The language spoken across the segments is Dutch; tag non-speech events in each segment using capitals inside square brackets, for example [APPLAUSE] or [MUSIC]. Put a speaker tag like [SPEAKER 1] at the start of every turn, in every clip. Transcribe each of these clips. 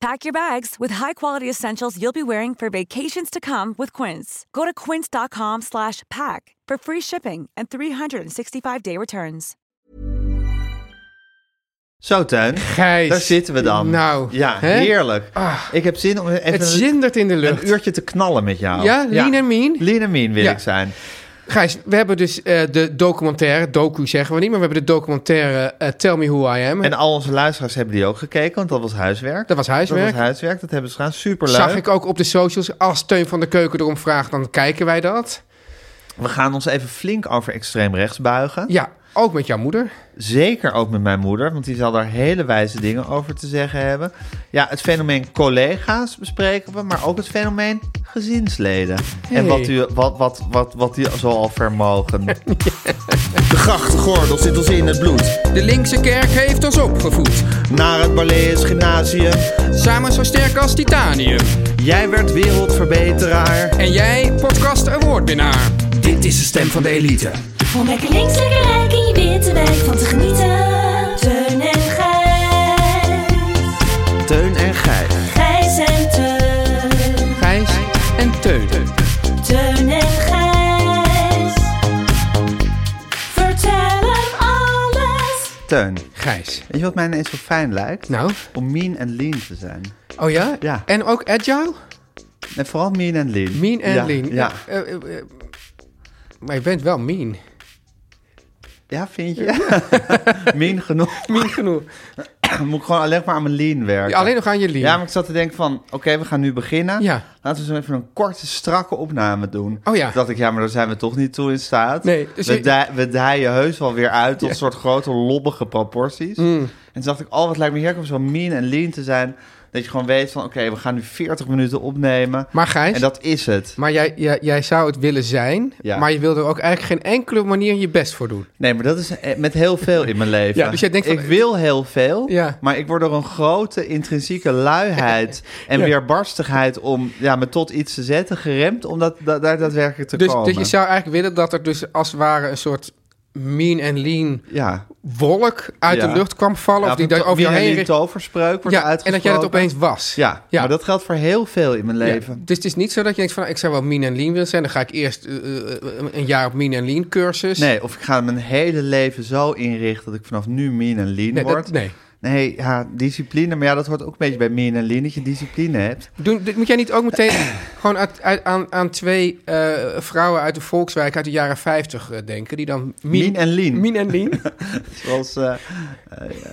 [SPEAKER 1] Pack your bags with high-quality essentials you'll be wearing for vacations to come with Quince. Go to quince.com slash pack for free shipping and 365-day returns.
[SPEAKER 2] Zo, Teun.
[SPEAKER 3] Gijs.
[SPEAKER 2] Daar zitten we dan.
[SPEAKER 3] Nou,
[SPEAKER 2] ja,
[SPEAKER 3] hè?
[SPEAKER 2] heerlijk.
[SPEAKER 3] Ah.
[SPEAKER 2] ik heb zin om even
[SPEAKER 3] Het
[SPEAKER 2] een-
[SPEAKER 3] zindert in de lucht.
[SPEAKER 2] een uurtje te knallen met jou.
[SPEAKER 3] Ja, lean and mean.
[SPEAKER 2] Lean and mean wil
[SPEAKER 3] Ja.
[SPEAKER 2] ik zijn.
[SPEAKER 3] Gijs, we hebben dus eh, de documentaire, docu zeggen we niet, maar we hebben de documentaire eh, Tell Me Who I Am.
[SPEAKER 2] En al onze luisteraars hebben die ook gekeken, want dat was huiswerk.
[SPEAKER 3] Dat was huiswerk.
[SPEAKER 2] Dat was huiswerk, dat hebben ze gedaan. Superleuk.
[SPEAKER 3] Zag ik ook op de socials, als Teun van de Keuken erom vraagt, dan kijken wij dat.
[SPEAKER 2] We gaan ons even flink over extreem rechts buigen.
[SPEAKER 3] Ja, ook met jouw moeder.
[SPEAKER 2] Zeker ook met mijn moeder, want die zal daar hele wijze dingen over te zeggen hebben. Ja, het fenomeen collega's bespreken we, maar ook het fenomeen gezinsleden. En wat, u, wat, wat, wat, wat die zoal
[SPEAKER 3] [LAUGHS]
[SPEAKER 2] vermogen.
[SPEAKER 4] De grachtgordel zit ons in het bloed.
[SPEAKER 5] De linkse kerk heeft ons opgevoed.
[SPEAKER 4] Naar het Barlees Gymnasium.
[SPEAKER 5] Samen zo sterk als titanium.
[SPEAKER 4] Jij werd wereldverbeteraar.
[SPEAKER 5] En jij, podcast awardwinnaar.
[SPEAKER 4] Dit is de stem van de elite.
[SPEAKER 6] Om lekker links, lekker rijk in je witte wijk van te genieten. Teun en Gijs.
[SPEAKER 4] Teun en Gijs.
[SPEAKER 6] Gijs en Teun.
[SPEAKER 5] Gijs en Teun.
[SPEAKER 6] Teun en Gijs. Vertel hem alles.
[SPEAKER 2] Teun, weet
[SPEAKER 3] Gijs.
[SPEAKER 2] je wat mij ineens zo fijn lijkt?
[SPEAKER 3] Nou,
[SPEAKER 2] Om mean en lean te zijn.
[SPEAKER 3] oh ja?
[SPEAKER 2] Ja.
[SPEAKER 3] En ook agile?
[SPEAKER 2] En vooral mean en lean.
[SPEAKER 3] Mean en
[SPEAKER 2] ja,
[SPEAKER 3] lean.
[SPEAKER 2] Ja.
[SPEAKER 3] Eh, eh, eh, maar je bent wel mean.
[SPEAKER 2] ja, vind je?
[SPEAKER 3] [LAUGHS]
[SPEAKER 2] mean genoeg.
[SPEAKER 3] Mean genoeg.
[SPEAKER 2] Dan moet ik gewoon alleen maar aan mijn lean werken.
[SPEAKER 3] Ja, alleen nog aan je lean.
[SPEAKER 2] Ja, maar ik zat te denken van, oké, we gaan nu beginnen.
[SPEAKER 3] Ja.
[SPEAKER 2] Laten we zo even een korte, strakke opname doen.
[SPEAKER 3] Oh ja.
[SPEAKER 2] Toen dacht ik, ja, maar daar zijn we toch niet toe in staat.
[SPEAKER 3] Nee, dus
[SPEAKER 2] we,
[SPEAKER 3] je-
[SPEAKER 2] dij- we dijen heus wel weer uit tot een soort grote, lobbige proporties.
[SPEAKER 3] Mm.
[SPEAKER 2] En toen dacht ik, oh, wat lijkt me heerlijk om zo mean en lean te zijn. Dat je gewoon weet van, oké, we gaan nu 40 minuten opnemen.
[SPEAKER 3] Maar Gijs,
[SPEAKER 2] En dat is het.
[SPEAKER 3] maar jij, jij, jij zou het willen zijn,
[SPEAKER 2] Ja.
[SPEAKER 3] maar je wil er ook eigenlijk geen enkele manier je best voor doen.
[SPEAKER 2] Nee, maar dat is eh, met heel veel in mijn leven.
[SPEAKER 3] Ja, dus jij denkt van-
[SPEAKER 2] ik wil heel veel,
[SPEAKER 3] Ja.
[SPEAKER 2] maar ik word door een grote intrinsieke
[SPEAKER 3] [LAUGHS]
[SPEAKER 2] luiheid en weerbarstigheid om ja, me tot iets te zetten geremd om dat, da- daar daadwerkelijk te
[SPEAKER 3] Dus,
[SPEAKER 2] komen.
[SPEAKER 3] dus je zou eigenlijk willen dat er dus als het ware een soort mean en lean
[SPEAKER 2] Ja.
[SPEAKER 3] wolk uit
[SPEAKER 2] Ja.
[SPEAKER 3] de lucht kwam vallen.
[SPEAKER 2] Ja,
[SPEAKER 3] of die
[SPEAKER 2] een
[SPEAKER 3] daar
[SPEAKER 2] to-
[SPEAKER 3] over jou
[SPEAKER 2] weer
[SPEAKER 3] heen
[SPEAKER 2] een
[SPEAKER 3] richtte.
[SPEAKER 2] toverspreuk wordt
[SPEAKER 3] Ja,
[SPEAKER 2] uitgesproken.
[SPEAKER 3] en dat jij dat opeens was.
[SPEAKER 2] Ja,
[SPEAKER 3] Ja.
[SPEAKER 2] maar dat geldt voor heel veel in mijn
[SPEAKER 3] Ja,
[SPEAKER 2] leven.
[SPEAKER 3] dus het is niet zo dat je denkt van nou, ik zou wel mean en lean willen zijn. Dan ga ik eerst eh, eh, een jaar op mean en lean cursus.
[SPEAKER 2] Nee, of ik ga mijn hele leven zo inrichten dat ik vanaf nu mean en lean
[SPEAKER 3] Nee, dat-
[SPEAKER 2] word.
[SPEAKER 3] nee.
[SPEAKER 2] nee ja, discipline. Maar ja, dat hoort ook een beetje bij mean en lean, dat je discipline hebt.
[SPEAKER 3] Doen, dit- moet jij niet ook
[SPEAKER 2] [CLEARS THROAT]
[SPEAKER 3] meteen gewoon uit, uit- aan, aan twee eh, vrouwen uit de Volkswijk uit de jaren 50 eh, denken? Die dan
[SPEAKER 2] Mean en lean.
[SPEAKER 3] Mean en lean.
[SPEAKER 2] Zoals, eh, eh,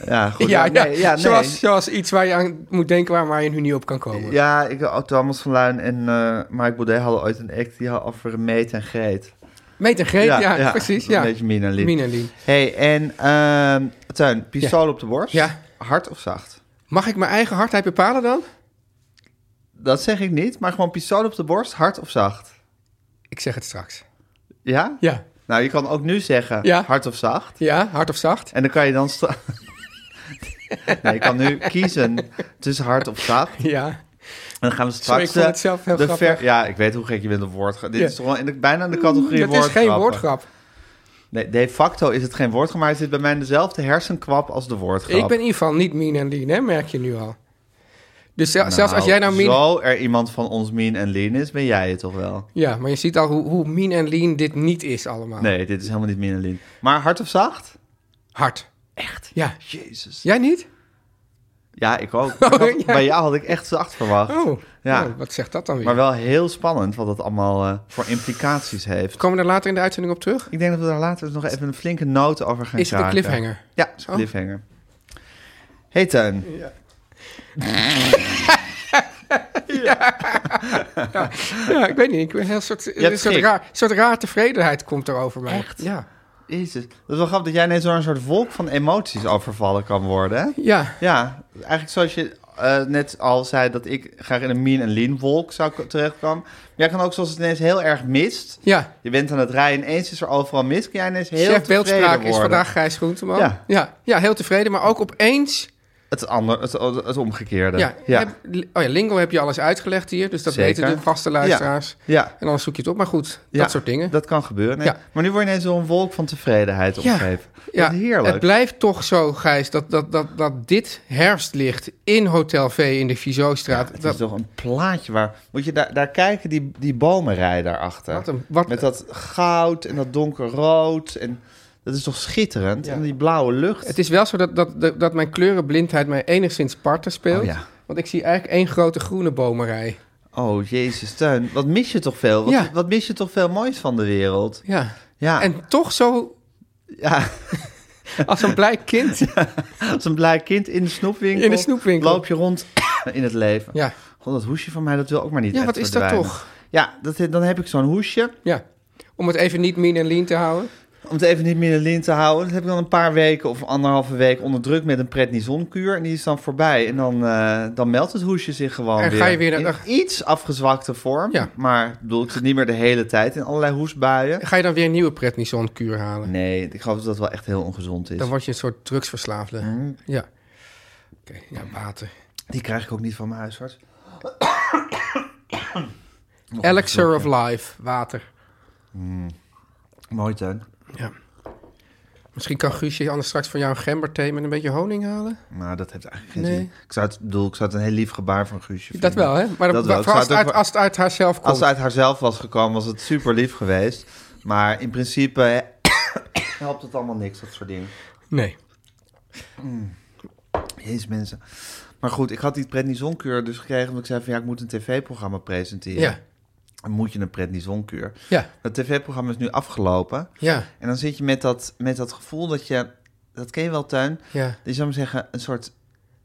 [SPEAKER 2] ja, goed.
[SPEAKER 3] ja, ja,
[SPEAKER 2] nee, ja, nee.
[SPEAKER 3] Zoals, zoals iets waar je aan moet denken waar, waar je nu niet op kan komen.
[SPEAKER 2] Ja, ik, oh, Thomas van Luin en eh Mike Baudet hadden ooit een act die had over Meet en Greet.
[SPEAKER 3] Meet en Greet, ja, precies. Ja.
[SPEAKER 2] Een beetje Min en Lin.
[SPEAKER 3] Mean en lean.
[SPEAKER 2] hey, en ehm Tuin, pistool op de borst.
[SPEAKER 3] Ja.
[SPEAKER 2] Hard of zacht?
[SPEAKER 3] Mag ik mijn eigen hardheid bepalen dan?
[SPEAKER 2] Dat zeg ik niet, maar gewoon pistool op de borst, hard of zacht?
[SPEAKER 3] Ik zeg het straks.
[SPEAKER 2] Ja?
[SPEAKER 3] Ja.
[SPEAKER 2] Nou, je kan ook nu zeggen
[SPEAKER 3] Ja.
[SPEAKER 2] hard of zacht.
[SPEAKER 3] Ja, hard of zacht?
[SPEAKER 2] En dan kan je dan... sta- [LAUGHS] nee, je kan nu kiezen tussen hard of zacht.
[SPEAKER 3] [LAUGHS] Ja.
[SPEAKER 2] En dan gaan we
[SPEAKER 3] Sorry,
[SPEAKER 2] straks...
[SPEAKER 3] ik vond
[SPEAKER 2] eh,
[SPEAKER 3] het zelf heel
[SPEAKER 2] de
[SPEAKER 3] grappig.
[SPEAKER 2] ja, ik weet hoe gek je bent op woordgrap. Dit
[SPEAKER 3] Ja.
[SPEAKER 2] is toch wel in de, bijna in de categorie
[SPEAKER 3] Dat is geen
[SPEAKER 2] woordgrappen.
[SPEAKER 3] woordgrap.
[SPEAKER 2] Nee, de facto is het geen woordgrap, maar het zit bij mij in dezelfde hersenkwap als de woordgrap.
[SPEAKER 3] Ik ben in ieder geval niet mean en lean, hè, merk je nu al. Dus zel-
[SPEAKER 2] Nou,
[SPEAKER 3] zelfs als jij nou mean...
[SPEAKER 2] Zo er iemand van ons mean en lean is, ben jij het toch wel?
[SPEAKER 3] Ja, maar je ziet al hoe, hoe mean en lean dit niet is allemaal.
[SPEAKER 2] Nee, dit is helemaal niet mean en lean. Maar hard of zacht?
[SPEAKER 3] Hard.
[SPEAKER 2] Echt?
[SPEAKER 3] Ja.
[SPEAKER 2] Jezus.
[SPEAKER 3] Jij niet?
[SPEAKER 2] Ja, ik
[SPEAKER 3] [LAUGHS]
[SPEAKER 2] ook. Ik had-
[SPEAKER 3] Oh, ja.
[SPEAKER 2] Bij jou had ik echt zacht verwacht.
[SPEAKER 3] Oh,
[SPEAKER 2] Ja.
[SPEAKER 3] nou, wat zegt dat dan weer?
[SPEAKER 2] Maar wel heel spannend wat dat allemaal eh, voor implicaties heeft.
[SPEAKER 3] Komen we daar later in de uitzending op terug?
[SPEAKER 2] Ik denk dat we daar later dus nog even een flinke noot over gaan
[SPEAKER 3] Is het een
[SPEAKER 2] kraken.
[SPEAKER 3] cliffhanger?
[SPEAKER 2] Ja, is een
[SPEAKER 3] Oh.
[SPEAKER 2] cliffhanger. Hey Teun.
[SPEAKER 3] Ja, ik weet niet. Ik ben een heel soort, een
[SPEAKER 2] hebt
[SPEAKER 3] soort,
[SPEAKER 2] schrik.
[SPEAKER 3] raar, soort raar tevredenheid komt er over mij. Echt? Ja.
[SPEAKER 2] Jezus. Dat is wel grappig dat jij ineens door een soort wolk van emoties overvallen kan worden. Hè?
[SPEAKER 3] Ja.
[SPEAKER 2] Ja, eigenlijk zoals je eh, net al zei dat ik graag in een mean en lean wolk zou k- terechtkomen. Maar jij kan ook zoals het ineens heel erg mist.
[SPEAKER 3] Ja.
[SPEAKER 2] Je bent aan het rijden, ineens is er overal mist. Kun jij ineens heel
[SPEAKER 3] Chef
[SPEAKER 2] tevreden
[SPEAKER 3] Beeldspraak is
[SPEAKER 2] worden.
[SPEAKER 3] vandaag Gijs Groenteman.
[SPEAKER 2] Ja.
[SPEAKER 3] Ja. Ja, heel tevreden, maar ook opeens...
[SPEAKER 2] Het, ander, het, het omgekeerde.
[SPEAKER 3] Ja,
[SPEAKER 2] ja.
[SPEAKER 3] heb- oh ja, lingo heb je alles uitgelegd hier, dus dat
[SPEAKER 2] Zeker.
[SPEAKER 3] weten de vaste luisteraars.
[SPEAKER 2] Ja.
[SPEAKER 3] En dan zoek je het op, maar goed,
[SPEAKER 2] Ja,
[SPEAKER 3] dat soort dingen.
[SPEAKER 2] Dat kan gebeuren. nee.
[SPEAKER 3] Ja.
[SPEAKER 2] Maar nu word je ineens door een wolk van tevredenheid
[SPEAKER 3] Ja.
[SPEAKER 2] omgeven.
[SPEAKER 3] ja,
[SPEAKER 2] Wat heerlijk.
[SPEAKER 3] Het blijft toch zo, Gijs, dat, dat, dat, dat dit herfstlicht in Hotel V in de Viseaustraat...
[SPEAKER 2] Het
[SPEAKER 3] dat,
[SPEAKER 2] is toch een plaatje waar... Moet je daar, daar kijken, die, die bomenrij daarachter.
[SPEAKER 3] Wat een- wat-
[SPEAKER 2] Met dat goud en dat donkerrood. En dat is toch schitterend? En die blauwe lucht.
[SPEAKER 3] Het is wel zo dat, dat, dat, dat mijn kleurenblindheid mij enigszins parten speelt.
[SPEAKER 2] Oh ja.
[SPEAKER 3] Want ik zie eigenlijk één grote groene bomenrij.
[SPEAKER 2] Oh, jezus, Teun. Wat mis je toch veel? Wat,
[SPEAKER 3] Ja.
[SPEAKER 2] wat mis je toch veel moois van de wereld?
[SPEAKER 3] Ja.
[SPEAKER 2] Ja,
[SPEAKER 3] En toch zo
[SPEAKER 2] ja. [LAUGHS]
[SPEAKER 3] als een blij kind.
[SPEAKER 2] als een blij kind in de snoepwinkel.
[SPEAKER 3] In de snoepwinkel.
[SPEAKER 2] Loop je rond [COUGHS] in het leven.
[SPEAKER 3] Ja.
[SPEAKER 2] God, dat hoesje van mij, dat wil ook maar niet
[SPEAKER 3] Ja,
[SPEAKER 2] echt
[SPEAKER 3] wat is dat
[SPEAKER 2] verdwijnen.
[SPEAKER 3] toch?
[SPEAKER 2] Ja, dat, dan heb ik zo'n hoesje.
[SPEAKER 3] Ja. Om het even niet mean en lean te houden.
[SPEAKER 2] Om het even niet meer in de lint te houden. Dat heb ik dan een paar weken of anderhalve week onder druk met een prednisonkuur. En die is dan voorbij. En dan, eh, dan meldt het hoesje zich gewoon
[SPEAKER 3] En
[SPEAKER 2] weer.
[SPEAKER 3] ga je weer naar-
[SPEAKER 2] in iets afgezwakte vorm.
[SPEAKER 3] Ja.
[SPEAKER 2] Maar ik bedoel, ik zit niet meer de hele tijd in allerlei hoesbuien.
[SPEAKER 3] Ga je dan weer een nieuwe prednisonkuur halen?
[SPEAKER 2] Nee, dus- ik geloof dat dat wel echt heel ongezond is.
[SPEAKER 3] Dan word je een soort drugsverslaafde.
[SPEAKER 2] Hm.
[SPEAKER 3] Ja. Oké, ja, water.
[SPEAKER 2] Die krijg ik ook niet van mijn huisarts.
[SPEAKER 3] Elixir of life, water.
[SPEAKER 2] Mooi, Teun.
[SPEAKER 3] Ja. Misschien kan Guusje anders straks voor jou een gemberthee met een beetje honing halen.
[SPEAKER 2] Nou, dat heeft eigenlijk geen
[SPEAKER 3] Nee.
[SPEAKER 2] zin. Ik zou, het, bedoel, ik zou het een heel lief gebaar van Guusje
[SPEAKER 3] Dat
[SPEAKER 2] vinden.
[SPEAKER 3] wel, hè? Maar
[SPEAKER 2] Dat
[SPEAKER 3] dat
[SPEAKER 2] wel. Ik zou
[SPEAKER 3] Als,
[SPEAKER 2] het ook
[SPEAKER 3] het uit,
[SPEAKER 2] wel-
[SPEAKER 3] als het uit haarzelf komt.
[SPEAKER 2] Als het uit haarzelf was gekomen, was het super lief geweest. Maar in principe eh, [COUGHS] helpt het allemaal niks, dat soort dingen.
[SPEAKER 3] Nee.
[SPEAKER 2] Jezus, mensen. Maar goed, ik had die prednisonkuur dus gekregen... omdat ik zei van ja, ik moet een tv-programma presenteren.
[SPEAKER 3] Ja.
[SPEAKER 2] Dan moet je een prednisonkuur.
[SPEAKER 3] Ja.
[SPEAKER 2] Het tv-programma is nu afgelopen.
[SPEAKER 3] Ja.
[SPEAKER 2] En dan zit je met dat, met dat gevoel dat je... Dat ken je wel, Tuin.
[SPEAKER 3] Ja.
[SPEAKER 2] Dat je, zou maar zeggen, een soort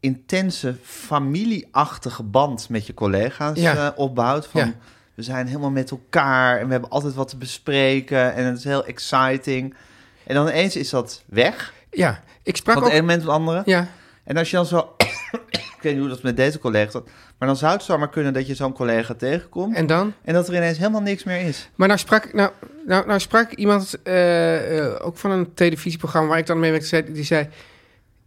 [SPEAKER 2] intense familieachtige band met je collega's
[SPEAKER 3] Ja.
[SPEAKER 2] eh, opbouwt. Van,
[SPEAKER 3] Ja.
[SPEAKER 2] We zijn helemaal met elkaar en we hebben altijd wat te bespreken. En het is heel exciting. En dan ineens is dat weg.
[SPEAKER 3] Ja. Ik sprak
[SPEAKER 2] Van
[SPEAKER 3] ook...
[SPEAKER 2] het ene moment op het andere.
[SPEAKER 3] Ja.
[SPEAKER 2] En als je dan zo... [COUGHS] ik weet niet hoe dat met deze collega... Maar dan zou het zomaar kunnen dat je zo'n collega tegenkomt. En,
[SPEAKER 3] En dan?
[SPEAKER 2] dat er ineens helemaal niks meer is.
[SPEAKER 3] Maar nou sprak, nou, nou, nou sprak iemand eh, eh, ook van een televisieprogramma waar ik dan mee werkte, zei- die zei.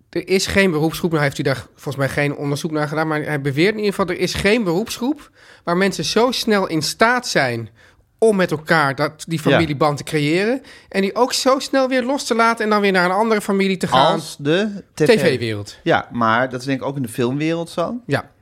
[SPEAKER 3] Er is geen beroepsgroep. Nou heeft u daar volgens mij geen onderzoek naar gedaan. Maar hij beweert in ieder geval: er is geen beroepsgroep waar mensen zo snel in staat zijn om met elkaar dat, die
[SPEAKER 2] Ja.
[SPEAKER 3] familieband te creëren. En die ook zo snel weer los te laten en dan weer naar een andere familie te gaan.
[SPEAKER 2] Als de tv-wereld.
[SPEAKER 3] TV-wereld.
[SPEAKER 2] ja, maar dat is denk ik ook in de filmwereld zo.
[SPEAKER 3] ja.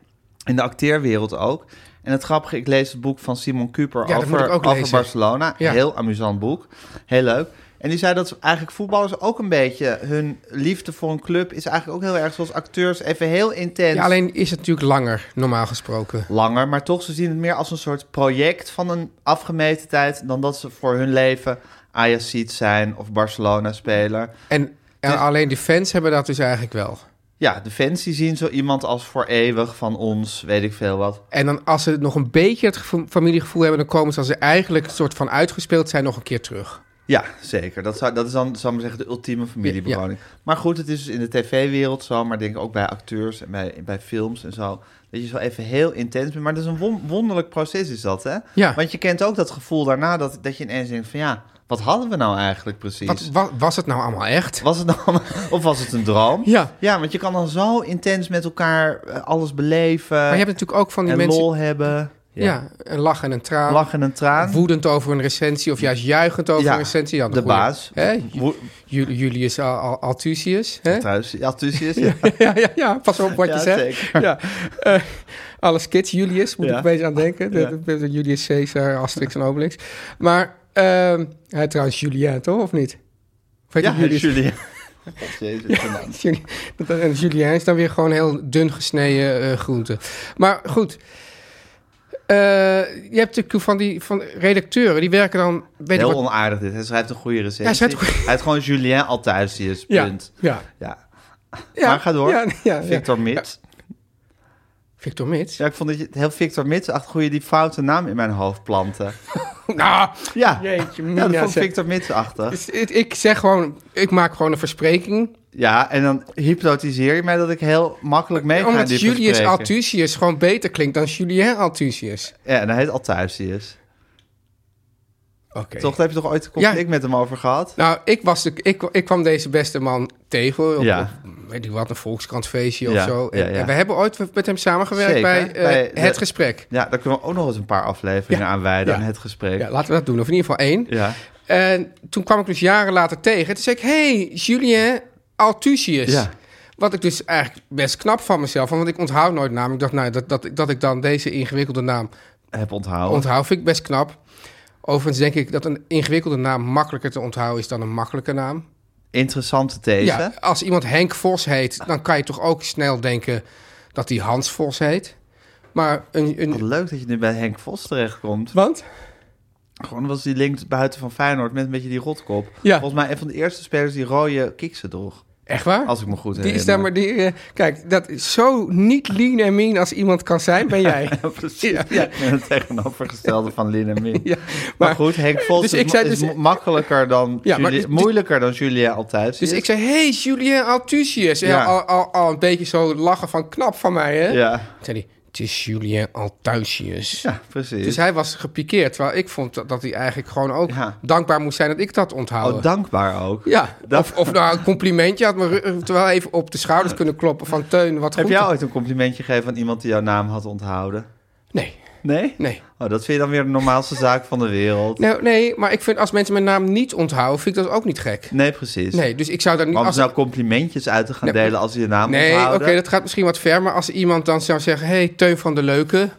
[SPEAKER 2] in de acteerwereld ook. En het grappige, ik lees het boek van Simon Cooper
[SPEAKER 3] Ja, dat moet
[SPEAKER 2] over,
[SPEAKER 3] ik ook
[SPEAKER 2] over
[SPEAKER 3] lezen.
[SPEAKER 2] Barcelona.
[SPEAKER 3] Ja.
[SPEAKER 2] Heel amusant boek. Heel leuk. En die zei dat eigenlijk voetballers ook een beetje... hun liefde voor een club is eigenlijk ook heel erg zoals acteurs. Even heel intens,
[SPEAKER 3] ja, alleen is het natuurlijk langer, normaal gesproken.
[SPEAKER 2] langer. Maar toch, ze zien het meer als een soort project van een afgemeten tijd... dan dat ze voor hun leven Ajax zijn of Barcelona-speler.
[SPEAKER 3] En, en
[SPEAKER 2] Dus-
[SPEAKER 3] alleen de fans hebben dat dus eigenlijk wel.
[SPEAKER 2] Ja, de fans die zien zo iemand als voor eeuwig van ons, weet ik veel wat.
[SPEAKER 3] En dan als ze nog een beetje het gevo- familiegevoel hebben, dan komen ze als ze eigenlijk een soort van uitgespeeld zijn nog een keer terug.
[SPEAKER 2] Ja, zeker. Dat, zou, dat is dan, zou ik maar zeggen, de ultieme familiebewoning. Maar goed, het is dus in de tv-wereld zo, maar denk ik ook bij acteurs en bij, bij films en zo. Dat je zo even heel intens bent. Maar dat is een won- wonderlijk proces, is dat, hè?
[SPEAKER 3] Ja.
[SPEAKER 2] Want je kent ook dat gevoel daarna dat, dat je ineens denkt van ja, wat hadden we nou eigenlijk precies?
[SPEAKER 3] Wat, wa- was het nou allemaal echt?
[SPEAKER 2] Was het nou, [LAUGHS] of was het een droom?
[SPEAKER 3] Ja.
[SPEAKER 2] Ja, want je kan dan zo intens met elkaar eh, alles beleven
[SPEAKER 3] Maar je hebt natuurlijk ook van die
[SPEAKER 2] eh, en
[SPEAKER 3] mensen.
[SPEAKER 2] lol hebben.
[SPEAKER 3] ja. een lach en een traan.
[SPEAKER 2] Lach en een traan.
[SPEAKER 3] Woedend over een recensie of juist juichend over
[SPEAKER 2] Ja,
[SPEAKER 3] een recensie. Ja,
[SPEAKER 2] de
[SPEAKER 3] goeie.
[SPEAKER 2] baas.
[SPEAKER 3] Hè? Ju-
[SPEAKER 2] Wo-
[SPEAKER 3] Jul- Julius Al- Al- Altusius. Hè? [LAUGHS]
[SPEAKER 2] Thuis, ja, tussen is. Ja.
[SPEAKER 3] Ja, ja, ja, pas op wat je
[SPEAKER 2] eh, Ja,
[SPEAKER 3] zegt.
[SPEAKER 2] zeker.
[SPEAKER 3] Ja. Eh, alles kids, Julius, moet
[SPEAKER 2] Ja.
[SPEAKER 3] ik een beetje aan denken. De-
[SPEAKER 2] Ja.
[SPEAKER 3] de- de Julius Caesar, Asterix en Obelix. Maar ehm, hij trouwens Julien, toch? Of niet? Of heet
[SPEAKER 2] Ja,
[SPEAKER 3] hij
[SPEAKER 2] [LAUGHS]
[SPEAKER 3] Julius?
[SPEAKER 2] Julia. Jezus, genade.
[SPEAKER 3] Juli- dat- En Julien is dan weer gewoon heel dun gesneden eh, groente. Maar goed. Eh, je hebt natuurlijk van die van redacteuren, die werken dan... Weet ik
[SPEAKER 2] Heel
[SPEAKER 3] wat-
[SPEAKER 2] onaardig dit. Hij schrijft een goede recensie.
[SPEAKER 3] Hij schrijft een goeie-
[SPEAKER 2] Hij heeft gewoon Julien Althuisius,
[SPEAKER 3] ja,
[SPEAKER 2] punt.
[SPEAKER 3] ja,
[SPEAKER 2] Ja.
[SPEAKER 3] ja.
[SPEAKER 2] maar ga door.
[SPEAKER 3] Ja, ja, ja.
[SPEAKER 2] Victor Mits. Ja.
[SPEAKER 3] Victor Mits.
[SPEAKER 2] ik vond dat je heel Victor Mits, ach, goeie die foute naam in mijn hoofd planten.
[SPEAKER 3] Nou,
[SPEAKER 2] Ja,
[SPEAKER 3] Jeetje,
[SPEAKER 2] ja
[SPEAKER 3] mina,
[SPEAKER 2] dat vond ik
[SPEAKER 3] zeg.
[SPEAKER 2] Victor Mits achter.
[SPEAKER 3] dus ik- ik zeg gewoon, ik maak gewoon een verspreking.
[SPEAKER 2] Ja, en dan hypnotiseer je mij dat ik heel makkelijk mee ga in
[SPEAKER 3] Omdat
[SPEAKER 2] dit
[SPEAKER 3] Julius
[SPEAKER 2] bespreken.
[SPEAKER 3] Althusius gewoon beter klinkt dan Julien Althusius.
[SPEAKER 2] Ja, en hij heet Althuisius.
[SPEAKER 3] Oké.
[SPEAKER 2] Toch, daar heb je toch ooit een conflict met hem over gehad?
[SPEAKER 3] Nou, ik, was de, ik, ik kwam deze beste man tegen. Op,
[SPEAKER 2] Ja.
[SPEAKER 3] op, weet ik wat, een volkskrantfeestje of
[SPEAKER 2] Ja,
[SPEAKER 3] zo. En,
[SPEAKER 2] ja, ja.
[SPEAKER 3] en we hebben ooit met hem samengewerkt
[SPEAKER 2] Zeker,
[SPEAKER 3] bij, eh,
[SPEAKER 2] bij de-
[SPEAKER 3] Het Gesprek.
[SPEAKER 2] Ja, daar kunnen we ook nog eens een paar afleveringen
[SPEAKER 3] Ja,
[SPEAKER 2] aan wijden,
[SPEAKER 3] ja.
[SPEAKER 2] aan het gesprek.
[SPEAKER 3] Ja,
[SPEAKER 2] Ja,
[SPEAKER 3] laten we dat doen, of in ieder geval één.
[SPEAKER 2] ja.
[SPEAKER 3] En toen kwam ik dus jaren later tegen. Toen zei ik, hey, Julien Althusius.
[SPEAKER 2] Ja.
[SPEAKER 3] Wat ik dus eigenlijk best knap van mezelf vond, want ik onthoud nooit naam. Ik dacht, nou, dat, dat, dat ik dan deze ingewikkelde naam
[SPEAKER 2] heb onthouden.
[SPEAKER 3] onthoud, vind ik best knap. Overigens denk ik dat een ingewikkelde naam makkelijker te onthouden is dan een makkelijke naam.
[SPEAKER 2] Interessante these.
[SPEAKER 3] Ja, als iemand Henk Vos heet, dan kan je toch ook snel denken dat hij Hans Vos heet. Maar een...
[SPEAKER 2] Wat
[SPEAKER 3] een
[SPEAKER 2] leuk dat je nu bij Henk Vos terechtkomt.
[SPEAKER 3] want?
[SPEAKER 2] Gewoon was die links buiten van Feyenoord met een beetje die rotkop.
[SPEAKER 3] Ja.
[SPEAKER 2] Volgens mij een van de eerste spelers die rode kiksen droeg.
[SPEAKER 3] Echt waar?
[SPEAKER 2] Als ik me goed
[SPEAKER 3] die
[SPEAKER 2] herinner.
[SPEAKER 3] is daar maar... Die, eh, kijk, dat is zo niet lean en mean als iemand kan zijn, ben jij.
[SPEAKER 2] [LAUGHS] Ja, [LAUGHS] precies. En het tegenovergestelde van Lin en Min.
[SPEAKER 3] [LAUGHS] Ja,
[SPEAKER 2] Maar goed,
[SPEAKER 3] [LAUGHS]
[SPEAKER 2] Henk Vos
[SPEAKER 3] Dus
[SPEAKER 2] is,
[SPEAKER 3] ik
[SPEAKER 2] mo-
[SPEAKER 3] zei
[SPEAKER 2] is
[SPEAKER 3] dus-
[SPEAKER 2] mo- makkelijker dan
[SPEAKER 3] Ja, maar
[SPEAKER 2] Julie-
[SPEAKER 3] dus-
[SPEAKER 2] moeilijker dan Julia altijd.
[SPEAKER 3] Dus ik zei, hey, Julien Althusius. En
[SPEAKER 2] Ja.
[SPEAKER 3] Al, al, al een beetje zo lachen van knap van mij, hè?
[SPEAKER 2] Ja,
[SPEAKER 3] Toen zei hij, het is Julien Althusius.
[SPEAKER 2] ja precies.
[SPEAKER 3] Dus hij was gepikeerd, terwijl ik vond dat, dat hij eigenlijk gewoon ook
[SPEAKER 2] Ja.
[SPEAKER 3] dankbaar moest zijn dat ik dat onthoud.
[SPEAKER 2] Oh, dankbaar ook.
[SPEAKER 3] Ja,
[SPEAKER 2] Dat- Eh,
[SPEAKER 3] of, of nou een complimentje had me ru- terwijl even op de schouders kunnen kloppen van Teun, wat
[SPEAKER 2] Heb
[SPEAKER 3] goed.
[SPEAKER 2] jij ooit een complimentje gegeven aan iemand die jouw naam had onthouden?
[SPEAKER 3] Nee,
[SPEAKER 2] Nee?
[SPEAKER 3] nee.
[SPEAKER 2] Oh, dat vind je dan weer de normaalste zaak van de wereld.
[SPEAKER 3] Nou, nee, maar ik vind als mensen mijn naam niet onthouden, vind ik dat ook niet gek.
[SPEAKER 2] Nee, precies.
[SPEAKER 3] Nee, dus ik zou daar niet...
[SPEAKER 2] Maar om
[SPEAKER 3] Als,
[SPEAKER 2] nou complimentjes uit te gaan
[SPEAKER 3] Nee,
[SPEAKER 2] delen als ze je naam
[SPEAKER 3] nee, oké,
[SPEAKER 2] onthouden.
[SPEAKER 3] dat gaat misschien wat ver, maar als iemand dan zou zeggen, hey, Teun van de Leuke,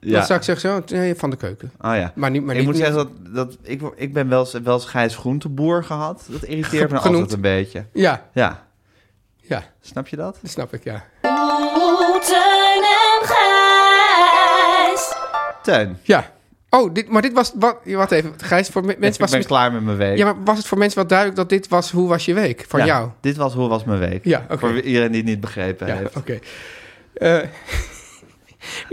[SPEAKER 2] ja.
[SPEAKER 3] dan zou ik zeggen, zo, Teun van de Keuken.
[SPEAKER 2] Oh ja.
[SPEAKER 3] Maar niet- maar
[SPEAKER 2] ik
[SPEAKER 3] niet-
[SPEAKER 2] moet zeggen dat, dat ik, word- ik ben wel eens, wel eens Gijs Groenteboer gehad. Dat irriteert me
[SPEAKER 3] Genoemd.
[SPEAKER 2] altijd een beetje.
[SPEAKER 3] Ja,
[SPEAKER 2] Ja,
[SPEAKER 3] ja,
[SPEAKER 2] snap je dat?
[SPEAKER 3] dat snap ik, ja.
[SPEAKER 6] Oeh, Oh, Teun en Gijs.
[SPEAKER 2] Teun,
[SPEAKER 3] Ja. Oh, dit, maar dit was... Wat, wacht even, Gijs, voor me-
[SPEAKER 2] ik
[SPEAKER 3] mensen was...
[SPEAKER 2] ben klaar met mijn week.
[SPEAKER 3] Ja, maar was het voor mensen wel duidelijk dat dit was Hoe was je week? Van
[SPEAKER 2] Ja,
[SPEAKER 3] jou?
[SPEAKER 2] Dit was Hoe was mijn week?
[SPEAKER 3] Ja, oké.
[SPEAKER 2] Voor iedereen die het niet begrepen
[SPEAKER 3] Ja,
[SPEAKER 2] heeft.
[SPEAKER 3] oké. Eh,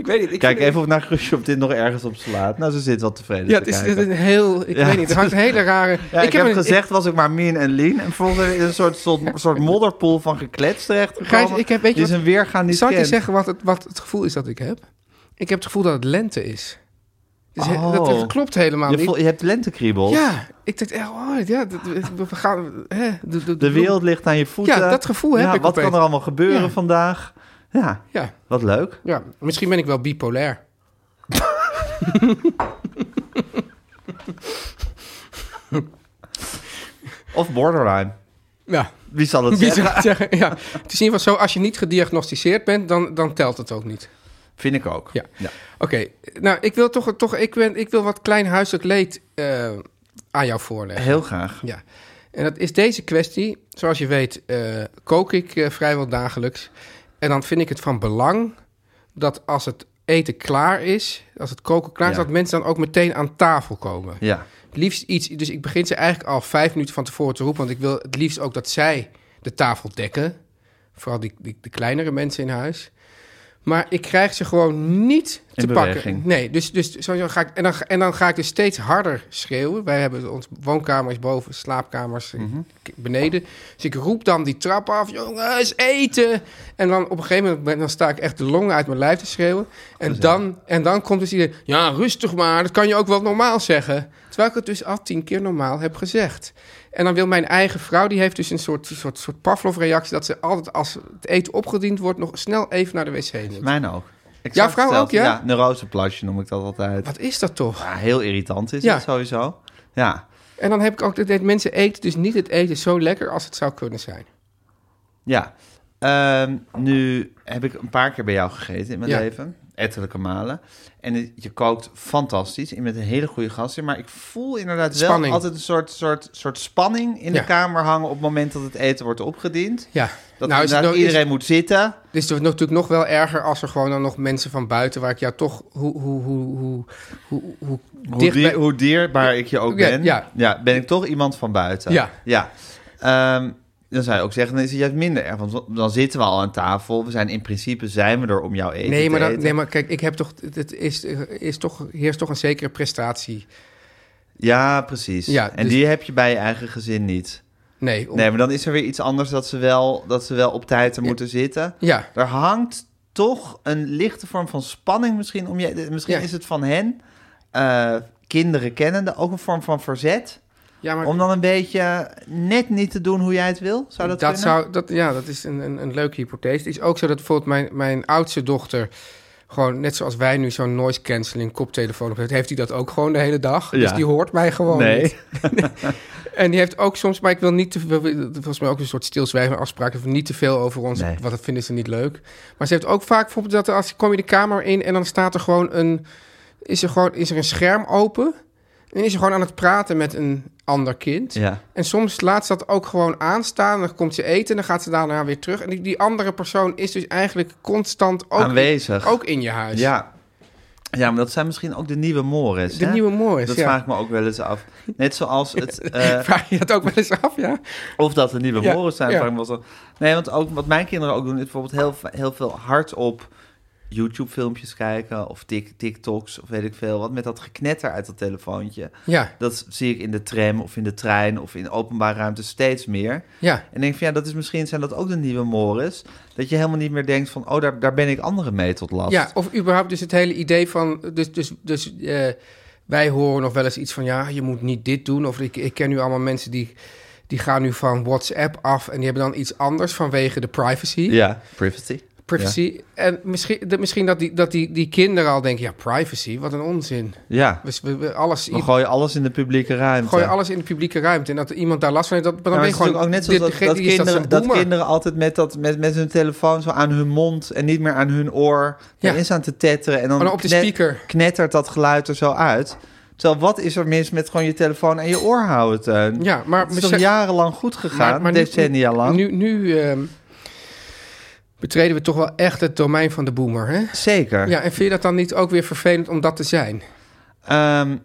[SPEAKER 3] [LAUGHS] ik weet niet. Ik
[SPEAKER 2] Kijk
[SPEAKER 3] vind-
[SPEAKER 2] even of naar Khrushchev dit nog ergens op slaat. Nou, ze zit wel tevreden
[SPEAKER 3] Ja,
[SPEAKER 2] te
[SPEAKER 3] het is,
[SPEAKER 2] kijken.
[SPEAKER 3] het is een heel... Ik
[SPEAKER 2] Ja.
[SPEAKER 3] weet niet, het hangt een hele rare...
[SPEAKER 2] Ja, ik, heb
[SPEAKER 3] een-
[SPEAKER 2] gezegd, was ik maar mean en lean. En volgens mij is een soort, soort, soort modderpoel van gekletst terecht
[SPEAKER 3] Gijs, ik heb- weet je
[SPEAKER 2] Die
[SPEAKER 3] wat-
[SPEAKER 2] zijn weergaan niet
[SPEAKER 3] Zal ik je
[SPEAKER 2] kent.
[SPEAKER 3] zeggen wat het, wat het gevoel is dat ik heb? Ik heb het gevoel dat het lente is. Dus he-
[SPEAKER 2] Oh.
[SPEAKER 3] dat, dat klopt helemaal
[SPEAKER 2] je,
[SPEAKER 3] niet.
[SPEAKER 2] voel- je hebt lentekriebels.
[SPEAKER 3] Ja, ik dacht echt, oh, ja, dat- we we gaan... Hè, de, de-
[SPEAKER 2] De wereld ligt aan je voeten.
[SPEAKER 3] Ja, dat gevoel heb
[SPEAKER 2] Ja,
[SPEAKER 3] ik
[SPEAKER 2] Wat
[SPEAKER 3] opeens.
[SPEAKER 2] kan er allemaal gebeuren
[SPEAKER 3] Ja.
[SPEAKER 2] vandaag? Ja,
[SPEAKER 3] Ja,
[SPEAKER 2] wat leuk.
[SPEAKER 3] ja, misschien ben ik wel bipolair.
[SPEAKER 2] Of borderline.
[SPEAKER 3] [LAUGHS] Ja.
[SPEAKER 2] Wie zal het
[SPEAKER 3] Wie
[SPEAKER 2] zeggen?
[SPEAKER 3] zou het zeggen? [LAUGHS] Ja. Het is in ieder geval zo, als je niet gediagnosticeerd bent, dan, dan telt het ook niet.
[SPEAKER 2] Vind ik ook.
[SPEAKER 3] Ja.
[SPEAKER 2] Ja.
[SPEAKER 3] Oké, nou, ik wil toch, toch ik ben, ik wil wat klein huiselijk leed eh, aan jou voorleggen.
[SPEAKER 2] Heel graag.
[SPEAKER 3] Ja. En dat is deze kwestie. Zoals je weet, eh, kook ik eh, vrijwel dagelijks. En dan vind ik het van belang dat als het eten klaar is, als het koken klaar is,
[SPEAKER 2] Ja.
[SPEAKER 3] dat mensen dan ook meteen aan tafel komen.
[SPEAKER 2] Ja.
[SPEAKER 3] Het liefst iets. Dus ik begin ze eigenlijk al vijf minuten van tevoren te roepen. Want ik wil het liefst ook dat zij de tafel dekken. Vooral die, die, de kleinere mensen in huis. Maar ik krijg ze gewoon niet te
[SPEAKER 2] In beweging.
[SPEAKER 3] pakken. Nee, dus, dus sowieso ga ik. En dan, en dan ga ik dus steeds harder schreeuwen. Wij hebben onze woonkamers boven, slaapkamers eh, k- beneden. Dus ik roep dan die trap af: jongens, eten! En dan op een gegeven moment ben- dan sta ik echt de longen uit mijn lijf te schreeuwen. En, dan, en dan komt dus iedereen: ja, rustig maar, dat kan je ook wel normaal zeggen. Terwijl ik het dus al tien keer normaal heb gezegd. En dan wil mijn eigen vrouw, die heeft dus een soort, soort, soort Pavlov-reactie... dat ze altijd als het eten opgediend wordt... nog snel even naar de wc moet.
[SPEAKER 2] Mijn ook. Exact
[SPEAKER 3] Jouw vrouw
[SPEAKER 2] hetzelfde.
[SPEAKER 3] ook, ja?
[SPEAKER 2] Ja, neuroseplasje noem ik dat altijd.
[SPEAKER 3] Wat is dat toch?
[SPEAKER 2] Ja, heel irritant is
[SPEAKER 3] Ja.
[SPEAKER 2] het sowieso. Ja.
[SPEAKER 3] En dan heb ik ook dat dat mensen eten dus niet het eten zo lekker als het zou kunnen zijn.
[SPEAKER 2] Ja. Ehm, nu heb ik een paar keer bij jou gegeten in mijn
[SPEAKER 3] Ja.
[SPEAKER 2] leven. ettelijke malen. En het- je kookt fantastisch en met een hele goede gast. Maar ik voel inderdaad
[SPEAKER 3] Spanning.
[SPEAKER 2] wel altijd een soort, soort, soort spanning in
[SPEAKER 3] Ja.
[SPEAKER 2] de kamer hangen... op het moment dat het eten wordt opgediend.
[SPEAKER 3] Ja.
[SPEAKER 2] Dat
[SPEAKER 3] nou, is het
[SPEAKER 2] inderdaad
[SPEAKER 3] nou,
[SPEAKER 2] iedereen
[SPEAKER 3] iedereen...
[SPEAKER 2] moet zitten.
[SPEAKER 3] is, het is natuurlijk nog wel erger als er gewoon dan nog mensen van buiten... waar ik jou toch... Hoe, hoe, hoe, hoe, hoe, hoe
[SPEAKER 2] Hoe,
[SPEAKER 3] dicht
[SPEAKER 2] dier-
[SPEAKER 3] bij-
[SPEAKER 2] hoe dierbaar ik je ook
[SPEAKER 3] Ja,
[SPEAKER 2] ben,
[SPEAKER 3] ja.
[SPEAKER 2] ja. ben ik toch iemand van buiten.
[SPEAKER 3] Ja.
[SPEAKER 2] ja. Ehm, dan zou je ook zeggen, dan is het juist minder erg. Want dan zitten we al aan tafel. We zijn in principe zijn we er om jouw eten
[SPEAKER 3] Nee, maar,
[SPEAKER 2] te
[SPEAKER 3] dan-
[SPEAKER 2] eten.
[SPEAKER 3] nee, maar kijk, ik heb toch... Het is, is toch, heerst toch een zekere prestatie.
[SPEAKER 2] Ja, precies.
[SPEAKER 3] Ja,
[SPEAKER 2] en
[SPEAKER 3] dus-
[SPEAKER 2] die heb je bij je eigen gezin niet.
[SPEAKER 3] Nee, om-
[SPEAKER 2] Nee, maar dan is er weer iets anders dat ze wel, dat ze wel op tijd er moeten zitten.
[SPEAKER 3] Ja.
[SPEAKER 2] Er hangt toch een lichte vorm van spanning misschien om je... Misschien
[SPEAKER 3] Ja.
[SPEAKER 2] is het van hen, eh, kinderen kennende, ook een vorm van verzet...
[SPEAKER 3] ja, maar
[SPEAKER 2] Om dan een beetje net niet te doen hoe jij het wil? Zou dat, kunnen?
[SPEAKER 3] zou, dat, Ja, dat is een, een, een leuke hypothese. Het is ook zo dat bijvoorbeeld mijn, mijn oudste dochter... gewoon net zoals wij nu zo'n noise cancelling koptelefoon op heeft... heeft hij dat ook gewoon de hele dag. Dus
[SPEAKER 2] Ja.
[SPEAKER 3] die hoort mij gewoon
[SPEAKER 2] Nee.
[SPEAKER 3] niet. En die heeft ook soms, maar ik wil niet te veel... volgens mij ook een soort stilzwijgen afspraak... van niet te veel over ons,
[SPEAKER 2] Nee.
[SPEAKER 3] want dat vinden ze niet leuk. Maar ze heeft ook vaak bijvoorbeeld dat er als kom je de kamer in... en dan staat er gewoon een... is er gewoon is er een scherm open... en is ze gewoon aan het praten met een ander kind...
[SPEAKER 2] Ja.
[SPEAKER 3] En soms laat ze dat ook gewoon aanstaan. Dan komt ze eten en dan gaat ze daarna weer terug. En die, die andere persoon is dus eigenlijk constant ook,
[SPEAKER 2] Aanwezig.
[SPEAKER 3] ook in je huis.
[SPEAKER 2] Ja. Ja, maar dat zijn misschien ook de nieuwe mores.
[SPEAKER 3] De
[SPEAKER 2] hè?
[SPEAKER 3] nieuwe mores,
[SPEAKER 2] Dat
[SPEAKER 3] ja.
[SPEAKER 2] vraag ik me ook wel eens af. Net zoals
[SPEAKER 3] [LAUGHS]
[SPEAKER 2] het... eh,
[SPEAKER 3] Vraag je dat ook wel eens af, ja?
[SPEAKER 2] Of dat er nieuwe
[SPEAKER 3] Ja,
[SPEAKER 2] moren zijn.
[SPEAKER 3] ja.
[SPEAKER 2] vraag ik me wel zo. Nee, want ook wat mijn kinderen ook doen, is bijvoorbeeld heel, heel veel hard op YouTube-filmpjes kijken of tik, TikToks of weet ik veel wat. Met dat geknetter uit dat telefoontje.
[SPEAKER 3] Ja,
[SPEAKER 2] Dat zie ik in de tram of in de trein of in openbare ruimte steeds meer.
[SPEAKER 3] ja.
[SPEAKER 2] En denk van ja, dat is misschien zijn dat ook de nieuwe mores. Dat je helemaal niet meer denkt van oh, daar, daar ben ik anderen mee tot last.
[SPEAKER 3] Ja, of überhaupt dus het hele idee van... Dus, dus, dus eh, wij horen nog wel eens iets van... ja, je moet niet dit doen. Of ik, ik ken nu allemaal mensen die, die gaan nu van WhatsApp af... en die hebben dan iets anders vanwege de privacy.
[SPEAKER 2] ja. privacy.
[SPEAKER 3] Privacy. En misschien, dat- misschien dat, die, dat die, die kinderen al denken... ja, privacy, wat een onzin.
[SPEAKER 2] Ja.
[SPEAKER 3] We, we, we- alles,
[SPEAKER 2] We gooien alles in de publieke ruimte.
[SPEAKER 3] Gooi alles in de publieke ruimte. En dat iemand daar last van heeft, dat, dan
[SPEAKER 2] Ja,
[SPEAKER 3] ben
[SPEAKER 2] maar
[SPEAKER 3] je
[SPEAKER 2] het is
[SPEAKER 3] gewoon...
[SPEAKER 2] natuurlijk ook net zoals
[SPEAKER 3] dit-
[SPEAKER 2] dat,
[SPEAKER 3] die
[SPEAKER 2] dat,
[SPEAKER 3] is dat
[SPEAKER 2] kinderen,
[SPEAKER 3] zo'n
[SPEAKER 2] dat
[SPEAKER 3] boomer.
[SPEAKER 2] kinderen altijd met, dat, met, met hun telefoon zo aan hun mond en niet meer aan hun oor
[SPEAKER 3] Ja.
[SPEAKER 2] erin staan te tetteren. En dan
[SPEAKER 3] Maar dan op de
[SPEAKER 2] knet-
[SPEAKER 3] speaker.
[SPEAKER 2] knettert dat geluid er zo uit. Terwijl wat is er mis met gewoon je telefoon en je oor houden, Teun?
[SPEAKER 3] Ja, maar...
[SPEAKER 2] Het is toch
[SPEAKER 3] besef-
[SPEAKER 2] jarenlang goed gegaan,
[SPEAKER 3] nu-
[SPEAKER 2] decennia lang?
[SPEAKER 3] Nu, nu ehm, betreden we toch wel echt het domein van de boomer, hè?
[SPEAKER 2] Zeker.
[SPEAKER 3] Ja, en vind je dat dan niet ook weer vervelend om dat te zijn?
[SPEAKER 2] Ehm,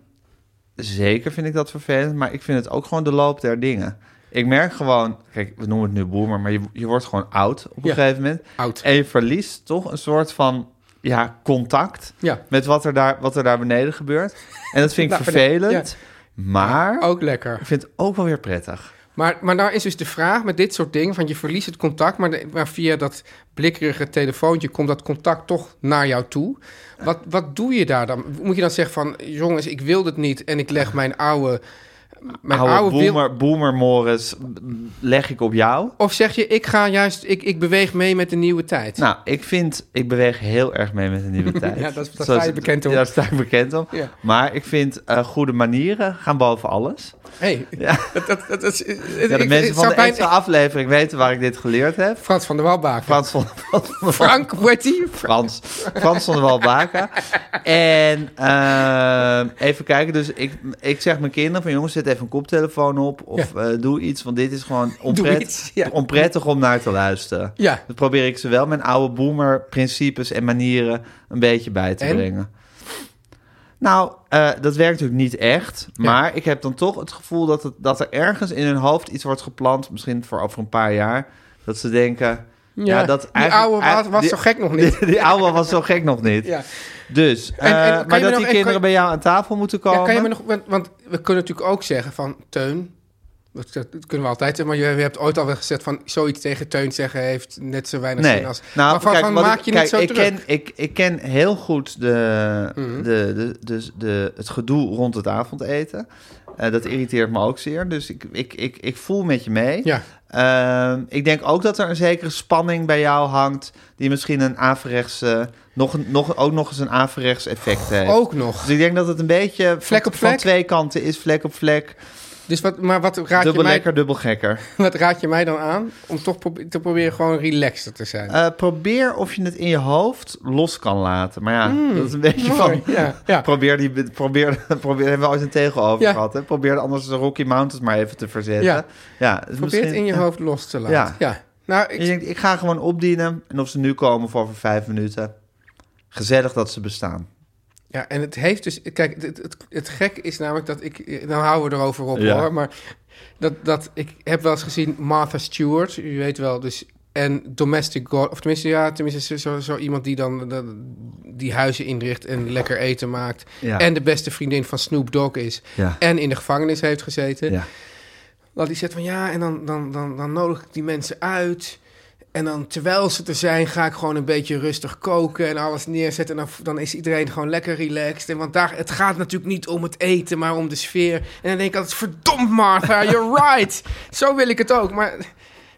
[SPEAKER 2] zeker vind ik dat vervelend, maar ik vind het ook gewoon de loop der dingen. Ik merk gewoon, kijk, we noemen het nu boomer, maar je, je wordt gewoon oud op een
[SPEAKER 3] Ja.
[SPEAKER 2] gegeven moment.
[SPEAKER 3] Oud.
[SPEAKER 2] En je verliest toch een soort van ja, contact
[SPEAKER 3] Ja.
[SPEAKER 2] met wat er, daar, wat er daar beneden gebeurt. En dat vind ik
[SPEAKER 3] [LAUGHS] Nou,
[SPEAKER 2] vervelend, maar
[SPEAKER 3] Ook lekker.
[SPEAKER 2] ik vind het ook wel weer prettig.
[SPEAKER 3] Maar, maar nou is dus de vraag met dit soort dingen... van je verliest het contact, maar, de- maar via dat blikkerige telefoontje... komt dat contact toch naar jou toe. Wat, wat doe je daar dan? Moet je dan zeggen van... jongens, ik wil dit niet en ik leg mijn oude... Mijn
[SPEAKER 2] Oude,
[SPEAKER 3] oude wil-
[SPEAKER 2] boomer, boomer Morris m, leg ik op jou.
[SPEAKER 3] Of zeg je, ik ga juist, ik, ik beweeg mee met de nieuwe tijd.
[SPEAKER 2] Nou, ik vind, ik beweeg heel erg mee met de nieuwe [LAUGHS] tijd.
[SPEAKER 3] Ja, dat is- daar
[SPEAKER 2] Zoals-
[SPEAKER 3] sta je bekend om.
[SPEAKER 2] Ja, daar sta ik bekend om.
[SPEAKER 3] Ja.
[SPEAKER 2] Maar ik vind eh, goede manieren gaan boven alles.
[SPEAKER 3] hey, dat, dat, dat, is-
[SPEAKER 2] Ja, de
[SPEAKER 3] ik-
[SPEAKER 2] mensen
[SPEAKER 3] het
[SPEAKER 2] van
[SPEAKER 3] zou
[SPEAKER 2] de
[SPEAKER 3] bijna-
[SPEAKER 2] extra aflevering weten waar ik dit geleerd heb.
[SPEAKER 3] Frans van der Walbaken.
[SPEAKER 2] Frans van,
[SPEAKER 3] Frank, hoe heet die? Fra-
[SPEAKER 2] Frans. Frans van der Walbaken. En ehm, even kijken. Dus ik, ik zeg mijn kinderen van... jongens, zet even een koptelefoon op. Of eh, doe iets, want dit is
[SPEAKER 3] [LAUGHS]
[SPEAKER 2] gewoon onpret-
[SPEAKER 3] iets, ja.
[SPEAKER 2] onprettig om naar te luisteren.
[SPEAKER 3] Ja.
[SPEAKER 2] Dan probeer ik ze wel mijn oude boomer-principes en manieren... een beetje bij te
[SPEAKER 3] En?
[SPEAKER 2] brengen. Nou, eh, dat werkt natuurlijk niet echt. Maar ik heb dan toch het gevoel dat, het, dat er ergens in hun hoofd iets wordt geplant. Misschien voor over een paar jaar. Dat ze denken... Ja, dat
[SPEAKER 3] die
[SPEAKER 2] eigenlijk-
[SPEAKER 3] oude was, was
[SPEAKER 2] die-
[SPEAKER 3] zo gek nog niet.
[SPEAKER 2] die, die oude was zo gek nog niet.
[SPEAKER 3] Ja.
[SPEAKER 2] Dus, eh,
[SPEAKER 3] en kan je me
[SPEAKER 2] maar
[SPEAKER 3] nog-
[SPEAKER 2] dat
[SPEAKER 3] en
[SPEAKER 2] die
[SPEAKER 3] kan
[SPEAKER 2] kinderen
[SPEAKER 3] je-
[SPEAKER 2] bij jou aan tafel moeten komen.
[SPEAKER 3] Ja, kan je me nog, want, want we kunnen natuurlijk ook zeggen van, Teun, dat, dat kunnen we altijd zeggen, maar je, je hebt ooit al wel gezegd van, zoiets tegen Teun zeggen heeft net zo weinig
[SPEAKER 2] Nee.
[SPEAKER 3] zin als...
[SPEAKER 2] Nou,
[SPEAKER 3] maar van,
[SPEAKER 2] kijk,
[SPEAKER 3] van
[SPEAKER 2] wat
[SPEAKER 3] maak
[SPEAKER 2] ik-
[SPEAKER 3] je
[SPEAKER 2] kijk,
[SPEAKER 3] niet zo
[SPEAKER 2] ik
[SPEAKER 3] druk. Mhm.
[SPEAKER 2] Ken, ik, ik ken heel goed de, de, de, dus de, het gedoe rond het avondeten. Eh, dat irriteert me ook zeer. Dus ik, ik, ik, ik voel met je mee.
[SPEAKER 3] Ja.
[SPEAKER 2] Ehm, ik denk ook dat er een zekere spanning bij jou hangt... die misschien een averechts, eh, nog, een- nog, ook nog eens een averechts effect heeft.
[SPEAKER 3] Ook nog.
[SPEAKER 2] Dus ik denk dat het een beetje
[SPEAKER 3] Oh. Vlek op
[SPEAKER 2] van
[SPEAKER 3] vlek?
[SPEAKER 2] twee kanten is, vlek op vlek.
[SPEAKER 3] Dus wat, maar wat raad, je
[SPEAKER 2] Dubbel
[SPEAKER 3] mij,
[SPEAKER 2] lekker, dubbel gekker.
[SPEAKER 3] wat raad je mij dan aan? Om toch probe- te proberen gewoon relaxter te zijn.
[SPEAKER 2] Eh, probeer of je het in je hoofd los kan laten. Maar ja, dat is een beetje
[SPEAKER 3] Mooi,
[SPEAKER 2] van...
[SPEAKER 3] ja, ja.
[SPEAKER 2] Probeer die... Probeer, probeer, hebben we ooit een tegel over
[SPEAKER 3] Ja.
[SPEAKER 2] gehad, hè? Probeer anders de Rocky Mountains maar even te verzetten. Ja.
[SPEAKER 3] Ja.
[SPEAKER 2] ja dus
[SPEAKER 3] Probeer het
[SPEAKER 2] misschien-
[SPEAKER 3] in je
[SPEAKER 2] ja.
[SPEAKER 3] hoofd los te laten.
[SPEAKER 2] Ja.
[SPEAKER 3] Ja. Nou,
[SPEAKER 2] En je
[SPEAKER 3] ik,
[SPEAKER 2] denkt, ik ga gewoon opdienen. En of ze nu komen voor over vijf minuten. Gezellig dat ze bestaan.
[SPEAKER 3] ja, en het heeft dus... Kijk, het, het, het, het gek is namelijk dat ik... Nou houden we erover op
[SPEAKER 2] Ja.
[SPEAKER 3] hoor, maar... Dat, dat, ik heb wel eens gezien Martha Stewart, u weet wel, dus... En Domestic God, of tenminste, ja, tenminste zo, zo, zo iemand die dan dat- die huizen inricht en lekker eten maakt.
[SPEAKER 2] Ja.
[SPEAKER 3] En de beste vriendin van Snoop Dogg is.
[SPEAKER 2] Ja.
[SPEAKER 3] En in de gevangenis heeft gezeten.
[SPEAKER 2] Ja.
[SPEAKER 3] Dat die zegt van ja, en dan, dan, dan, dan nodig ik die mensen uit. En dan terwijl ze er zijn, ga ik gewoon een beetje rustig koken en alles neerzetten. En dan, dan is iedereen gewoon lekker relaxed. En want daar, het gaat natuurlijk niet om het eten, maar om de sfeer. En dan denk ik altijd, verdomd Martha, you're [LAUGHS] right. Zo wil ik het ook. Maar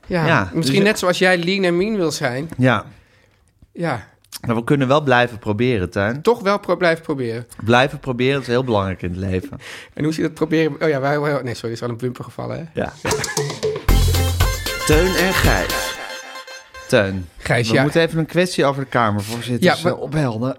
[SPEAKER 3] ja,
[SPEAKER 2] Ja,
[SPEAKER 3] misschien
[SPEAKER 2] dus-
[SPEAKER 3] net zoals jij lean en mean wil zijn.
[SPEAKER 2] Ja.
[SPEAKER 3] Ja,
[SPEAKER 2] Maar we kunnen wel blijven proberen, Tuin.
[SPEAKER 3] toch wel pro blijven proberen.
[SPEAKER 2] Blijven proberen, dat is heel belangrijk in het leven.
[SPEAKER 3] En hoe ze dat proberen... Oh ja, wij... wij- Nee, sorry, is al een bumper gevallen, hè?
[SPEAKER 2] Ja.
[SPEAKER 4] Teun en Gijs.
[SPEAKER 2] Teun,
[SPEAKER 3] Gijs,
[SPEAKER 2] we
[SPEAKER 3] ja.
[SPEAKER 2] moeten even een kwestie over de Kamervoorzitters
[SPEAKER 3] Ja, maar-
[SPEAKER 2] eh,
[SPEAKER 3] [CLEARS THROAT]
[SPEAKER 2] ophelden.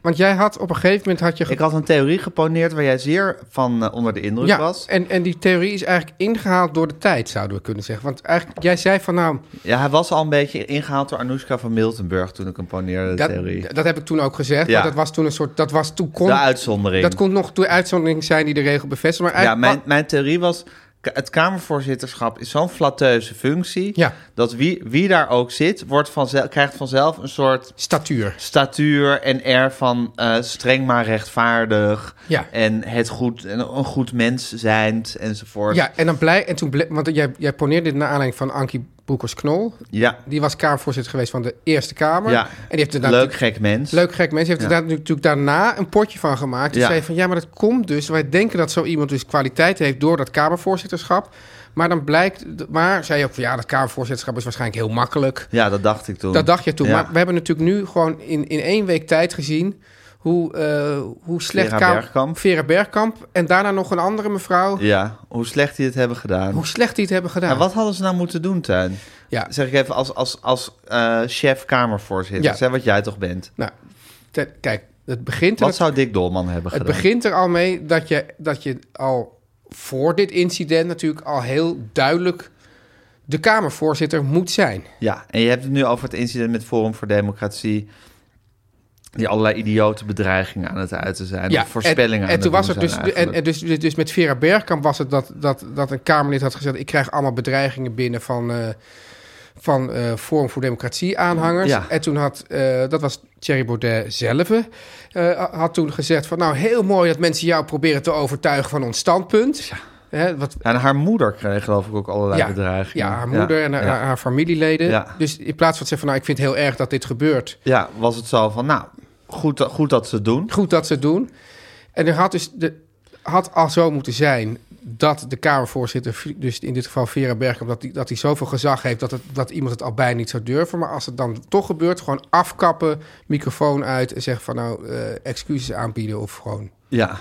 [SPEAKER 3] Want jij had op een gegeven moment... Had je ge-
[SPEAKER 2] Ik had een theorie geponeerd waar jij zeer van eh, onder de indruk
[SPEAKER 3] ja,
[SPEAKER 2] was.
[SPEAKER 3] En, en die theorie is eigenlijk ingehaald door de tijd, zouden we kunnen zeggen. Want eigenlijk, jij zei van nou,
[SPEAKER 2] Ja, hij was al een beetje ingehaald door Anoushka van Miltenburg toen ik hem poneerde, de
[SPEAKER 3] dat,
[SPEAKER 2] theorie.
[SPEAKER 3] dat heb ik toen ook gezegd.
[SPEAKER 2] Ja.
[SPEAKER 3] Maar dat was toen een soort, dat was toen kon,
[SPEAKER 2] de uitzondering.
[SPEAKER 3] dat kon nog de uitzondering zijn die de regel bevestigt. Maar
[SPEAKER 2] Ja,
[SPEAKER 3] eigenlijk,
[SPEAKER 2] mijn, mijn theorie was, k- het Kamervoorzitterschap is zo'n flatteuze functie...
[SPEAKER 3] Ja.
[SPEAKER 2] dat wie, wie daar ook zit, wordt vanzelf, krijgt vanzelf een soort
[SPEAKER 3] statuur.
[SPEAKER 2] statuur en air van eh, streng maar rechtvaardig...
[SPEAKER 3] Ja.
[SPEAKER 2] en het goed, en een goed mens zijnd enzovoort.
[SPEAKER 3] Ja, en dan blij, en toen blij, want jij, jij poneerde dit naar aanleiding van Ankie Broekers-Knol.
[SPEAKER 2] ja.
[SPEAKER 3] Die was Kamervoorzitter geweest van de Eerste Kamer.
[SPEAKER 2] Ja.
[SPEAKER 3] En die heeft inderdaad
[SPEAKER 2] Leuk gek mens.
[SPEAKER 3] Leuk gek mensen. heeft er daar natuurlijk daarna een potje van gemaakt. Die
[SPEAKER 2] Ja.
[SPEAKER 3] zei van ja, maar dat komt dus. Wij denken dat zo iemand dus kwaliteit heeft door dat Kamervoorzitterschap. Maar dan blijkt. Maar zei je ook van ja, dat Kamervoorzitterschap is waarschijnlijk heel makkelijk.
[SPEAKER 2] Ja, dat dacht ik toen.
[SPEAKER 3] Dat dacht je toen.
[SPEAKER 2] Ja.
[SPEAKER 3] Maar we hebben natuurlijk nu gewoon in, in één week tijd gezien. Hoe, eh, hoe slecht
[SPEAKER 2] Vera
[SPEAKER 3] Kamer-
[SPEAKER 2] Bergkamp.
[SPEAKER 3] Vera Bergkamp en daarna nog een andere mevrouw.
[SPEAKER 2] Ja, hoe slecht die het hebben gedaan.
[SPEAKER 3] Hoe slecht die het hebben gedaan.
[SPEAKER 2] En wat hadden ze nou moeten doen, Tuin?
[SPEAKER 3] Ja.
[SPEAKER 2] Zeg ik even als, als, als eh, chef Kamervoorzitter.
[SPEAKER 3] Ja.
[SPEAKER 2] Zeg wat jij toch bent.
[SPEAKER 3] Nou, te- kijk, het begint er
[SPEAKER 2] Wat zou Dick Dolman hebben
[SPEAKER 3] Het
[SPEAKER 2] gedaan?
[SPEAKER 3] begint er al mee dat je, dat je al voor dit incident natuurlijk al heel duidelijk de Kamervoorzitter moet zijn.
[SPEAKER 2] Ja, en je hebt het nu over het incident met Forum voor Democratie... die allerlei idiote bedreigingen aan het uiten zijn. of voorspellingen
[SPEAKER 3] en,
[SPEAKER 2] aan
[SPEAKER 3] en toen
[SPEAKER 2] het
[SPEAKER 3] was
[SPEAKER 2] doen
[SPEAKER 3] het dus,
[SPEAKER 2] zijn
[SPEAKER 3] en,
[SPEAKER 2] eigenlijk.
[SPEAKER 3] en dus, dus, dus met Vera Bergkamp was het dat, dat, dat een Kamerlid had gezegd... ik krijg allemaal bedreigingen binnen van, eh, van eh, Forum voor Democratie-aanhangers.
[SPEAKER 2] Ja.
[SPEAKER 3] En toen had, eh, dat was Thierry Baudet zelf, eh, had toen gezegd van... nou, heel mooi dat mensen jou proberen te overtuigen van ons standpunt. Hè, wat,
[SPEAKER 2] Ja, en haar moeder kreeg geloof ik ook allerlei bedreigingen.
[SPEAKER 3] Ja, haar moeder en haar,
[SPEAKER 2] ja.
[SPEAKER 3] haar familieleden.
[SPEAKER 2] Ja.
[SPEAKER 3] Dus in plaats van te zeggen van nou, ik vind het heel erg dat dit gebeurt.
[SPEAKER 2] Ja, was het zo van, nou, goed, dat- goed dat ze het doen.
[SPEAKER 3] Goed dat ze het doen. En er had dus de, had al zo moeten zijn dat de Kamervoorzitter, dus in dit geval Vera Bergkamp, dat die, dat die zoveel gezag heeft dat, het, dat iemand het al bijna niet zou durven. Maar als het dan toch gebeurt, gewoon afkappen, microfoon uit en zeggen van nou, eh, excuses aanbieden of gewoon
[SPEAKER 2] Ja,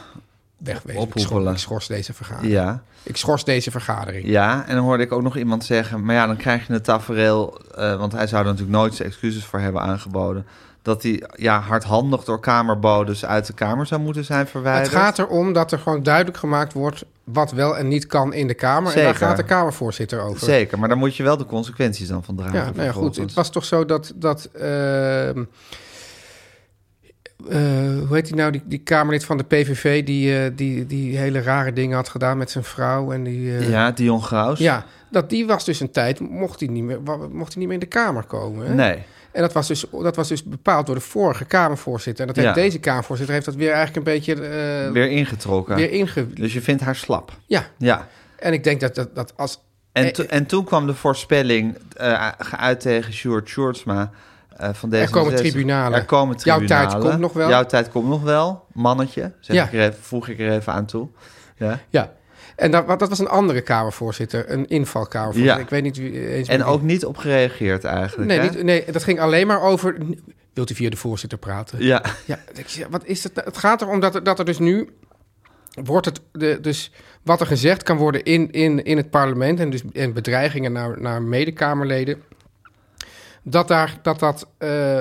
[SPEAKER 3] wegwezen. Ik
[SPEAKER 2] Ophoepelen.
[SPEAKER 3] schors, ik schors deze vergadering.
[SPEAKER 2] ja.
[SPEAKER 3] Ik schors deze vergadering.
[SPEAKER 2] Ja, en dan hoorde ik ook nog iemand zeggen... maar ja, dan krijg je het tafereel... eh, want hij zou er natuurlijk nooit zijn excuses voor hebben aangeboden... dat hij ja, hardhandig door kamerbodes uit de kamer zou moeten zijn verwijderd.
[SPEAKER 3] Het gaat erom dat er gewoon duidelijk gemaakt wordt wat wel en niet kan in de Kamer. En
[SPEAKER 2] Zeker.
[SPEAKER 3] daar gaat de Kamervoorzitter over.
[SPEAKER 2] Zeker, maar daar moet je wel de consequenties dan van dragen.
[SPEAKER 3] Ja, nou ja, goed. Het
[SPEAKER 2] vervolgens.
[SPEAKER 3] was toch zo dat. dat ehm, eh, hoe heet die nou? Die, die Kamerlid van de PVV die, eh, die, die hele rare dingen had gedaan met zijn vrouw. En die, eh,
[SPEAKER 2] Ja, Dion Graus.
[SPEAKER 3] ja, dat die was dus een tijd, mocht hij niet meer, wa- mocht hij niet meer in de Kamer komen. hè?
[SPEAKER 2] Nee,
[SPEAKER 3] En dat was, dus, dat was dus bepaald door de vorige Kamervoorzitter. En dat heeft
[SPEAKER 2] Ja.
[SPEAKER 3] deze Kamervoorzitter heeft dat weer eigenlijk een beetje eh, weer,
[SPEAKER 2] weer ingetrokken.
[SPEAKER 3] inge...
[SPEAKER 2] Dus je vindt haar slap.
[SPEAKER 3] Ja,
[SPEAKER 2] Ja.
[SPEAKER 3] en ik denk dat, dat, dat als
[SPEAKER 2] En,
[SPEAKER 3] Eh,
[SPEAKER 2] to- en toen kwam de voorspelling eh, geuit tegen Sjoerd Sjoerdsma eh, van deze.
[SPEAKER 3] komen tribunalen.
[SPEAKER 2] Er komen
[SPEAKER 3] Jouw
[SPEAKER 2] tribunalen.
[SPEAKER 3] tijd komt nog wel.
[SPEAKER 2] Jouw tijd komt nog wel, mannetje. Zeg
[SPEAKER 3] Ja.
[SPEAKER 2] ik er even, voeg ik er even aan toe. Ja.
[SPEAKER 3] Ja. En dat, dat was een andere Kamervoorzitter, een invalkamervoorzitter.
[SPEAKER 2] Ja.
[SPEAKER 3] Ik weet niet wie eens.
[SPEAKER 2] En
[SPEAKER 3] meer
[SPEAKER 2] ook niet op gereageerd eigenlijk.
[SPEAKER 3] wie- Nee,
[SPEAKER 2] hè?
[SPEAKER 3] niet, nee, dat ging alleen maar over. Wilt u via de voorzitter praten?
[SPEAKER 2] Ja,
[SPEAKER 3] Ja, ik zeg, wat is het? nou? Het gaat erom dat er, dat er dus nu wordt het de, dus wat er gezegd kan worden in, in, in het parlement en dus en bedreigingen naar, naar medekamerleden, dat daar, dat, dat eh,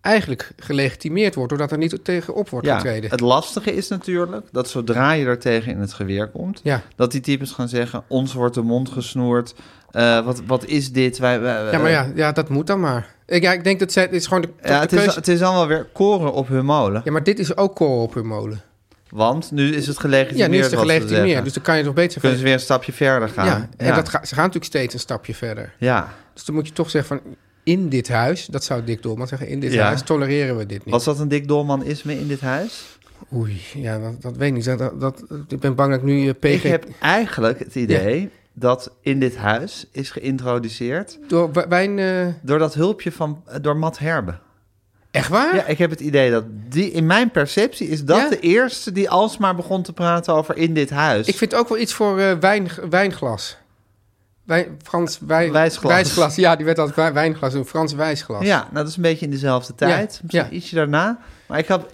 [SPEAKER 3] eigenlijk gelegitimeerd wordt doordat er niet tegenop wordt
[SPEAKER 2] Ja,
[SPEAKER 3] getreden.
[SPEAKER 2] het lastige is natuurlijk dat zodra je daartegen in het geweer komt,
[SPEAKER 3] Ja.
[SPEAKER 2] dat die types gaan zeggen: ons wordt de mond gesnoerd. eh, wat, wat is dit? Wij, wij- eh,
[SPEAKER 3] ja, maar ja, ja, dat moet dan maar. Ik- Ja, ik denk dat zij, het is gewoon de,
[SPEAKER 2] Ja,
[SPEAKER 3] de
[SPEAKER 2] het, is,
[SPEAKER 3] keuze-
[SPEAKER 2] het is allemaal weer koren op hun molen.
[SPEAKER 3] ja, maar dit is ook kool op hun molen.
[SPEAKER 2] Want nu is het gelegitimeerd.
[SPEAKER 3] Ja, nu is het
[SPEAKER 2] wat ze
[SPEAKER 3] gelegitimeerd,
[SPEAKER 2] zeggen.
[SPEAKER 3] dus dan kan je toch beter
[SPEAKER 2] kunnen ze weer een stapje verder gaan.
[SPEAKER 3] Ja, en Dat ga, ze gaan natuurlijk steeds een stapje verder.
[SPEAKER 2] Ja.
[SPEAKER 3] Dus dan moet je toch zeggen van... In dit huis, dat zou Dick Dolman zeggen, in dit
[SPEAKER 2] Ja.
[SPEAKER 3] huis tolereren we dit niet.
[SPEAKER 2] Was dat een dik dolmanisme in dit huis?
[SPEAKER 3] Oei, ja, dat, dat weet ik niet. Dat, dat, dat- ik ben bang dat ik nu eh, PG...
[SPEAKER 2] Ik heb eigenlijk het idee dat in dit huis is geïntroduceerd
[SPEAKER 3] Door w- wijn... eh,
[SPEAKER 2] door dat hulpje van eh, door Matt Herbe.
[SPEAKER 3] echt waar?
[SPEAKER 2] Ja, ik heb het idee dat die in mijn perceptie is dat
[SPEAKER 3] Ja?
[SPEAKER 2] de eerste die alsmaar begon te praten over in dit huis.
[SPEAKER 3] Ik vind ook wel iets voor eh, wijn, wijnglas. Wijn, Frans wij,
[SPEAKER 2] Wijsglas.
[SPEAKER 3] Ja, die werd altijd wij- wijnglas doen. Frans wijsglas.
[SPEAKER 2] Ja, nou, dat is een beetje in dezelfde
[SPEAKER 3] Ja,
[SPEAKER 2] tijd. Misschien
[SPEAKER 3] ja.
[SPEAKER 2] ietsje daarna. Maar ik had,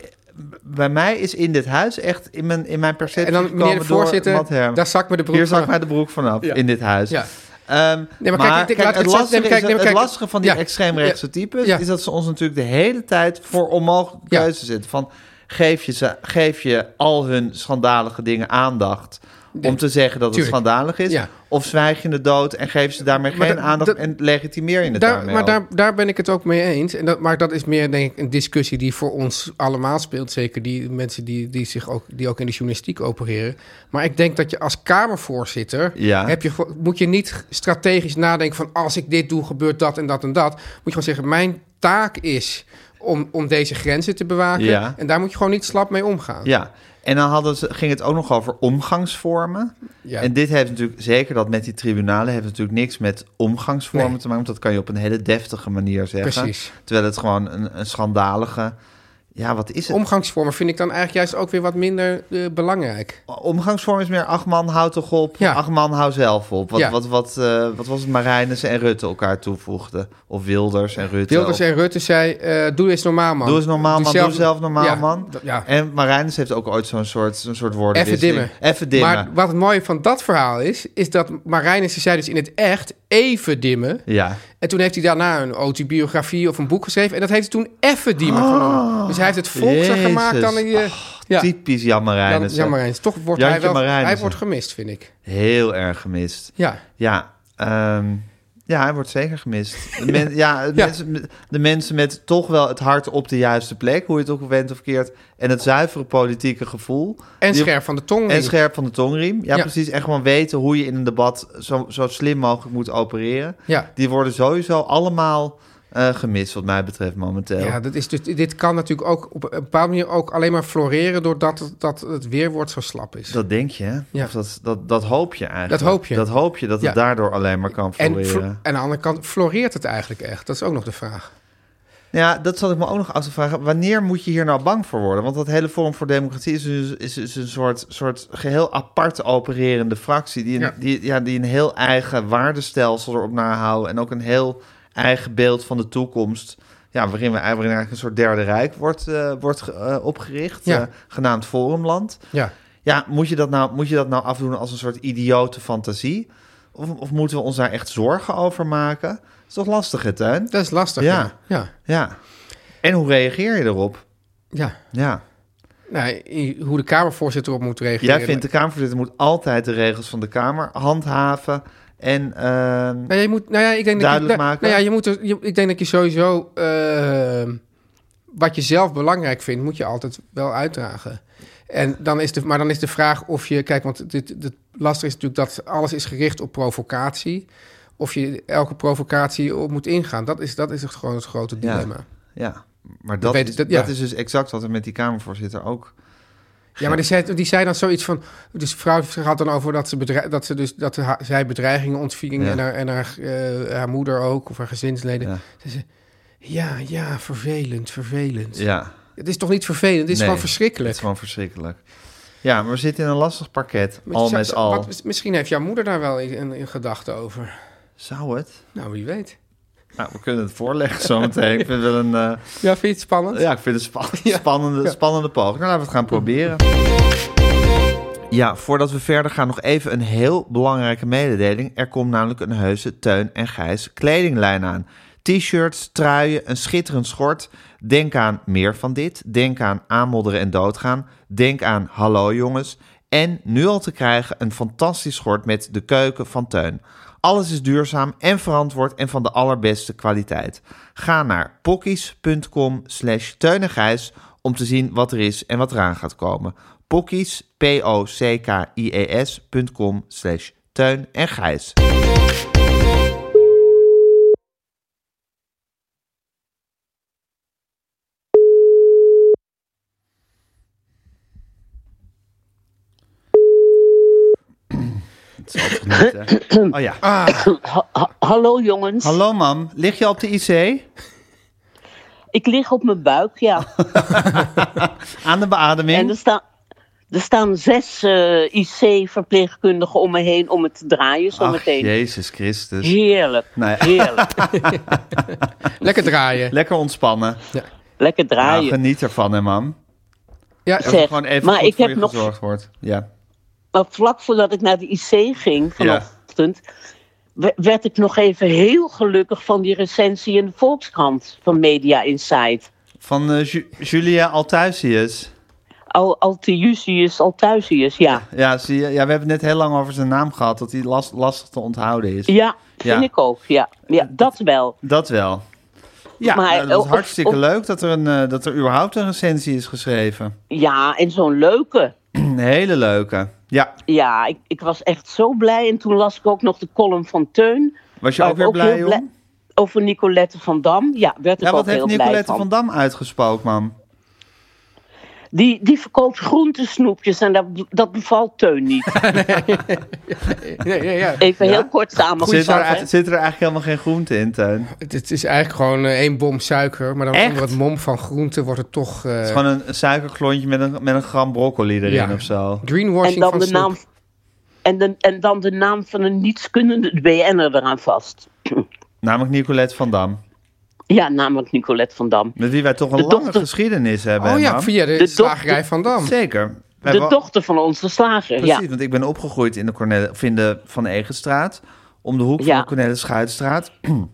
[SPEAKER 2] bij mij is in dit huis echt in mijn, in mijn perceptie
[SPEAKER 3] En dan,
[SPEAKER 2] gekomen
[SPEAKER 3] meneer de
[SPEAKER 2] door
[SPEAKER 3] voorzitter,
[SPEAKER 2] Matt Herbe.
[SPEAKER 3] daar zak me de broek
[SPEAKER 2] Hier zak
[SPEAKER 3] van.
[SPEAKER 2] mij de broek vanaf,
[SPEAKER 3] Ja.
[SPEAKER 2] in dit huis.
[SPEAKER 3] Ja.
[SPEAKER 2] Ehm,
[SPEAKER 3] Nee, maar
[SPEAKER 2] maar kijk,
[SPEAKER 3] kijk, ik- ik- laat ik
[SPEAKER 2] het,
[SPEAKER 3] het zo-
[SPEAKER 2] lastige
[SPEAKER 3] nee, maar
[SPEAKER 2] is dat-
[SPEAKER 3] kijk, nee, maar
[SPEAKER 2] het
[SPEAKER 3] kijk,
[SPEAKER 2] lastige van die
[SPEAKER 3] ja.
[SPEAKER 2] extreemrechtse types...
[SPEAKER 3] Ja.
[SPEAKER 2] is dat ze ons natuurlijk de hele tijd voor onmogelijke
[SPEAKER 3] Ja.
[SPEAKER 2] keuzes zetten. Van, geef je, ze, geef je al hun schandalige dingen aandacht... om te zeggen dat
[SPEAKER 3] tuurlijk.
[SPEAKER 2] het schandalig is...
[SPEAKER 3] Ja.
[SPEAKER 2] of zwijg je het dood en geef ze daarmee
[SPEAKER 3] Maar
[SPEAKER 2] geen
[SPEAKER 3] da-
[SPEAKER 2] aandacht...
[SPEAKER 3] dat-
[SPEAKER 2] en legitimeer je het
[SPEAKER 3] Daar,
[SPEAKER 2] daarmee
[SPEAKER 3] maar
[SPEAKER 2] ook.
[SPEAKER 3] daar, daar ben ik het ook mee eens. En dat, maar dat is meer denk ik een discussie die voor ons allemaal speelt. Zeker die mensen die, die, zich ook, die ook in de journalistiek opereren. Maar ik denk dat je als Kamervoorzitter...
[SPEAKER 2] Ja.
[SPEAKER 3] Heb je, gewoon- moet je niet strategisch nadenken van... als ik dit doe, gebeurt dat en dat en dat. Moet je gewoon zeggen, mijn taak is... Om, om deze grenzen te bewaken.
[SPEAKER 2] Ja.
[SPEAKER 3] En daar moet je gewoon niet slap mee omgaan.
[SPEAKER 2] Ja, en dan hadden ze, ging het ook nog over omgangsvormen.
[SPEAKER 3] Ja.
[SPEAKER 2] En dit heeft natuurlijk, zeker dat met die tribunalen, heeft natuurlijk niks met omgangsvormen
[SPEAKER 3] Nee.
[SPEAKER 2] te maken. Want dat kan je op een hele deftige manier zeggen.
[SPEAKER 3] Precies.
[SPEAKER 2] Terwijl het gewoon een, een schandalige. Ja, wat is het?
[SPEAKER 3] Omgangsvormen vind ik dan eigenlijk juist ook weer wat minder eh, belangrijk.
[SPEAKER 2] Omgangsvorm is meer ach man, hou toch op.
[SPEAKER 3] Ja.
[SPEAKER 2] Ach man, hou zelf op. Wat,
[SPEAKER 3] Ja.
[SPEAKER 2] wat, wat, eh, wat was het Marijnissen en Rutte elkaar toevoegden? Of Wilders en Rutte.
[SPEAKER 3] Wilders
[SPEAKER 2] of-
[SPEAKER 3] en Rutte zei, eh, doe eens normaal man.
[SPEAKER 2] Doe eens normaal, man. Doe zelf normaal,
[SPEAKER 3] Ja,
[SPEAKER 2] man.
[SPEAKER 3] dat- ja.
[SPEAKER 2] En Marijnus heeft ook ooit zo'n soort, zo'n soort woorden.
[SPEAKER 3] Even dimmen.
[SPEAKER 2] Even dimmen.
[SPEAKER 3] Maar wat het mooie van dat verhaal is, is dat Marijnissen zei dus in het echt even dimmen.
[SPEAKER 2] Ja.
[SPEAKER 3] En toen heeft hij daarna een autobiografie of een boek geschreven. En dat heeft hij toen even dimmen genoemd. Dus hij heeft het volkser
[SPEAKER 2] Ah. Jezus.
[SPEAKER 3] gemaakt dan hij... eh, ja,
[SPEAKER 2] Typisch Jan
[SPEAKER 3] dan,
[SPEAKER 2] Marijnissen.
[SPEAKER 3] ja, Marijnissen. Toch wordt
[SPEAKER 2] Jantje
[SPEAKER 3] hij wel... Hij
[SPEAKER 2] Marijnissen.
[SPEAKER 3] wordt gemist, vind ik.
[SPEAKER 2] Heel erg gemist.
[SPEAKER 3] Ja.
[SPEAKER 2] Ja, ehm, ja hij wordt zeker gemist. De,
[SPEAKER 3] [LAUGHS]
[SPEAKER 2] men- ja, de
[SPEAKER 3] Ja.
[SPEAKER 2] Mensen, de mensen met toch wel het hart op de juiste plek, hoe je het ook went of keert, en het zuivere politieke gevoel.
[SPEAKER 3] En
[SPEAKER 2] Die-
[SPEAKER 3] scherp van de tong.
[SPEAKER 2] En scherp van de tongriem. Ja,
[SPEAKER 3] Ja.
[SPEAKER 2] precies. En gewoon weten hoe je in een debat zo, zo slim mogelijk moet opereren.
[SPEAKER 3] Ja.
[SPEAKER 2] Die worden sowieso allemaal eh, gemist, wat mij betreft, momenteel.
[SPEAKER 3] Ja, dat is dus, dit kan natuurlijk ook op een bepaalde manier ook alleen maar floreren... doordat het, dat het weerwoord zo slap is.
[SPEAKER 2] Dat denk je, hè?
[SPEAKER 3] Ja.
[SPEAKER 2] Of dat, dat, dat hoop je eigenlijk.
[SPEAKER 3] Dat hoop je.
[SPEAKER 2] Dat hoop je, dat het
[SPEAKER 3] Ja.
[SPEAKER 2] daardoor alleen maar kan
[SPEAKER 3] en fl-
[SPEAKER 2] floreren.
[SPEAKER 3] aan de andere kant floreert het eigenlijk echt. Dat is ook nog de vraag.
[SPEAKER 2] Ja, dat zal ik me ook nog af te vragen. Wanneer moet je hier nou bang voor worden? Want dat hele Forum voor Democratie is, dus- is, is een soort, soort geheel apart opererende fractie... Die een,
[SPEAKER 3] Ja.
[SPEAKER 2] Die, ja, die een heel eigen waardestelsel erop nahouden... en ook een heel eigen beeld van de toekomst... Ja, waarin, we, waarin eigenlijk een soort derde rijk wordt, eh, wordt ge- eh, opgericht,
[SPEAKER 3] Ja.
[SPEAKER 2] eh, genaamd Forumland.
[SPEAKER 3] Ja.
[SPEAKER 2] Ja, moet je, dat nou, moet je dat nou afdoen als een soort idiote fantasie? Of, of moeten we ons daar echt zorgen over maken? Dat is toch lastig, hè, Tuin?
[SPEAKER 3] Dat is lastig.
[SPEAKER 2] Ja.
[SPEAKER 3] Ja. Ja.
[SPEAKER 2] Ja. En hoe reageer je erop?
[SPEAKER 3] ja.
[SPEAKER 2] Ja.
[SPEAKER 3] Nou, i- hoe de Kamervoorzitter op moet reageren.
[SPEAKER 2] Jij vindt de Kamervoorzitter moet altijd de regels van de Kamer handhaven. En ehm,
[SPEAKER 3] Nou, ja, je moet, nou ja, ik denk dat
[SPEAKER 2] Duidelijk
[SPEAKER 3] je, nou-
[SPEAKER 2] maken.
[SPEAKER 3] Nou ja, je moet er, je- ik denk dat je sowieso... ehm, wat je zelf belangrijk vindt, moet je altijd wel uitdragen. En dan is de, maar dan is de vraag of je... Kijk, want dit, dit lastig is natuurlijk dat alles is gericht op provocatie. Of je elke provocatie op moet ingaan. Dat is, dat is het gewoon het grote
[SPEAKER 2] Ja.
[SPEAKER 3] dilemma.
[SPEAKER 2] ja, maar dat,
[SPEAKER 3] weet
[SPEAKER 2] is,
[SPEAKER 3] ik, dat- ja.
[SPEAKER 2] dat is dus exact wat er met die Kamervoorzitter ook.
[SPEAKER 3] Ja, maar die zei, die zei dan zoiets van... Dus vrouw had dan over dat ze, bedre- dat ze, dus, dat ze haar- zij bedreigingen ontving...
[SPEAKER 2] Ja.
[SPEAKER 3] en, haar, en haar, eh, haar moeder ook, of haar gezinsleden.
[SPEAKER 2] Ja.
[SPEAKER 3] Ze zei, ja, ja, vervelend, vervelend.
[SPEAKER 2] Ja,
[SPEAKER 3] Het is toch niet vervelend, het is
[SPEAKER 2] Nee,
[SPEAKER 3] gewoon
[SPEAKER 2] het
[SPEAKER 3] verschrikkelijk.
[SPEAKER 2] is gewoon verschrikkelijk. Ja, maar we zitten in een lastig pakket,
[SPEAKER 3] Maar
[SPEAKER 2] al
[SPEAKER 3] zou-
[SPEAKER 2] met
[SPEAKER 3] zou-
[SPEAKER 2] al.
[SPEAKER 3] wat- misschien heeft jouw moeder daar wel een, een gedachte over.
[SPEAKER 2] Zou het?
[SPEAKER 3] Nou, wie weet.
[SPEAKER 2] Nou, we kunnen het voorleggen
[SPEAKER 3] [LAUGHS]
[SPEAKER 2] zometeen. Ik vind het wel een... eh,
[SPEAKER 3] Ja, vind je het spannend?
[SPEAKER 2] Ja, ik vind het spa- spannende, spannende poging. Nou, laten we het gaan proberen. Ja, voordat we verder gaan nog even een heel belangrijke mededeling. Er komt namelijk een heuse Teun en Gijs kledinglijn aan. T-shirts, truien, een schitterend schort. Denk aan meer van dit. Denk aan aanmodderen en doodgaan. Denk aan hallo jongens. En nu al te krijgen een fantastisch schort met de keuken van Teun. Alles is duurzaam en verantwoord en van de allerbeste kwaliteit. Ga naar pokkies.com slash Teun en Gijs om te zien wat er is en wat eraan gaat komen. Pockies, E p-o-c-k-i-e-s.com slash Teun en Gijs. Het zal toch niet, hè? Oh ja.
[SPEAKER 7] Hallo jongens,
[SPEAKER 2] Hallo mam, lig je op de IC?
[SPEAKER 7] ik lig op mijn buik, ja.
[SPEAKER 2] [LAUGHS] Aan de
[SPEAKER 7] En er
[SPEAKER 2] beademing?
[SPEAKER 7] staan, er staan zes eh, IC-verpleegkundigen om me heen om het te draaien
[SPEAKER 2] Ach,
[SPEAKER 7] zometeen.
[SPEAKER 2] Jezus Christus.
[SPEAKER 7] heerlijk,
[SPEAKER 2] Nee. [LAUGHS]
[SPEAKER 7] heerlijk.
[SPEAKER 3] Lekker draaien.
[SPEAKER 2] Lekker ontspannen.
[SPEAKER 7] Lekker
[SPEAKER 2] Ja,
[SPEAKER 7] draaien.
[SPEAKER 2] geniet ervan hè mam.
[SPEAKER 7] [LAUGHS]
[SPEAKER 3] Ja,
[SPEAKER 2] Dat er
[SPEAKER 7] Zeg,
[SPEAKER 2] gewoon even
[SPEAKER 7] maar
[SPEAKER 2] goed
[SPEAKER 7] ik
[SPEAKER 2] voor
[SPEAKER 7] heb
[SPEAKER 2] je
[SPEAKER 7] nog-
[SPEAKER 2] gezorgd wordt. Ja.
[SPEAKER 7] Maar vlak voordat ik naar de IC ging vanochtend, we- werd ik nog even heel gelukkig van die recensie in de Volkskrant van Media Insight.
[SPEAKER 2] Van eh, Ju- Julia Althuisius.
[SPEAKER 7] Al, Altiusius Althuisius, ja.
[SPEAKER 2] Ja, zie je, ja, we hebben het net heel lang over zijn naam gehad, dat hij last, lastig te onthouden is.
[SPEAKER 7] Ja, vind
[SPEAKER 2] [LAUGHS] Ja.
[SPEAKER 7] ik ook, ja. Ja, dat wel.
[SPEAKER 2] Dat wel. Ja,
[SPEAKER 7] Maar,
[SPEAKER 2] nou, dat is
[SPEAKER 7] eh,
[SPEAKER 2] hartstikke
[SPEAKER 7] of- of-
[SPEAKER 2] leuk dat er, een, eh, dat er überhaupt een recensie is geschreven. [CLEARS THROAT]
[SPEAKER 7] Ja, en zo'n leuke.
[SPEAKER 2] Een hele leuke. Ja,
[SPEAKER 7] Ja, ik, ik was echt zo blij. En toen las ik ook nog de column van Teun.
[SPEAKER 2] was je
[SPEAKER 7] Waar
[SPEAKER 2] ook
[SPEAKER 7] ik
[SPEAKER 2] weer blij
[SPEAKER 7] heel
[SPEAKER 2] om?
[SPEAKER 7] Over Nicolette van Dam. Ja, werd ik
[SPEAKER 2] Ja,
[SPEAKER 7] ook
[SPEAKER 2] wat
[SPEAKER 7] heel
[SPEAKER 2] heeft
[SPEAKER 7] blij
[SPEAKER 2] Nicolette
[SPEAKER 7] van.
[SPEAKER 2] van Dam uitgespookt, man?
[SPEAKER 7] Die, die verkoopt groentesnoepjes en dat, dat bevalt Teun
[SPEAKER 2] [LAUGHS]
[SPEAKER 7] niet.
[SPEAKER 3] Ja, ja, ja.
[SPEAKER 7] Even
[SPEAKER 2] Ja?
[SPEAKER 7] heel kort
[SPEAKER 2] Zit er,
[SPEAKER 7] samengevat. hè.
[SPEAKER 2] zit er eigenlijk helemaal geen groente in, Teun? Het
[SPEAKER 3] Het, het is eigenlijk gewoon eh, één bom suiker. Maar dan
[SPEAKER 2] Echt?
[SPEAKER 3] onder het mom van groente wordt het toch... eh,
[SPEAKER 2] is gewoon een suikerklontje met een, met een gram broccoli erin
[SPEAKER 3] Ja.
[SPEAKER 2] of zo.
[SPEAKER 3] greenwashing
[SPEAKER 7] En dan
[SPEAKER 3] van
[SPEAKER 7] de
[SPEAKER 3] snoep.
[SPEAKER 7] naam. En, de, en dan de naam van een nietskunnende BN'er eraan vast. [CLEARS THROAT]
[SPEAKER 2] Namelijk Nicolette van Dam.
[SPEAKER 7] Ja, namelijk Nicolette van Dam.
[SPEAKER 2] Met wie wij toch een
[SPEAKER 7] De
[SPEAKER 2] lange
[SPEAKER 7] dochter-
[SPEAKER 2] geschiedenis hebben.
[SPEAKER 3] Oh
[SPEAKER 2] hè,
[SPEAKER 3] ja,
[SPEAKER 2] mam?
[SPEAKER 3] via de,
[SPEAKER 7] De
[SPEAKER 3] slagerij van Dam.
[SPEAKER 2] Zeker. We
[SPEAKER 7] De
[SPEAKER 2] hebben-
[SPEAKER 7] dochter van onze slager,
[SPEAKER 2] Precies,
[SPEAKER 7] ja.
[SPEAKER 2] want ik ben opgegroeid in de, Cornel, of in de Van Egenstraat. Om de hoek van
[SPEAKER 7] Ja.
[SPEAKER 2] de Cornelis Schuitstraat.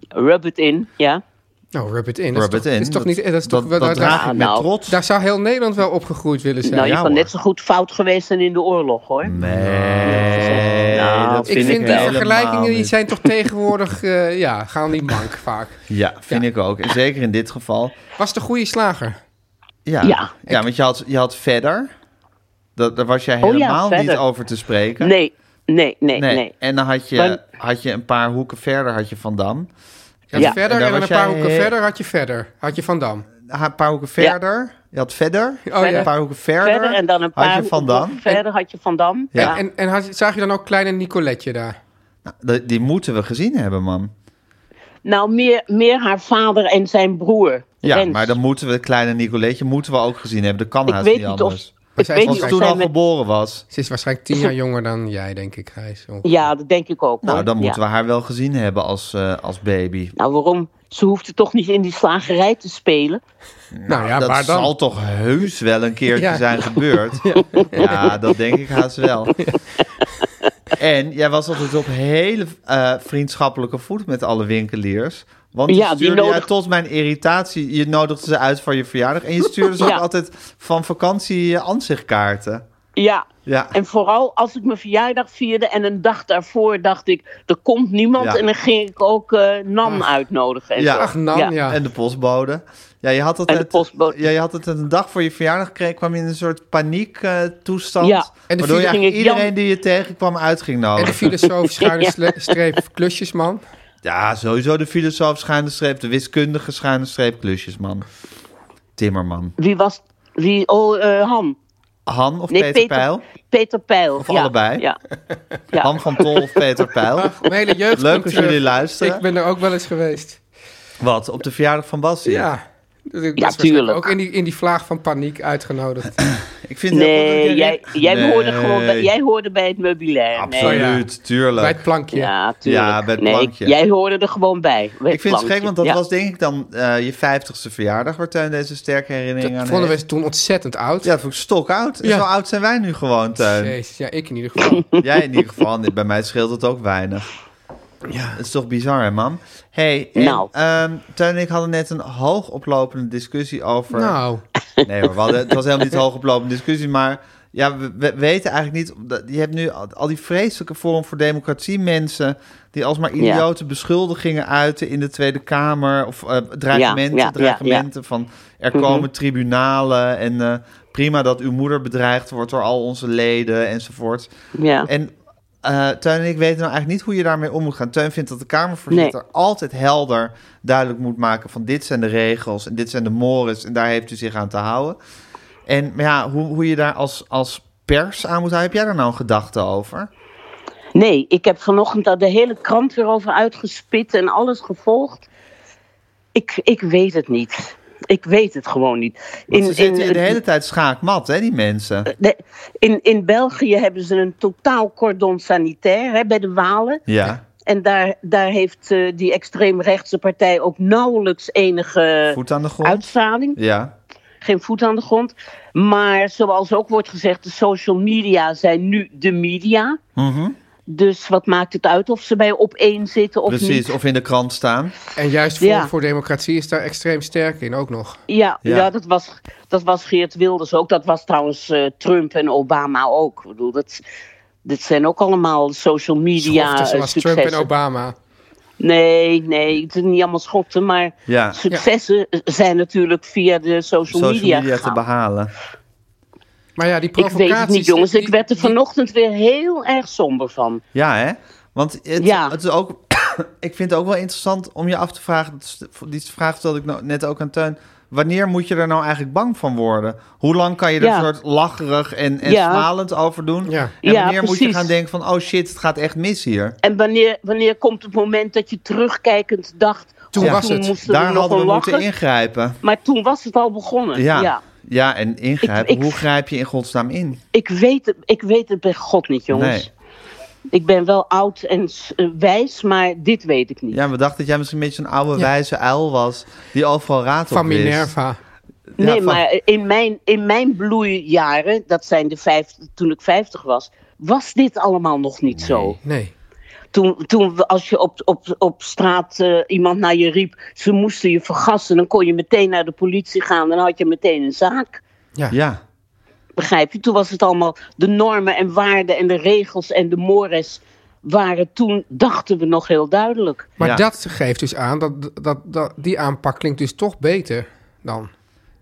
[SPEAKER 7] Rub it in, ja.
[SPEAKER 3] Nou, rub it in. Dat
[SPEAKER 2] Rub
[SPEAKER 3] is
[SPEAKER 2] it
[SPEAKER 3] toch,
[SPEAKER 2] in.
[SPEAKER 3] Is toch niet, eh, dat is toch,
[SPEAKER 2] dat,
[SPEAKER 3] wel-
[SPEAKER 2] dat
[SPEAKER 3] daar,
[SPEAKER 2] draag
[SPEAKER 7] Ah,
[SPEAKER 2] ik met
[SPEAKER 7] nou.
[SPEAKER 2] trots.
[SPEAKER 3] daar zou heel Nederland wel opgegroeid willen zijn.
[SPEAKER 7] Nou, je
[SPEAKER 2] ja,
[SPEAKER 7] kan
[SPEAKER 2] hoor.
[SPEAKER 7] net zo goed fout geweest zijn in de oorlog, hoor.
[SPEAKER 2] Eh, Nee,
[SPEAKER 7] Nou,
[SPEAKER 2] Eh, dat
[SPEAKER 3] ik
[SPEAKER 2] vind
[SPEAKER 3] vind,
[SPEAKER 2] ik,
[SPEAKER 3] die
[SPEAKER 2] helemaal
[SPEAKER 3] vergelijkingen die
[SPEAKER 2] niet.
[SPEAKER 3] zijn toch tegenwoordig... eh, ja, gaan die mank vaak.
[SPEAKER 2] Ja, vind
[SPEAKER 3] Ja.
[SPEAKER 2] ik ook. En zeker in dit geval.
[SPEAKER 3] Was de goede slager.
[SPEAKER 2] Ja, ja.
[SPEAKER 7] Ja.
[SPEAKER 2] want je had, je had verder. Dat, daar was jij
[SPEAKER 7] Oh ja,
[SPEAKER 2] helemaal niet
[SPEAKER 7] verder.
[SPEAKER 2] over te spreken.
[SPEAKER 7] Nee, nee, nee, nee.
[SPEAKER 2] En dan had je,
[SPEAKER 7] Maar-
[SPEAKER 2] had je een paar hoeken verder had je Van Dam.
[SPEAKER 3] Je had
[SPEAKER 7] Ja.
[SPEAKER 2] Daar
[SPEAKER 3] verder en dan een
[SPEAKER 2] was
[SPEAKER 3] paar
[SPEAKER 2] jij-
[SPEAKER 3] hoeken verder had je verder. Had je Van Dam.
[SPEAKER 2] Een paar hoeken verder. Je had verder.
[SPEAKER 3] ja.
[SPEAKER 2] Een paar hoeken verder.
[SPEAKER 7] Verder en dan een paar
[SPEAKER 2] had je Van Dam.
[SPEAKER 7] hoeken verder had je Van Dam.
[SPEAKER 2] Ja.
[SPEAKER 7] Ja.
[SPEAKER 3] En, en had, zag je dan ook kleine Nicoletje daar?
[SPEAKER 2] Nou, Die, die moeten we gezien hebben, man.
[SPEAKER 7] Nou, meer, meer haar vader en zijn broer.
[SPEAKER 2] Ja,
[SPEAKER 7] Rens.
[SPEAKER 2] maar dan moeten we het kleine Nicoletje moeten we ook gezien hebben. Dat kan
[SPEAKER 7] ik
[SPEAKER 2] haast
[SPEAKER 7] weet
[SPEAKER 2] niet
[SPEAKER 7] niet
[SPEAKER 2] anders.
[SPEAKER 7] of. Ik
[SPEAKER 3] zij
[SPEAKER 7] weet
[SPEAKER 3] was
[SPEAKER 7] niet
[SPEAKER 2] Als ik toen
[SPEAKER 7] of zij
[SPEAKER 2] al
[SPEAKER 7] met-
[SPEAKER 2] geboren was.
[SPEAKER 3] Ze is waarschijnlijk tien jaar jonger dan jij, denk ik, Gijs. Ongeveer.
[SPEAKER 7] Ja, dat denk ik ook.
[SPEAKER 2] Nou,
[SPEAKER 7] hoor.
[SPEAKER 2] dan moeten
[SPEAKER 7] Ja.
[SPEAKER 2] we haar wel gezien hebben als, eh, als baby.
[SPEAKER 7] Nou, waarom? Ze hoefde toch niet in die slagerij te spelen.
[SPEAKER 3] nou ja,
[SPEAKER 2] dat
[SPEAKER 3] waar dan?
[SPEAKER 2] zal toch heus wel een keertje
[SPEAKER 3] [LAUGHS] Ja.
[SPEAKER 2] zijn gebeurd. Ja. dat denk ik haast wel.
[SPEAKER 3] [LAUGHS]
[SPEAKER 2] En jij was altijd op hele eh, vriendschappelijke voet met alle winkeliers. Want je
[SPEAKER 7] Ja, die
[SPEAKER 2] stuurde jij
[SPEAKER 7] nodig-
[SPEAKER 2] tot mijn irritatie. Je nodigde ze uit voor je verjaardag. En je stuurde ze
[SPEAKER 7] [LAUGHS] Ja.
[SPEAKER 2] ook altijd van vakantie je ansichtkaarten.
[SPEAKER 7] Ja.
[SPEAKER 2] Ja.
[SPEAKER 7] En vooral als ik mijn verjaardag vierde en een dag daarvoor dacht ik, er komt niemand.
[SPEAKER 2] Ja.
[SPEAKER 7] En dan ging ik ook eh, Nan uitnodigen. En
[SPEAKER 2] Ja.
[SPEAKER 7] zo.
[SPEAKER 3] Ach, Nan, ja.
[SPEAKER 2] En de postbode. Ja, je had het
[SPEAKER 7] En de postbode.
[SPEAKER 2] Ja, je had het een dag voor je verjaardag kreeg, kwam je in een soort paniek eh, toestand.
[SPEAKER 7] Ja.
[SPEAKER 3] En de
[SPEAKER 2] waardoor je
[SPEAKER 3] vier-
[SPEAKER 2] eigenlijk
[SPEAKER 7] ging ik jam-
[SPEAKER 2] iedereen die je tegenkwam uit ging
[SPEAKER 3] En de
[SPEAKER 2] nodigen.
[SPEAKER 3] filosoof
[SPEAKER 2] [LAUGHS]
[SPEAKER 3] schuine sle- streep klusjesman.
[SPEAKER 2] Ja, sowieso de filosoof schuine streep, de wiskundige schuine streep klusjesman. Timmerman.
[SPEAKER 7] Wie was. Wie, oh, eh, Han.
[SPEAKER 2] Han of
[SPEAKER 7] Nee,
[SPEAKER 2] Peter,
[SPEAKER 7] Peter-
[SPEAKER 2] Pijl?
[SPEAKER 7] Peter Pijl.
[SPEAKER 2] Of
[SPEAKER 7] ja.
[SPEAKER 2] allebei. [LAUGHS]
[SPEAKER 7] Ja. ja.
[SPEAKER 2] Han van Tol of Peter
[SPEAKER 3] [LAUGHS]
[SPEAKER 2] Pijl?
[SPEAKER 3] Mijn hele jeugd
[SPEAKER 2] Leuk
[SPEAKER 3] komt
[SPEAKER 2] als jullie
[SPEAKER 3] terug.
[SPEAKER 2] luisteren.
[SPEAKER 3] Ik ben er ook wel eens geweest.
[SPEAKER 2] Wat, op de verjaardag van Bassie?
[SPEAKER 3] Ja. Dus ik was
[SPEAKER 7] Ja,
[SPEAKER 3] waarschijnlijk
[SPEAKER 7] tuurlijk.
[SPEAKER 3] Ook in die, in die vlaag van paniek uitgenodigd.
[SPEAKER 2] Ik vind het heel goed dat
[SPEAKER 7] Nee, jij, jij,
[SPEAKER 2] Nee.
[SPEAKER 7] Hoorde gewoon bij, jij hoorde bij het meubilair. Nee.
[SPEAKER 2] Absoluut,
[SPEAKER 3] bij
[SPEAKER 2] tuurlijk.
[SPEAKER 3] het plankje.
[SPEAKER 7] Ja, tuurlijk.
[SPEAKER 2] Ja, bij het
[SPEAKER 7] nee,
[SPEAKER 2] plankje.
[SPEAKER 7] jij hoorde er gewoon bij. bij
[SPEAKER 2] Ik vind het gek,
[SPEAKER 7] plankje.
[SPEAKER 2] want dat
[SPEAKER 7] Ja.
[SPEAKER 2] was denk ik dan eh, je vijftigste verjaardag... waar Teun deze sterke herinnering
[SPEAKER 3] Dat
[SPEAKER 2] aan
[SPEAKER 3] vonden
[SPEAKER 2] heeft.
[SPEAKER 3] we toen ontzettend oud.
[SPEAKER 2] Ja, dat vond ik stokoud.
[SPEAKER 3] Ja.
[SPEAKER 2] Zo oud zijn wij nu gewoon, Teun.
[SPEAKER 3] Jezus, ja, ik in ieder
[SPEAKER 7] [LAUGHS]
[SPEAKER 3] geval.
[SPEAKER 2] Jij in ieder geval. Nee, Bij mij scheelt het ook weinig. Ja. Het is toch bizar, hè, mam? hey, en,
[SPEAKER 7] Nou.
[SPEAKER 2] ehm, Teun en ik hadden net een hoogoplopende discussie over...
[SPEAKER 3] nou,
[SPEAKER 2] Nee hoor, we hadden- het was helemaal niet een hoogoplopende discussie, maar ja, we, we weten eigenlijk niet. dat- Je hebt nu al, al die vreselijke vorm voor democratie mensen die alsmaar idiote beschuldigingen uiten in de Tweede Kamer of eh, dreigementen,
[SPEAKER 7] ja, Mhm. ja,
[SPEAKER 2] dreigementen van er komen tribunalen en eh, prima dat uw moeder bedreigd wordt door al onze leden enzovoort.
[SPEAKER 7] Ja.
[SPEAKER 2] En eh Teun en ik weten nou eigenlijk niet hoe je daarmee om moet gaan. Teun vindt dat de Kamervoorzitter
[SPEAKER 7] Nee.
[SPEAKER 2] altijd helder duidelijk moet maken van dit zijn de regels en dit zijn de mores en daar heeft u zich aan te houden. En maar ja, hoe, hoe je daar als, als pers aan moet houden, heb jij daar nou een gedachte over?
[SPEAKER 7] Nee, ik heb vanochtend daar de hele krant weer over uitgespit en alles gevolgd. Ik, ik weet het niet. Ik weet het gewoon niet.
[SPEAKER 2] Want ze zitten hier de hele tijd schaakmat, hè, die mensen.
[SPEAKER 7] de- in, in België hebben ze een totaal cordon sanitair hè, bij de Walen.
[SPEAKER 2] Ja,
[SPEAKER 7] En daar, daar heeft eh, die extreemrechtse partij ook nauwelijks enige
[SPEAKER 2] voet aan de grond.
[SPEAKER 7] uitstraling.
[SPEAKER 2] Ja,
[SPEAKER 7] Geen voet aan de grond. Maar zoals ook wordt gezegd, de social media zijn nu de media.
[SPEAKER 2] Mhm.
[SPEAKER 7] Dus wat maakt het uit of ze bij op één zitten of niet?
[SPEAKER 2] precies. Of in de krant staan.
[SPEAKER 3] en juist voor,
[SPEAKER 7] Ja.
[SPEAKER 3] voor democratie is daar extreem sterk in ook nog.
[SPEAKER 7] Ja,
[SPEAKER 2] Ja.
[SPEAKER 7] ja. dat, was, dat was Geert Wilders ook. Dat was trouwens eh, Trump en Obama ook. Ik bedoel, dat, dit zijn ook allemaal social media
[SPEAKER 3] Schoften
[SPEAKER 7] eh,
[SPEAKER 3] zoals
[SPEAKER 7] successen.
[SPEAKER 3] Trump en Obama.
[SPEAKER 7] Nee, nee, het is niet allemaal schoften, maar
[SPEAKER 2] Ja.
[SPEAKER 7] successen zijn natuurlijk via de social,
[SPEAKER 2] Social
[SPEAKER 7] media,
[SPEAKER 2] media, te
[SPEAKER 7] gegaan.
[SPEAKER 2] behalen.
[SPEAKER 3] Maar ja, die
[SPEAKER 7] Ik
[SPEAKER 3] provocaties...
[SPEAKER 7] weet het niet, jongens.
[SPEAKER 3] die-
[SPEAKER 7] Ik werd er
[SPEAKER 3] die-
[SPEAKER 7] vanochtend weer heel erg somber van.
[SPEAKER 2] Ja, hè? Want het,
[SPEAKER 7] Ja.
[SPEAKER 2] het is ook. [COUGHS] ik vind het ook wel interessant om je af te vragen. dat is de- Die vraag stelde ik nou net ook aan Teun. Wanneer moet je er nou eigenlijk bang van worden? Hoe lang kan je er
[SPEAKER 7] Ja.
[SPEAKER 2] een soort lacherig en, en
[SPEAKER 7] Ja.
[SPEAKER 2] smalend over doen?
[SPEAKER 3] Ja.
[SPEAKER 2] En
[SPEAKER 7] Ja,
[SPEAKER 2] wanneer moet je
[SPEAKER 7] precies.
[SPEAKER 2] gaan denken van... oh shit, het gaat echt mis hier.
[SPEAKER 7] En wanneer, wanneer komt het moment dat je terugkijkend dacht...
[SPEAKER 3] Toen
[SPEAKER 7] "Oh,
[SPEAKER 3] was het.
[SPEAKER 7] moesten
[SPEAKER 2] Daar
[SPEAKER 7] we nog
[SPEAKER 2] hadden we
[SPEAKER 7] wel
[SPEAKER 2] moeten
[SPEAKER 7] lachen."
[SPEAKER 2] ingrijpen.
[SPEAKER 7] Maar toen was het al begonnen.
[SPEAKER 2] Ja, ja.
[SPEAKER 7] ja.
[SPEAKER 2] en ingrijpen.
[SPEAKER 7] Ik- ik-
[SPEAKER 2] Hoe grijp je in godsnaam in?
[SPEAKER 7] Ik, weet het, ik weet het bij God niet, jongens.
[SPEAKER 2] Nee.
[SPEAKER 7] Ik ben wel oud en s- eh, wijs, maar dit weet ik niet.
[SPEAKER 2] Ja, we dachten dat jij misschien een beetje zo'n oude wijze uil was... die overal raad op
[SPEAKER 3] Van
[SPEAKER 2] wist.
[SPEAKER 3] Minerva.
[SPEAKER 2] Ja,
[SPEAKER 7] nee,
[SPEAKER 2] van-
[SPEAKER 7] maar in mijn, in mijn bloeijaren, dat zijn de vijf, toen ik 50 was, was dit allemaal nog niet zo.
[SPEAKER 3] Nee.
[SPEAKER 7] Toen, toen we- als je op, op, op straat eh, iemand naar je riep, ze moesten je vergassen, dan kon je meteen naar de politie gaan en dan had je meteen een zaak.
[SPEAKER 2] Ja,
[SPEAKER 7] Begrijp je? Toen was het allemaal de normen en waarden en de regels en de mores waren toen, dachten we nog heel duidelijk.
[SPEAKER 3] Maar
[SPEAKER 2] Ja.
[SPEAKER 3] dat geeft dus aan, dat, dat, dat, die aanpak klinkt dus toch beter dan.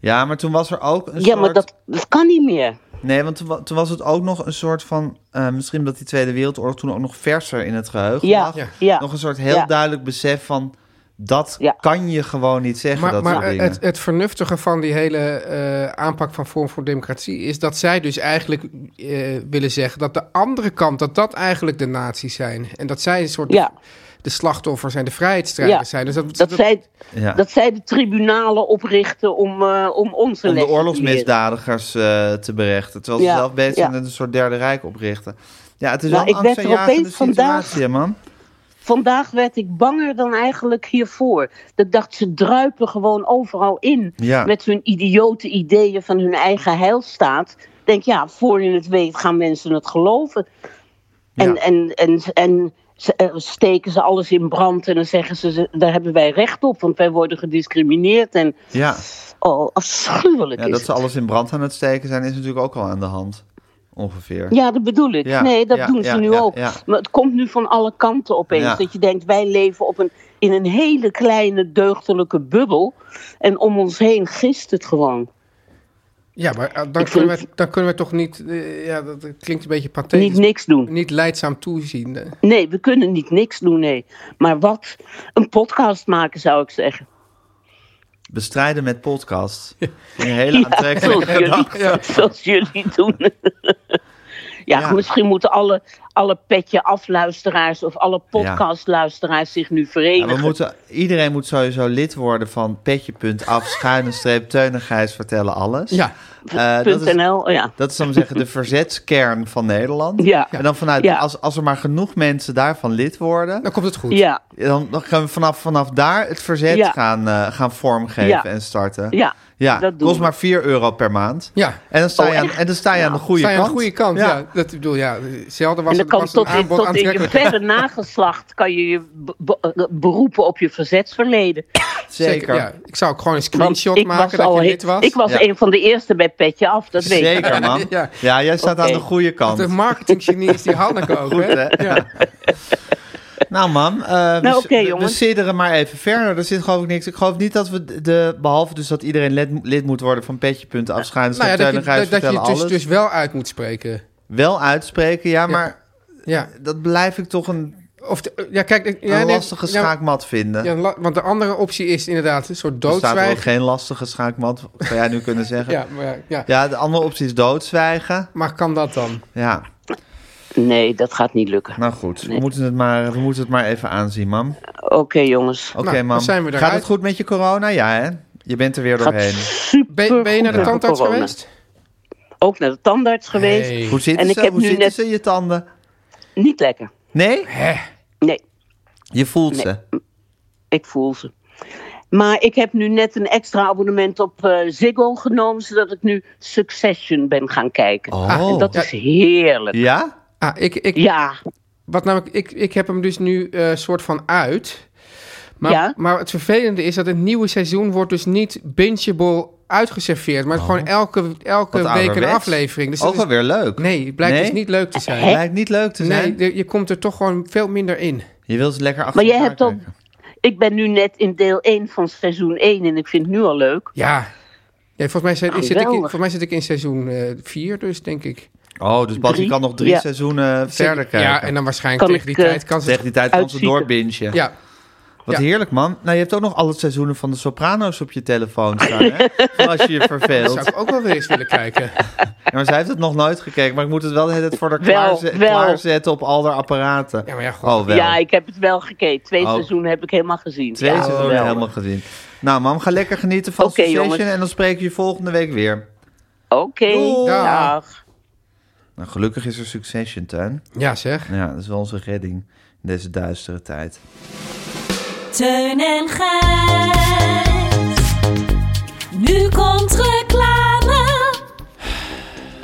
[SPEAKER 2] ja, maar toen was er ook een
[SPEAKER 7] Ja, maar
[SPEAKER 2] soort-
[SPEAKER 7] dat, dat kan niet meer.
[SPEAKER 2] Nee, want toen, wa- toen was het ook nog een soort van... eh, misschien dat die Tweede Wereldoorlog toen ook nog verser in het geheugen
[SPEAKER 7] Ja,
[SPEAKER 2] lag.
[SPEAKER 3] Ja.
[SPEAKER 7] ja.
[SPEAKER 2] Nog een soort heel
[SPEAKER 7] Ja.
[SPEAKER 2] duidelijk besef van... dat
[SPEAKER 7] Ja.
[SPEAKER 2] kan je gewoon niet zeggen,
[SPEAKER 3] Maar,
[SPEAKER 2] dat
[SPEAKER 3] maar eh,
[SPEAKER 2] soort dingen.
[SPEAKER 3] het, het vernuftige van die hele eh, aanpak van Vorm voor Democratie is dat zij dus eigenlijk eh, willen zeggen dat de andere kant, dat dat eigenlijk de nazi's zijn. En dat zij een soort
[SPEAKER 7] Ja.
[SPEAKER 3] de slachtoffers en de vrijheidsstrijders
[SPEAKER 7] Ja.
[SPEAKER 3] zijn. Dus dat,
[SPEAKER 7] Dat, zij,
[SPEAKER 2] Ja.
[SPEAKER 7] dat zij de tribunalen oprichten om, eh om ons te
[SPEAKER 2] Om de
[SPEAKER 7] leren.
[SPEAKER 2] oorlogsmisdadigers eh, te berechten. Terwijl ze
[SPEAKER 7] Ja,
[SPEAKER 2] zelf bezig
[SPEAKER 7] ja.
[SPEAKER 2] zijn met een soort derde rijk oprichten. Ja, het is
[SPEAKER 7] Nou,
[SPEAKER 2] wel
[SPEAKER 7] ik
[SPEAKER 2] een
[SPEAKER 7] werd er
[SPEAKER 2] angstaanjagende
[SPEAKER 7] opeens vandaag-
[SPEAKER 2] situatie, hè, man.
[SPEAKER 7] Vandaag werd ik banger dan eigenlijk hiervoor. Dat ik dacht, ze druipen gewoon overal in.
[SPEAKER 2] Ja.
[SPEAKER 7] Met hun idiote ideeën van hun eigen heilstaat. Ik Denk, ja, voor je het weet gaan mensen het geloven. En,
[SPEAKER 2] Ja.
[SPEAKER 7] en, en, en ze- eh, steken ze alles in brand en dan zeggen ze, ze, daar hebben wij recht op, want wij worden gediscrimineerd. En
[SPEAKER 2] Ja.
[SPEAKER 7] oh, afschuwelijk
[SPEAKER 2] Ah. ja,
[SPEAKER 7] is
[SPEAKER 2] dat
[SPEAKER 7] het.
[SPEAKER 2] ze alles in brand aan het steken zijn... is natuurlijk ook al aan de hand, ongeveer.
[SPEAKER 7] Ja, dat bedoel ik.
[SPEAKER 2] Ja,
[SPEAKER 7] nee, dat
[SPEAKER 2] ja,
[SPEAKER 7] doen ze
[SPEAKER 2] ja,
[SPEAKER 7] nu
[SPEAKER 2] ja,
[SPEAKER 7] ook.
[SPEAKER 2] ja.
[SPEAKER 7] Maar het komt nu van alle kanten opeens.
[SPEAKER 2] Ja.
[SPEAKER 7] Dat je denkt, wij leven op een, in een hele kleine deugdelijke bubbel. En om ons heen gist het gewoon.
[SPEAKER 3] ja, maar eh, dan,
[SPEAKER 7] Ik
[SPEAKER 3] kunnen we,
[SPEAKER 7] vind-
[SPEAKER 3] dan kunnen we toch niet, eh, ja, dat dat klinkt een beetje pathetisch.
[SPEAKER 7] Niet niks doen.
[SPEAKER 3] Niet leidzaam toezien. eh.
[SPEAKER 7] Nee, we kunnen niet niks doen, nee. Maar wat? Een podcast maken, zou ik zeggen.
[SPEAKER 2] Bestrijden met podcast. Een hele
[SPEAKER 7] Zoals
[SPEAKER 2] aantrekkelijke gedachte.
[SPEAKER 7] jullie, zoals jullie doen. [LAUGHS] ja,
[SPEAKER 2] Ja.
[SPEAKER 7] misschien moeten alle, alle petje afluisteraars of alle podcastluisteraars zich nu
[SPEAKER 2] Ja,
[SPEAKER 7] verenigen.
[SPEAKER 2] we moeten, iedereen moet sowieso lid worden van
[SPEAKER 3] [LAUGHS]
[SPEAKER 2] petje.af schuine streep teunigijs vertellen alles.
[SPEAKER 3] Ja.
[SPEAKER 2] Eh, dat, is,
[SPEAKER 7] .nl, ja.
[SPEAKER 2] dat is, om te zeggen, de verzetskern van Nederland.
[SPEAKER 7] Ja.
[SPEAKER 2] En dan vanuit,
[SPEAKER 7] Ja.
[SPEAKER 2] als, als er maar genoeg mensen daarvan lid worden,
[SPEAKER 3] Dan komt het goed.
[SPEAKER 7] Ja,
[SPEAKER 2] dan, dan gaan we vanaf, vanaf daar het verzet
[SPEAKER 7] Ja.
[SPEAKER 2] gaan, eh, gaan vormgeven
[SPEAKER 7] Ja.
[SPEAKER 2] en starten.
[SPEAKER 7] ja.
[SPEAKER 2] Ja,
[SPEAKER 7] dat doen
[SPEAKER 2] kost
[SPEAKER 7] we.
[SPEAKER 2] maar 4 euro per maand.
[SPEAKER 3] Ja.
[SPEAKER 2] En dan sta
[SPEAKER 7] Oh,
[SPEAKER 2] je, aan,
[SPEAKER 7] echt?
[SPEAKER 2] en dan sta je aan de goede
[SPEAKER 3] Sta je aan
[SPEAKER 2] kant.
[SPEAKER 3] de goede kant. Ja. Dat ik bedoel, ja. Zelden was
[SPEAKER 7] En dan
[SPEAKER 3] het
[SPEAKER 7] kan
[SPEAKER 3] was een
[SPEAKER 7] tot in,
[SPEAKER 3] aanbod
[SPEAKER 7] tot in je
[SPEAKER 3] aantrekkelijk. [LAUGHS]
[SPEAKER 7] verre nageslacht kan je je be- be- beroepen op je verzetsverleden.
[SPEAKER 2] Zeker.
[SPEAKER 3] Ja. Ik zou ook gewoon een
[SPEAKER 7] Want
[SPEAKER 3] screenshot
[SPEAKER 7] ik
[SPEAKER 3] maken
[SPEAKER 7] was
[SPEAKER 3] dat
[SPEAKER 7] al
[SPEAKER 3] je
[SPEAKER 7] heel-
[SPEAKER 3] dit was.
[SPEAKER 7] Ik was
[SPEAKER 2] Ja.
[SPEAKER 7] een van de eerste bij Petje Af, dat weet ik.
[SPEAKER 2] Zeker, man.
[SPEAKER 3] Ja.
[SPEAKER 2] Ja, jij staat
[SPEAKER 7] Oké.
[SPEAKER 2] aan de goede kant.
[SPEAKER 3] De marketinggenie is die Hanneke
[SPEAKER 2] [LAUGHS]
[SPEAKER 3] ook,
[SPEAKER 2] Goed,
[SPEAKER 3] hè?
[SPEAKER 2] hè? Nou, mam, eh, we,
[SPEAKER 7] Nou, oké,
[SPEAKER 2] we- we
[SPEAKER 7] jongens.
[SPEAKER 2] sidderen maar even verder. Er zit geloof ik niks. Ik geloof niet dat we de, behalve dus dat iedereen lid, lid moet worden van petje.af, afschuilen.
[SPEAKER 3] Nou ja, dat je, dat, dat je het dus,
[SPEAKER 2] alles.
[SPEAKER 3] dus wel uit moet spreken.
[SPEAKER 2] wel uitspreken. Ja, maar
[SPEAKER 3] Ja.
[SPEAKER 2] dat blijf ik toch een,
[SPEAKER 3] Of de- ja, kijk, ik- ja,
[SPEAKER 2] een
[SPEAKER 3] nee,
[SPEAKER 2] lastige
[SPEAKER 3] ja,
[SPEAKER 2] schaakmat vinden.
[SPEAKER 3] ja, la- want de andere optie is inderdaad een soort
[SPEAKER 2] er staat er ook
[SPEAKER 3] doodzwijgen.
[SPEAKER 2] geen lastige schaakmat, zou jij nu kunnen zeggen.
[SPEAKER 3] [LAUGHS] Ja,
[SPEAKER 2] ja.
[SPEAKER 3] maar, ja, ja.
[SPEAKER 2] de andere optie is doodzwijgen.
[SPEAKER 3] maar kan dat dan?
[SPEAKER 2] Ja,
[SPEAKER 7] Nee, dat gaat niet lukken.
[SPEAKER 2] nou goed. We, moeten het maar, we moeten het maar even aanzien, mam.
[SPEAKER 7] Oké, jongens.
[SPEAKER 2] Oké,
[SPEAKER 3] Nou, dan
[SPEAKER 2] mam.
[SPEAKER 3] zijn we
[SPEAKER 2] Gaat
[SPEAKER 3] eruit.
[SPEAKER 2] het goed met je corona? Ja, hè? Je bent er weer
[SPEAKER 7] Gaat
[SPEAKER 2] doorheen.
[SPEAKER 7] super
[SPEAKER 3] Ben, ben je naar de
[SPEAKER 7] goed met
[SPEAKER 3] tandarts
[SPEAKER 7] corona.
[SPEAKER 3] geweest?
[SPEAKER 7] Ook naar de tandarts geweest.
[SPEAKER 3] Nee.
[SPEAKER 2] Hoe zitten
[SPEAKER 7] En ik
[SPEAKER 2] ze?
[SPEAKER 7] heb
[SPEAKER 2] Hoe
[SPEAKER 7] nu
[SPEAKER 2] zitten
[SPEAKER 7] net-
[SPEAKER 2] ze, je tanden?
[SPEAKER 7] Niet lekker.
[SPEAKER 2] Nee?
[SPEAKER 7] Nee,
[SPEAKER 2] Je voelt
[SPEAKER 7] Nee.
[SPEAKER 2] ze.
[SPEAKER 7] ik voel ze. Maar ik heb nu net een extra abonnement op eh, Ziggo genomen, zodat ik nu Succession ben gaan kijken.
[SPEAKER 2] Oh.
[SPEAKER 7] En dat
[SPEAKER 3] Ja.
[SPEAKER 7] is heerlijk.
[SPEAKER 2] Ja?
[SPEAKER 3] Ah, ik, ik,
[SPEAKER 7] Ja,
[SPEAKER 3] Wat namelijk, ik, ik heb hem dus nu eh soort van uit. Maar,
[SPEAKER 7] Ja.
[SPEAKER 3] maar het vervelende is dat het nieuwe seizoen wordt dus niet bingeable uitgeserveerd. Maar gewoon elke, elke
[SPEAKER 2] Oh. Wat
[SPEAKER 3] week een
[SPEAKER 2] ouderwets.
[SPEAKER 3] aflevering. Dus dat
[SPEAKER 2] Ook
[SPEAKER 3] is-
[SPEAKER 2] wel weer leuk.
[SPEAKER 3] Nee, het blijkt
[SPEAKER 2] Nee?
[SPEAKER 3] dus niet leuk te zijn.
[SPEAKER 2] Lijkt niet leuk te zijn.
[SPEAKER 3] Nee, de- je komt er toch gewoon veel minder in.
[SPEAKER 2] Je wilt ze lekker achter
[SPEAKER 7] Maar jij
[SPEAKER 2] elkaar
[SPEAKER 7] hebt al-
[SPEAKER 2] kijken.
[SPEAKER 7] ik ben nu net in deel 1 van seizoen 1 en ik vind het nu al leuk.
[SPEAKER 3] Ja. Nee, volgens, mij zit,
[SPEAKER 7] Nou,
[SPEAKER 3] zit ik, in-
[SPEAKER 7] geweldig.
[SPEAKER 3] volgens mij zit ik in seizoen 4 dus, denk ik.
[SPEAKER 2] Oh, dus Bas, je
[SPEAKER 7] Drie.
[SPEAKER 2] kan nog drie
[SPEAKER 7] Ja.
[SPEAKER 2] seizoenen verder kijken.
[SPEAKER 3] Ja, en dan waarschijnlijk
[SPEAKER 7] Kan
[SPEAKER 3] tegen die
[SPEAKER 7] ik, eh,
[SPEAKER 3] tijd kan ze...
[SPEAKER 2] Tegen die tijd kan ze
[SPEAKER 7] Uitzieken.
[SPEAKER 2] doorbingen.
[SPEAKER 3] Ja,
[SPEAKER 2] Wat
[SPEAKER 3] Ja.
[SPEAKER 2] heerlijk, man. Nou, je hebt ook nog alle seizoenen van de Soprano's op je telefoon staan, hè?
[SPEAKER 7] [LAUGHS]
[SPEAKER 2] Voor als je je
[SPEAKER 3] dat
[SPEAKER 2] verveelt.
[SPEAKER 3] zou ik ook wel weer eens willen
[SPEAKER 2] [LAUGHS]
[SPEAKER 3] kijken.
[SPEAKER 2] Ja, maar zij heeft het nog nooit gekeken, maar ik moet het wel de hele tijd voor haar
[SPEAKER 7] Wel,
[SPEAKER 2] klaarze-
[SPEAKER 7] wel.
[SPEAKER 2] klaarzetten op al haar apparaten.
[SPEAKER 3] Ja, maar ja, goed.
[SPEAKER 2] Oh, wel.
[SPEAKER 7] Ja, ik heb het wel gekeken. Twee
[SPEAKER 2] Oh.
[SPEAKER 7] seizoenen heb ik helemaal gezien.
[SPEAKER 2] Twee
[SPEAKER 7] Ja,
[SPEAKER 2] seizoenen
[SPEAKER 7] geweldig.
[SPEAKER 2] helemaal gezien. Nou, mam, ga lekker genieten van
[SPEAKER 7] Oké,
[SPEAKER 2] Succession
[SPEAKER 7] jongens.
[SPEAKER 2] en dan spreken we je volgende week weer.
[SPEAKER 7] Oké,
[SPEAKER 3] Doei.
[SPEAKER 7] dag.
[SPEAKER 2] Nou, gelukkig is er Succession, Tuin.
[SPEAKER 3] Ja, zeg.
[SPEAKER 2] Ja, dat is wel onze redding in deze duistere tijd.
[SPEAKER 6] Teun en Gijs. Nu komt reclame.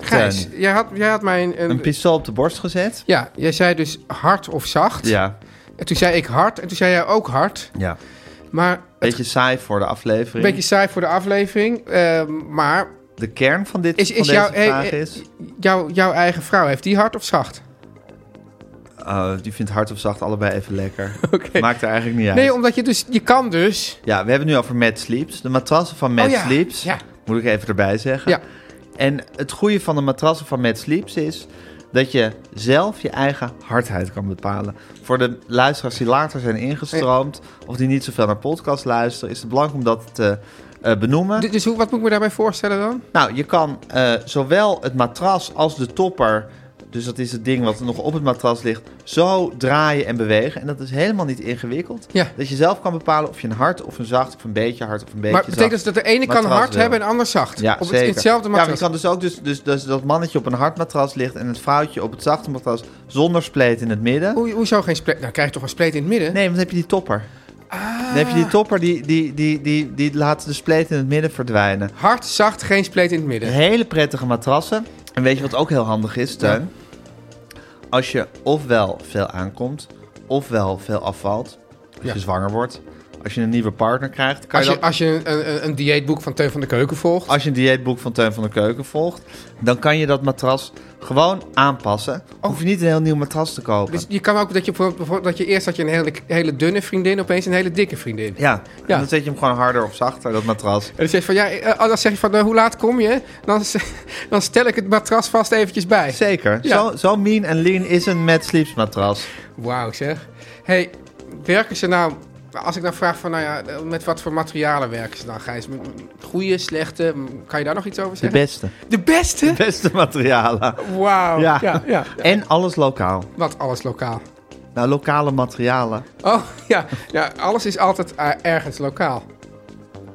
[SPEAKER 3] Gijs,
[SPEAKER 2] Teun.
[SPEAKER 3] jij had, jij had mij een-
[SPEAKER 2] Een pistool op de borst gezet?
[SPEAKER 3] Ja, jij zei dus hard of zacht.
[SPEAKER 2] Ja,
[SPEAKER 3] En toen zei ik hard en toen zei jij ook hard.
[SPEAKER 2] ja.
[SPEAKER 3] Maar het
[SPEAKER 2] Beetje saai voor de
[SPEAKER 3] een
[SPEAKER 2] aflevering.
[SPEAKER 3] beetje saai voor de aflevering. eh, maar
[SPEAKER 2] De kern van, dit,
[SPEAKER 3] Is- is
[SPEAKER 2] van deze
[SPEAKER 3] jouw- hey,
[SPEAKER 2] vraag
[SPEAKER 3] hey,
[SPEAKER 2] is...
[SPEAKER 3] jouw jouw eigen vrouw, heeft die hard of zacht?
[SPEAKER 2] Oh, die vindt hard of zacht allebei even
[SPEAKER 3] [LAUGHS]
[SPEAKER 2] lekker. Maakt er eigenlijk niet uit.
[SPEAKER 3] Nee, omdat je dus, je kan dus.
[SPEAKER 2] Ja, we hebben het nu over Mad Sleeps. De matrassen van Mad
[SPEAKER 3] Oh ja,
[SPEAKER 2] Sleeps.
[SPEAKER 3] ja.
[SPEAKER 2] Moet ik even erbij zeggen.
[SPEAKER 3] Ja.
[SPEAKER 2] En het goede van de matrassen van Mad Sleeps is dat je zelf je eigen hardheid kan bepalen. Voor de luisteraars die later zijn ingestroomd of die niet zoveel naar podcasts luisteren, is het belangrijk om dat te eh, benoemen.
[SPEAKER 3] Dus hoe, wat moet ik me daarbij voorstellen dan?
[SPEAKER 2] Nou, je kan eh, zowel het matras als de topper, dus dat is het ding wat nog op het matras ligt, zo draaien en bewegen. En dat is helemaal niet ingewikkeld.
[SPEAKER 3] Ja.
[SPEAKER 2] Dat je zelf kan bepalen of je een hard of een zacht of een beetje hard of een beetje
[SPEAKER 3] Maar
[SPEAKER 2] zacht.
[SPEAKER 3] betekent dus dat de ene kan
[SPEAKER 2] matras
[SPEAKER 3] hard
[SPEAKER 2] wil.
[SPEAKER 3] hebben en de ander zacht?
[SPEAKER 2] Ja,
[SPEAKER 3] op het-
[SPEAKER 2] zeker.
[SPEAKER 3] hetzelfde
[SPEAKER 2] ja, maar je
[SPEAKER 3] matras.
[SPEAKER 2] kan dus ook dus, dus, dus dat mannetje op een hard matras ligt en het vrouwtje op het zachte matras zonder spleet in het midden.
[SPEAKER 3] Hoe, hoezo geen spleet? Nou, krijg je toch een spleet in het midden?
[SPEAKER 2] Nee, want dan heb je die topper.
[SPEAKER 3] Ah.
[SPEAKER 2] Dan heb je die topper die, die, die, die, die laat de spleet in het midden verdwijnen.
[SPEAKER 3] Hard, zacht, geen spleet in het midden.
[SPEAKER 2] Hele prettige matrassen. En weet je wat ook heel handig is, Teun? Als je ofwel veel aankomt, ofwel veel afvalt, als
[SPEAKER 3] Ja.
[SPEAKER 2] je zwanger wordt, als je een nieuwe partner krijgt, kan
[SPEAKER 3] Als je,
[SPEAKER 2] dat-
[SPEAKER 3] als je een, een, een dieetboek van Teun van de Keuken volgt.
[SPEAKER 2] als je een dieetboek van Teun van de Keuken volgt, dan kan je dat matras gewoon aanpassen.
[SPEAKER 3] Oh.
[SPEAKER 2] Hoef je niet een heel nieuw matras te kopen.
[SPEAKER 3] Dus je kan ook dat je, bijvoorbeeld, dat je eerst had je een hele, hele dunne vriendin, opeens een hele dikke vriendin.
[SPEAKER 2] Ja,
[SPEAKER 3] Ja.
[SPEAKER 2] en dan zet je hem gewoon harder of zachter, dat matras.
[SPEAKER 3] En dan zeg je van, ja, eh, als zeg je van, eh, hoe laat kom je? Dan, [LAUGHS] s- dan stel ik het matras vast eventjes bij.
[SPEAKER 2] Zeker.
[SPEAKER 3] Ja.
[SPEAKER 2] Zo, zo mean en lean is een Mad Sleeps matras.
[SPEAKER 3] Wauw zeg. hey, werken ze nou Maar als ik dan vraag van, nou ja, met wat voor materialen werken ze dan, Gijs? Met- met Goeie, slechte, m- kan je daar nog iets over
[SPEAKER 2] De
[SPEAKER 3] zeggen?
[SPEAKER 2] beste.
[SPEAKER 3] De [LAUGHS] beste?
[SPEAKER 2] Beste materialen.
[SPEAKER 3] Wauw.
[SPEAKER 2] Ja.
[SPEAKER 3] Ja. Ja, ja.
[SPEAKER 2] En alles lokaal.
[SPEAKER 3] Wat alles lokaal.
[SPEAKER 2] Nou, lokale materialen.
[SPEAKER 3] Oh, ja. ja alles is altijd eh, ergens lokaal.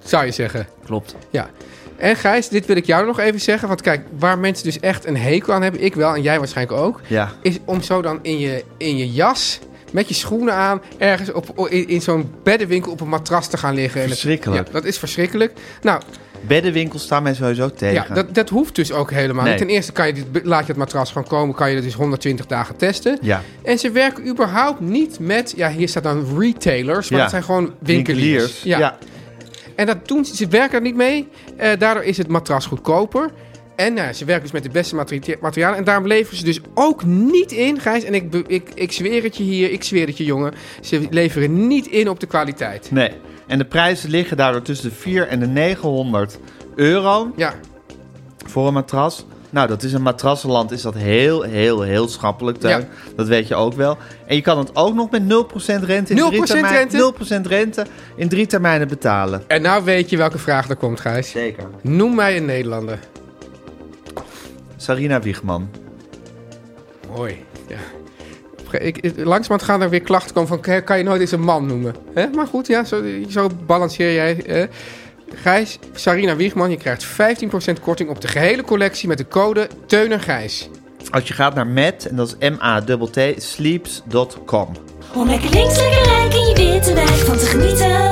[SPEAKER 3] Zou je zeggen.
[SPEAKER 2] Klopt.
[SPEAKER 3] Ja. En Gijs, dit wil ik jou nog even zeggen. Want kijk, waar mensen dus echt een hekel aan hebben, ik wel en jij waarschijnlijk ook,
[SPEAKER 2] Ja.
[SPEAKER 3] is om zo dan in je, in je jas, met je schoenen aan, ergens op, o- in, in zo'n beddenwinkel op een matras te gaan liggen. En het-
[SPEAKER 2] Verschrikkelijk.
[SPEAKER 3] ja, dat is verschrikkelijk. Nou,
[SPEAKER 2] Beddenwinkels staan mij sowieso tegen.
[SPEAKER 3] ja, dat, dat hoeft dus ook helemaal
[SPEAKER 2] Nee.
[SPEAKER 3] niet. Ten eerste kan je dit, laat je het matras gewoon komen, kan je dat dus 120 dagen testen.
[SPEAKER 2] Ja.
[SPEAKER 3] En ze werken überhaupt niet met, ja, hier staat dan retailers, maar
[SPEAKER 2] Ja.
[SPEAKER 3] dat zijn gewoon winkeliers.
[SPEAKER 2] Ja.
[SPEAKER 3] En dat doen ze, ze werken er niet mee. Eh, daardoor is het matras goedkoper. En nou ja, ze werken dus met de beste materi- materialen. En daarom leveren ze dus ook niet in, Gijs. En ik, be- ik, ik zweer het je hier, ik zweer het je jongen. Ze leveren niet in op de kwaliteit.
[SPEAKER 2] Nee. En de prijzen liggen daardoor tussen de 4 en de 900 euro
[SPEAKER 3] Ja,
[SPEAKER 2] voor een matras. Nou, dat is een matrassenland is dat heel, heel, heel schappelijk. Teun.
[SPEAKER 3] Ja.
[SPEAKER 2] Dat weet je ook wel. En je kan het ook nog met 0% rente in
[SPEAKER 3] 0%
[SPEAKER 2] drie termijnen.
[SPEAKER 3] rente?
[SPEAKER 2] 0% rente in drie termijnen betalen.
[SPEAKER 3] en nou weet je welke vraag er komt, Gijs.
[SPEAKER 2] Zeker.
[SPEAKER 3] Noem mij een Nederlander.
[SPEAKER 2] Sarina Wiegman.
[SPEAKER 3] Mooi. Ja. Ik, ik- langzamerhand gaan er weer klachten komen van... kan- kan je nooit eens een man noemen. Hè? Maar goed, ja, zo, zo balanceer jij. hè. Gijs, Sarina Wiegman, je krijgt 15% korting op de gehele collectie... met de code TEUNERGIJS.
[SPEAKER 2] Als je gaat naar met, en dat is m-a-t-t, sleeps.com.
[SPEAKER 6] Om lekker links, lekker rijk in je witte wijk van te genieten.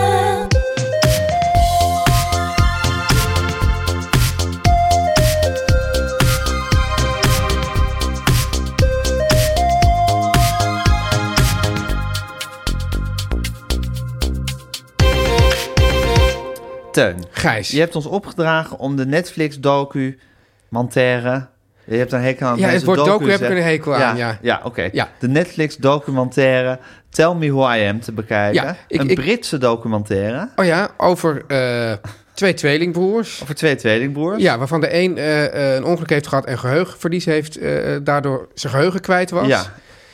[SPEAKER 2] Teun,
[SPEAKER 3] Gijs.
[SPEAKER 2] je hebt ons opgedragen om de Netflix-docu, Manterre... Je hebt een hekel aan
[SPEAKER 3] Ja, het
[SPEAKER 2] deze
[SPEAKER 3] woord docu
[SPEAKER 2] docu's,
[SPEAKER 3] heb ik
[SPEAKER 2] hè?
[SPEAKER 3] een hekel aan, ja.
[SPEAKER 2] Ja, oké.
[SPEAKER 3] Ja.
[SPEAKER 2] De Netflix-documentaire Tell Me Who I Am te bekijken.
[SPEAKER 3] Ja, ik-
[SPEAKER 2] een
[SPEAKER 3] ik-
[SPEAKER 2] Britse documentaire
[SPEAKER 3] Oh ja, over eh, twee tweelingbroers.
[SPEAKER 2] over twee tweelingbroers.
[SPEAKER 3] Ja, waarvan de een eh, eh, een ongeluk heeft gehad en geheugenverlies heeft... eh, daardoor zijn geheugen kwijt was.
[SPEAKER 2] Ja.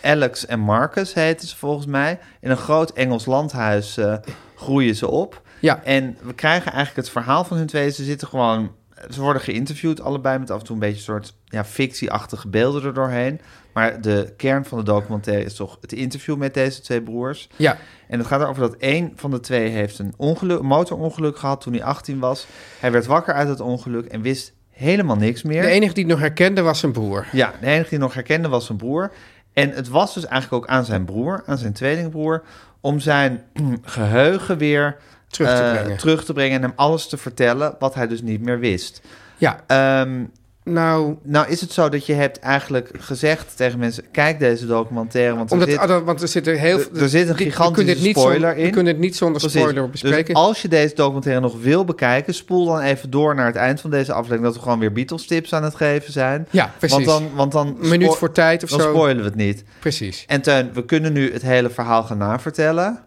[SPEAKER 2] Alex en Marcus heten ze volgens mij. In een groot Engels landhuis eh, groeien ze op.
[SPEAKER 3] Ja.
[SPEAKER 2] En we krijgen eigenlijk het verhaal van hun twee. Ze zitten gewoon... Ze worden geïnterviewd allebei met af en toe een beetje een soort ja, fictieachtige beelden er doorheen. Maar de kern van de documentaire is toch het interview met deze twee broers.
[SPEAKER 3] Ja.
[SPEAKER 2] En het gaat erover dat één van de twee heeft een ongeluk, motorongeluk gehad toen hij 18 was. Hij werd wakker uit het ongeluk en wist helemaal niks meer.
[SPEAKER 3] De enige die het nog herkende was zijn broer.
[SPEAKER 2] Ja, de enige die nog herkende was zijn broer. En het was dus eigenlijk ook aan zijn broer, aan zijn tweelingbroer, om zijn [CLEARS THROAT] geheugen weer
[SPEAKER 3] Terug te
[SPEAKER 2] eh,
[SPEAKER 3] brengen.
[SPEAKER 2] terug te brengen en hem alles te vertellen wat hij dus niet meer wist.
[SPEAKER 3] Ja,
[SPEAKER 2] Ehm,
[SPEAKER 3] nou...
[SPEAKER 2] nou is het zo dat je hebt eigenlijk gezegd tegen mensen, kijk deze documentaire, want
[SPEAKER 3] Omdat,
[SPEAKER 2] er zit...
[SPEAKER 3] ah, dan- want er zit er heel
[SPEAKER 2] er- er zit een
[SPEAKER 3] je- je
[SPEAKER 2] gigantische
[SPEAKER 3] kunt dit niet
[SPEAKER 2] spoiler
[SPEAKER 3] zonder-
[SPEAKER 2] in.
[SPEAKER 3] Je kunt het niet zonder
[SPEAKER 2] Precies.
[SPEAKER 3] spoiler bespreken.
[SPEAKER 2] Dus als je deze documentaire nog wil bekijken, spoel dan even door naar het eind van deze aflevering dat we gewoon weer Beatles tips aan het geven zijn.
[SPEAKER 3] Ja, precies.
[SPEAKER 2] Want dan, want dan
[SPEAKER 3] Een minuut
[SPEAKER 2] spo-
[SPEAKER 3] voor tijd of
[SPEAKER 2] dan
[SPEAKER 3] zo.
[SPEAKER 2] spoilen we het niet.
[SPEAKER 3] Precies.
[SPEAKER 2] En Teun, we kunnen nu het hele verhaal gaan navertellen.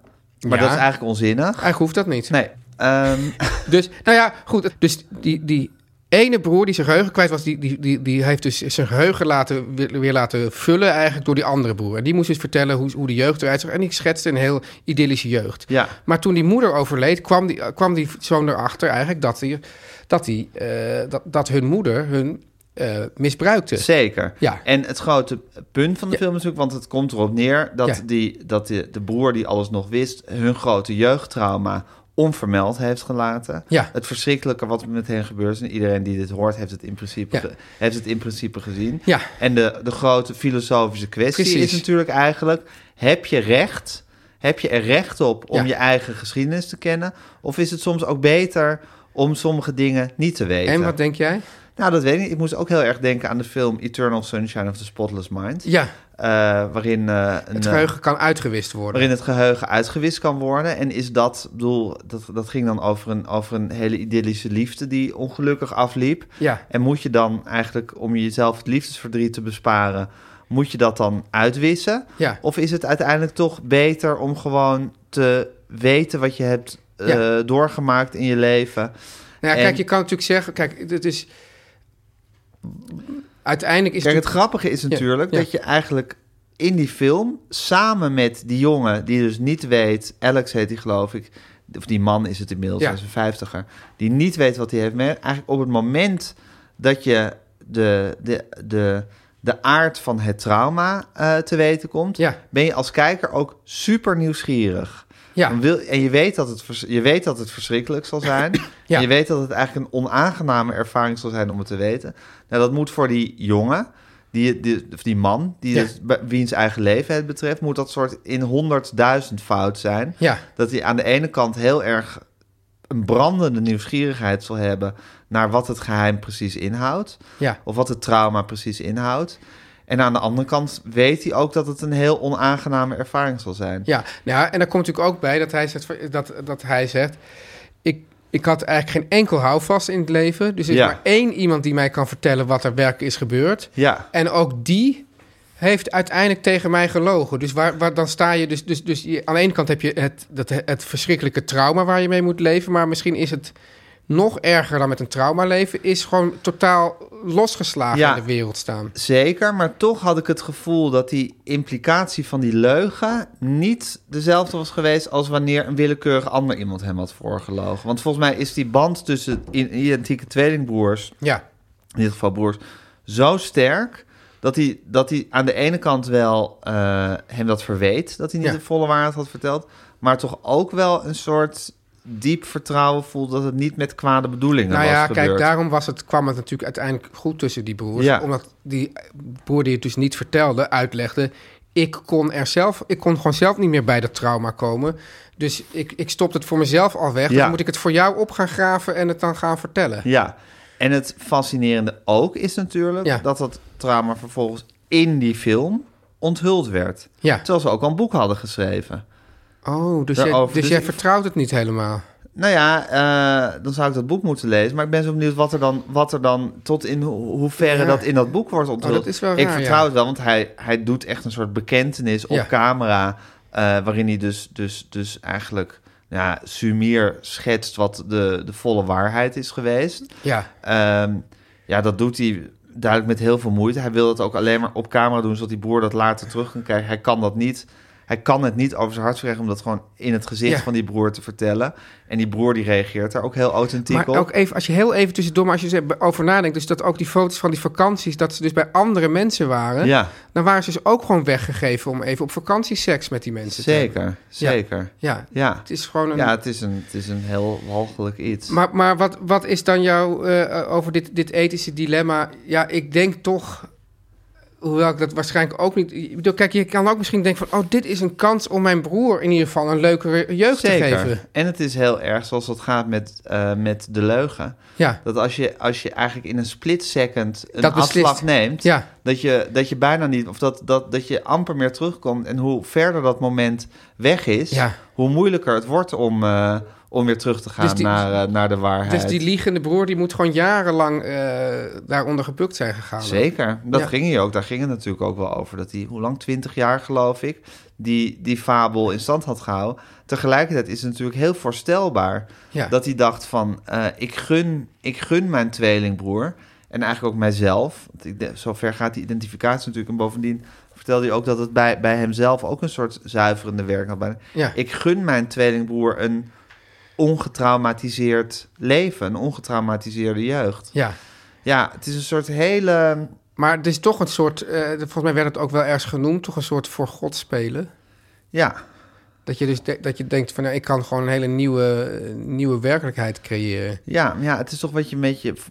[SPEAKER 2] Maar
[SPEAKER 3] Ja.
[SPEAKER 2] dat is eigenlijk onzinnig.
[SPEAKER 3] Eigenlijk hoeft dat niet.
[SPEAKER 2] Nee. ehm,
[SPEAKER 3] Dus, nou ja, goed. Dus die, die ene broer die zijn geheugen kwijt was, die, die, die, die heeft dus zijn geheugen laten, weer, weer laten vullen eigenlijk door die andere broer. En die moest dus vertellen hoe, hoe de jeugd eruit zag. En die schetste een heel idyllische jeugd.
[SPEAKER 2] ja.
[SPEAKER 3] Maar toen die moeder overleed, kwam die, kwam die zoon erachter eigenlijk dat, die, dat, die, eh, dat, dat hun moeder hun eh, misbruikte.
[SPEAKER 2] Zeker.
[SPEAKER 3] Ja.
[SPEAKER 2] En het grote punt van de
[SPEAKER 3] Ja.
[SPEAKER 2] film is ook, want het komt erop neer dat,
[SPEAKER 3] Ja.
[SPEAKER 2] die, dat de, de broer die alles nog wist, hun grote jeugdtrauma onvermeld heeft gelaten.
[SPEAKER 3] Ja.
[SPEAKER 2] Het verschrikkelijke wat er met hen gebeurt. En iedereen die dit hoort, heeft het in principe,
[SPEAKER 3] Ja.
[SPEAKER 2] ge- heeft het in principe gezien.
[SPEAKER 3] Ja.
[SPEAKER 2] En de, de grote filosofische kwestie
[SPEAKER 3] Precies.
[SPEAKER 2] is natuurlijk eigenlijk: heb je recht? Heb je er recht op om
[SPEAKER 3] Ja.
[SPEAKER 2] je eigen geschiedenis te kennen? Of is het soms ook beter om sommige dingen niet te weten?
[SPEAKER 3] En wat denk jij?
[SPEAKER 2] Nou, dat weet ik niet. Ik moest ook heel erg denken aan de film Eternal Sunshine of the Spotless Mind.
[SPEAKER 3] Ja,
[SPEAKER 2] eh, waarin, eh, een,
[SPEAKER 3] het
[SPEAKER 2] eh,
[SPEAKER 3] geheugen kan uitgewist worden.
[SPEAKER 2] waarin het geheugen uitgewist kan worden. En is dat, ik bedoel, dat, dat ging dan over een, over een hele idyllische liefde die ongelukkig afliep.
[SPEAKER 3] Ja.
[SPEAKER 2] En moet je dan eigenlijk, om jezelf het liefdesverdriet te besparen, moet je dat dan uitwissen?
[SPEAKER 3] Ja.
[SPEAKER 2] Of is het uiteindelijk toch beter om gewoon te weten wat je hebt eh,
[SPEAKER 3] Ja.
[SPEAKER 2] doorgemaakt in je leven?
[SPEAKER 3] Nou ja,
[SPEAKER 2] En-
[SPEAKER 3] kijk, je kan natuurlijk zeggen, kijk, het is. Uiteindelijk is
[SPEAKER 2] Kijk, het
[SPEAKER 3] het.
[SPEAKER 2] grappige is natuurlijk
[SPEAKER 3] ja.
[SPEAKER 2] dat je eigenlijk in die film, samen met die jongen die dus niet weet, Alex heet die geloof ik, of die man is het inmiddels,
[SPEAKER 3] Ja.
[SPEAKER 2] hij is een 50er, die niet weet wat hij heeft mee. Eigenlijk op het moment dat je de, de, de, de aard van het trauma eh, te weten komt,
[SPEAKER 3] Ja.
[SPEAKER 2] ben je als kijker ook super nieuwsgierig.
[SPEAKER 3] Ja.
[SPEAKER 2] Dan wil, en je weet, dat het, vers- je weet dat het verschrikkelijk zal
[SPEAKER 3] [CLEARS THROAT]
[SPEAKER 2] zijn.
[SPEAKER 3] Ja.
[SPEAKER 2] En je weet dat het eigenlijk een onaangename ervaring zal zijn om het te weten. Nou, dat moet voor die jongen, die, die, of die man, die
[SPEAKER 3] Ja.
[SPEAKER 2] dus bij- wiens eigen leven het betreft, moet dat soort in honderdduizend fout zijn.
[SPEAKER 3] Ja.
[SPEAKER 2] Dat hij aan de ene kant heel erg een brandende nieuwsgierigheid zal hebben naar wat het geheim precies inhoudt.
[SPEAKER 3] Ja.
[SPEAKER 2] Of wat het trauma precies inhoudt. En aan de andere kant weet hij ook dat het een heel onaangename ervaring zal zijn.
[SPEAKER 3] Ja, nou, ja, en daar komt natuurlijk ook bij dat hij zegt... Dat, dat hij zegt ik, ik had eigenlijk geen enkel houvast in het leven. Dus er is
[SPEAKER 2] Ja.
[SPEAKER 3] maar één iemand die mij kan vertellen wat er werkelijk is gebeurd.
[SPEAKER 2] Ja.
[SPEAKER 3] En ook die heeft uiteindelijk tegen mij gelogen. Dus waar, waar, dan sta je dus... dus, dus je, aan de ene kant heb je het, dat, het verschrikkelijke trauma waar je mee moet leven. Maar misschien is het nog erger dan met een trauma leven... is gewoon totaal losgeslagen
[SPEAKER 2] Ja.
[SPEAKER 3] in de wereld staan.
[SPEAKER 2] Zeker, maar toch had ik het gevoel dat die implicatie van die leugen niet dezelfde was geweest als wanneer een willekeurig ander iemand hem had voorgelogen. Want volgens mij is die band tussen i- identieke tweelingbroers,
[SPEAKER 3] Ja,
[SPEAKER 2] in dit geval broers, zo sterk dat hij, dat hij aan de ene kant wel eh, hem dat verweet, dat hij niet
[SPEAKER 3] Ja.
[SPEAKER 2] de volle waarheid had verteld, maar toch ook wel een soort diep vertrouwen voelde dat het niet met kwade bedoelingen
[SPEAKER 3] Nou
[SPEAKER 2] was
[SPEAKER 3] ja,
[SPEAKER 2] gebeurd.
[SPEAKER 3] kijk, daarom was het, kwam het natuurlijk uiteindelijk goed tussen die broers.
[SPEAKER 2] Ja.
[SPEAKER 3] Omdat die broer die het dus niet vertelde, uitlegde... ik kon er zelf, ik kon gewoon zelf niet meer bij dat trauma komen. Dus ik, ik stopte het voor mezelf al weg.
[SPEAKER 2] Ja.
[SPEAKER 3] Dan moet ik het voor jou op gaan graven en het dan gaan vertellen.
[SPEAKER 2] Ja, en het fascinerende ook is natuurlijk
[SPEAKER 3] Ja.
[SPEAKER 2] dat dat trauma vervolgens in die film onthuld werd.
[SPEAKER 3] Ja.
[SPEAKER 2] Terwijl ze ook al een boek hadden geschreven.
[SPEAKER 3] Oh, dus, jij,
[SPEAKER 2] Daarover-
[SPEAKER 3] dus
[SPEAKER 2] dus
[SPEAKER 3] jij
[SPEAKER 2] ik-
[SPEAKER 3] vertrouwt het niet helemaal.
[SPEAKER 2] Nou ja, eh, dan zou ik dat boek moeten lezen. Maar ik ben zo benieuwd wat er dan, wat er dan tot in ho- hoeverre
[SPEAKER 3] Ja. Oh,
[SPEAKER 2] dat in dat boek wordt onthuld.
[SPEAKER 3] dat is wel
[SPEAKER 2] ik
[SPEAKER 3] raar,
[SPEAKER 2] vertrouw
[SPEAKER 3] ja.
[SPEAKER 2] het wel, want hij, hij doet echt een soort bekentenis op
[SPEAKER 3] Ja.
[SPEAKER 2] camera. eh, waarin hij dus, dus, dus eigenlijk ja, sumier schetst wat de, de volle waarheid is geweest.
[SPEAKER 3] Ja,
[SPEAKER 2] Ehm, ja, dat doet hij duidelijk met heel veel moeite. Hij wil dat ook alleen maar op camera doen, zodat die broer dat later terug kan krijgen. Hij kan dat niet. Hij kan het niet over zijn hart verkrijgen om dat gewoon in het gezicht
[SPEAKER 3] Ja.
[SPEAKER 2] van die broer te vertellen. En die broer die reageert daar ook heel authentiek
[SPEAKER 3] maar
[SPEAKER 2] op.
[SPEAKER 3] ook even, als je heel even tussendoor... maar als je erover nadenkt, dus dat ook die foto's van die vakanties... dat ze dus bij andere mensen waren...
[SPEAKER 2] ja,
[SPEAKER 3] dan waren ze dus ook gewoon weggegeven... om even op vakantieseks met die mensen te hebben.
[SPEAKER 2] zeker.
[SPEAKER 3] eh, Ja.
[SPEAKER 2] Zeker.
[SPEAKER 3] Ja,
[SPEAKER 2] Ja,
[SPEAKER 3] het is gewoon een...
[SPEAKER 2] ja het, is een, het is een heel walgelijk iets.
[SPEAKER 3] Maar, maar wat, wat is dan jouw eh, over dit, dit ethische dilemma? Ja, ik denk toch, hoewel ik dat waarschijnlijk ook niet. Ik bedoel, kijk, je kan ook misschien denken van, oh, dit is een kans om mijn broer in ieder geval een leukere jeugd te geven.
[SPEAKER 2] En het is heel erg zoals dat gaat met, eh, met de leugen.
[SPEAKER 3] Ja.
[SPEAKER 2] Dat als je, als je eigenlijk in een split second een
[SPEAKER 3] Dat beslist.
[SPEAKER 2] afslag neemt,
[SPEAKER 3] Ja.
[SPEAKER 2] dat, je, dat je bijna niet, of dat, dat, dat je amper meer terugkomt. En hoe verder dat moment weg is,
[SPEAKER 3] Ja.
[SPEAKER 2] hoe moeilijker het wordt om, eh, om weer terug te gaan
[SPEAKER 3] Dus die-
[SPEAKER 2] naar, eh, naar de waarheid.
[SPEAKER 3] Dus die liegende broer die moet gewoon jarenlang eh, daaronder gebukt zijn gegaan.
[SPEAKER 2] Zeker, dat
[SPEAKER 3] Ja.
[SPEAKER 2] ging hier ook. Daar ging het natuurlijk ook wel over. Dat hij, hoe lang, twintig jaar geloof ik, die, die fabel in stand had gehouden. Tegelijkertijd is het natuurlijk heel voorstelbaar
[SPEAKER 3] Ja.
[SPEAKER 2] dat hij dacht van... eh, ik, gun, ik gun mijn tweelingbroer en eigenlijk ook mijzelf. Want ik, denk, zover gaat die identificatie natuurlijk. En bovendien vertelde hij ook dat het bij, bij hemzelf ook een soort zuiverende werking had. Bijna.
[SPEAKER 3] Ja.
[SPEAKER 2] Ik gun mijn tweelingbroer een ongetraumatiseerd leven, een ongetraumatiseerde jeugd.
[SPEAKER 3] Ja.
[SPEAKER 2] Ja, het is een soort hele...
[SPEAKER 3] Maar het is toch een soort, eh, volgens mij werd het ook wel ergens genoemd, toch een soort voor God spelen.
[SPEAKER 2] Ja,
[SPEAKER 3] Dat je dus de- dat je denkt van, nou, ik kan gewoon een hele nieuwe, eh, nieuwe werkelijkheid creëren.
[SPEAKER 2] ja, maar ja, het is toch wat je met je v-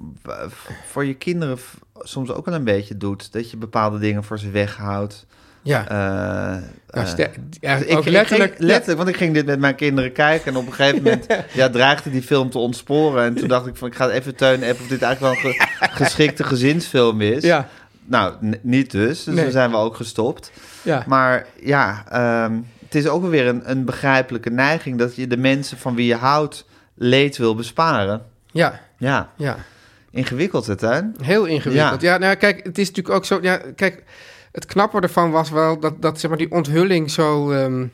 [SPEAKER 2] v- voor je kinderen v- soms ook wel een beetje doet. Dat je bepaalde dingen voor ze weghoudt.
[SPEAKER 3] Ja.
[SPEAKER 2] Eh,
[SPEAKER 3] Nou,
[SPEAKER 2] eh,
[SPEAKER 3] ster- ja,
[SPEAKER 2] ik,
[SPEAKER 3] ook
[SPEAKER 2] ik
[SPEAKER 3] letterlijk,
[SPEAKER 2] ging, letterlijk, want ik ging dit met mijn kinderen kijken en op een gegeven
[SPEAKER 3] [LAUGHS]
[SPEAKER 2] moment ja, dreigde die film te ontsporen. En toen dacht ik van, ik ga even Teun appen of dit eigenlijk wel een
[SPEAKER 3] [LAUGHS]
[SPEAKER 2] ge- geschikte gezinsfilm is.
[SPEAKER 3] Ja,
[SPEAKER 2] Nou, n- niet dus, dus
[SPEAKER 3] Nee.
[SPEAKER 2] dan zijn we ook gestopt.
[SPEAKER 3] ja.
[SPEAKER 2] Maar ja, ehm, het is ook wel weer een, een begrijpelijke neiging dat je de mensen van wie je houdt leed wil besparen.
[SPEAKER 3] ja,
[SPEAKER 2] Ja,
[SPEAKER 3] ja.
[SPEAKER 2] ingewikkeld het, hè?
[SPEAKER 3] Heel ingewikkeld.
[SPEAKER 2] Ja.
[SPEAKER 3] Ja. nou kijk, het is natuurlijk ook zo... Ja, kijk, het knappe ervan was wel dat, dat zeg maar, die onthulling zo... ehm,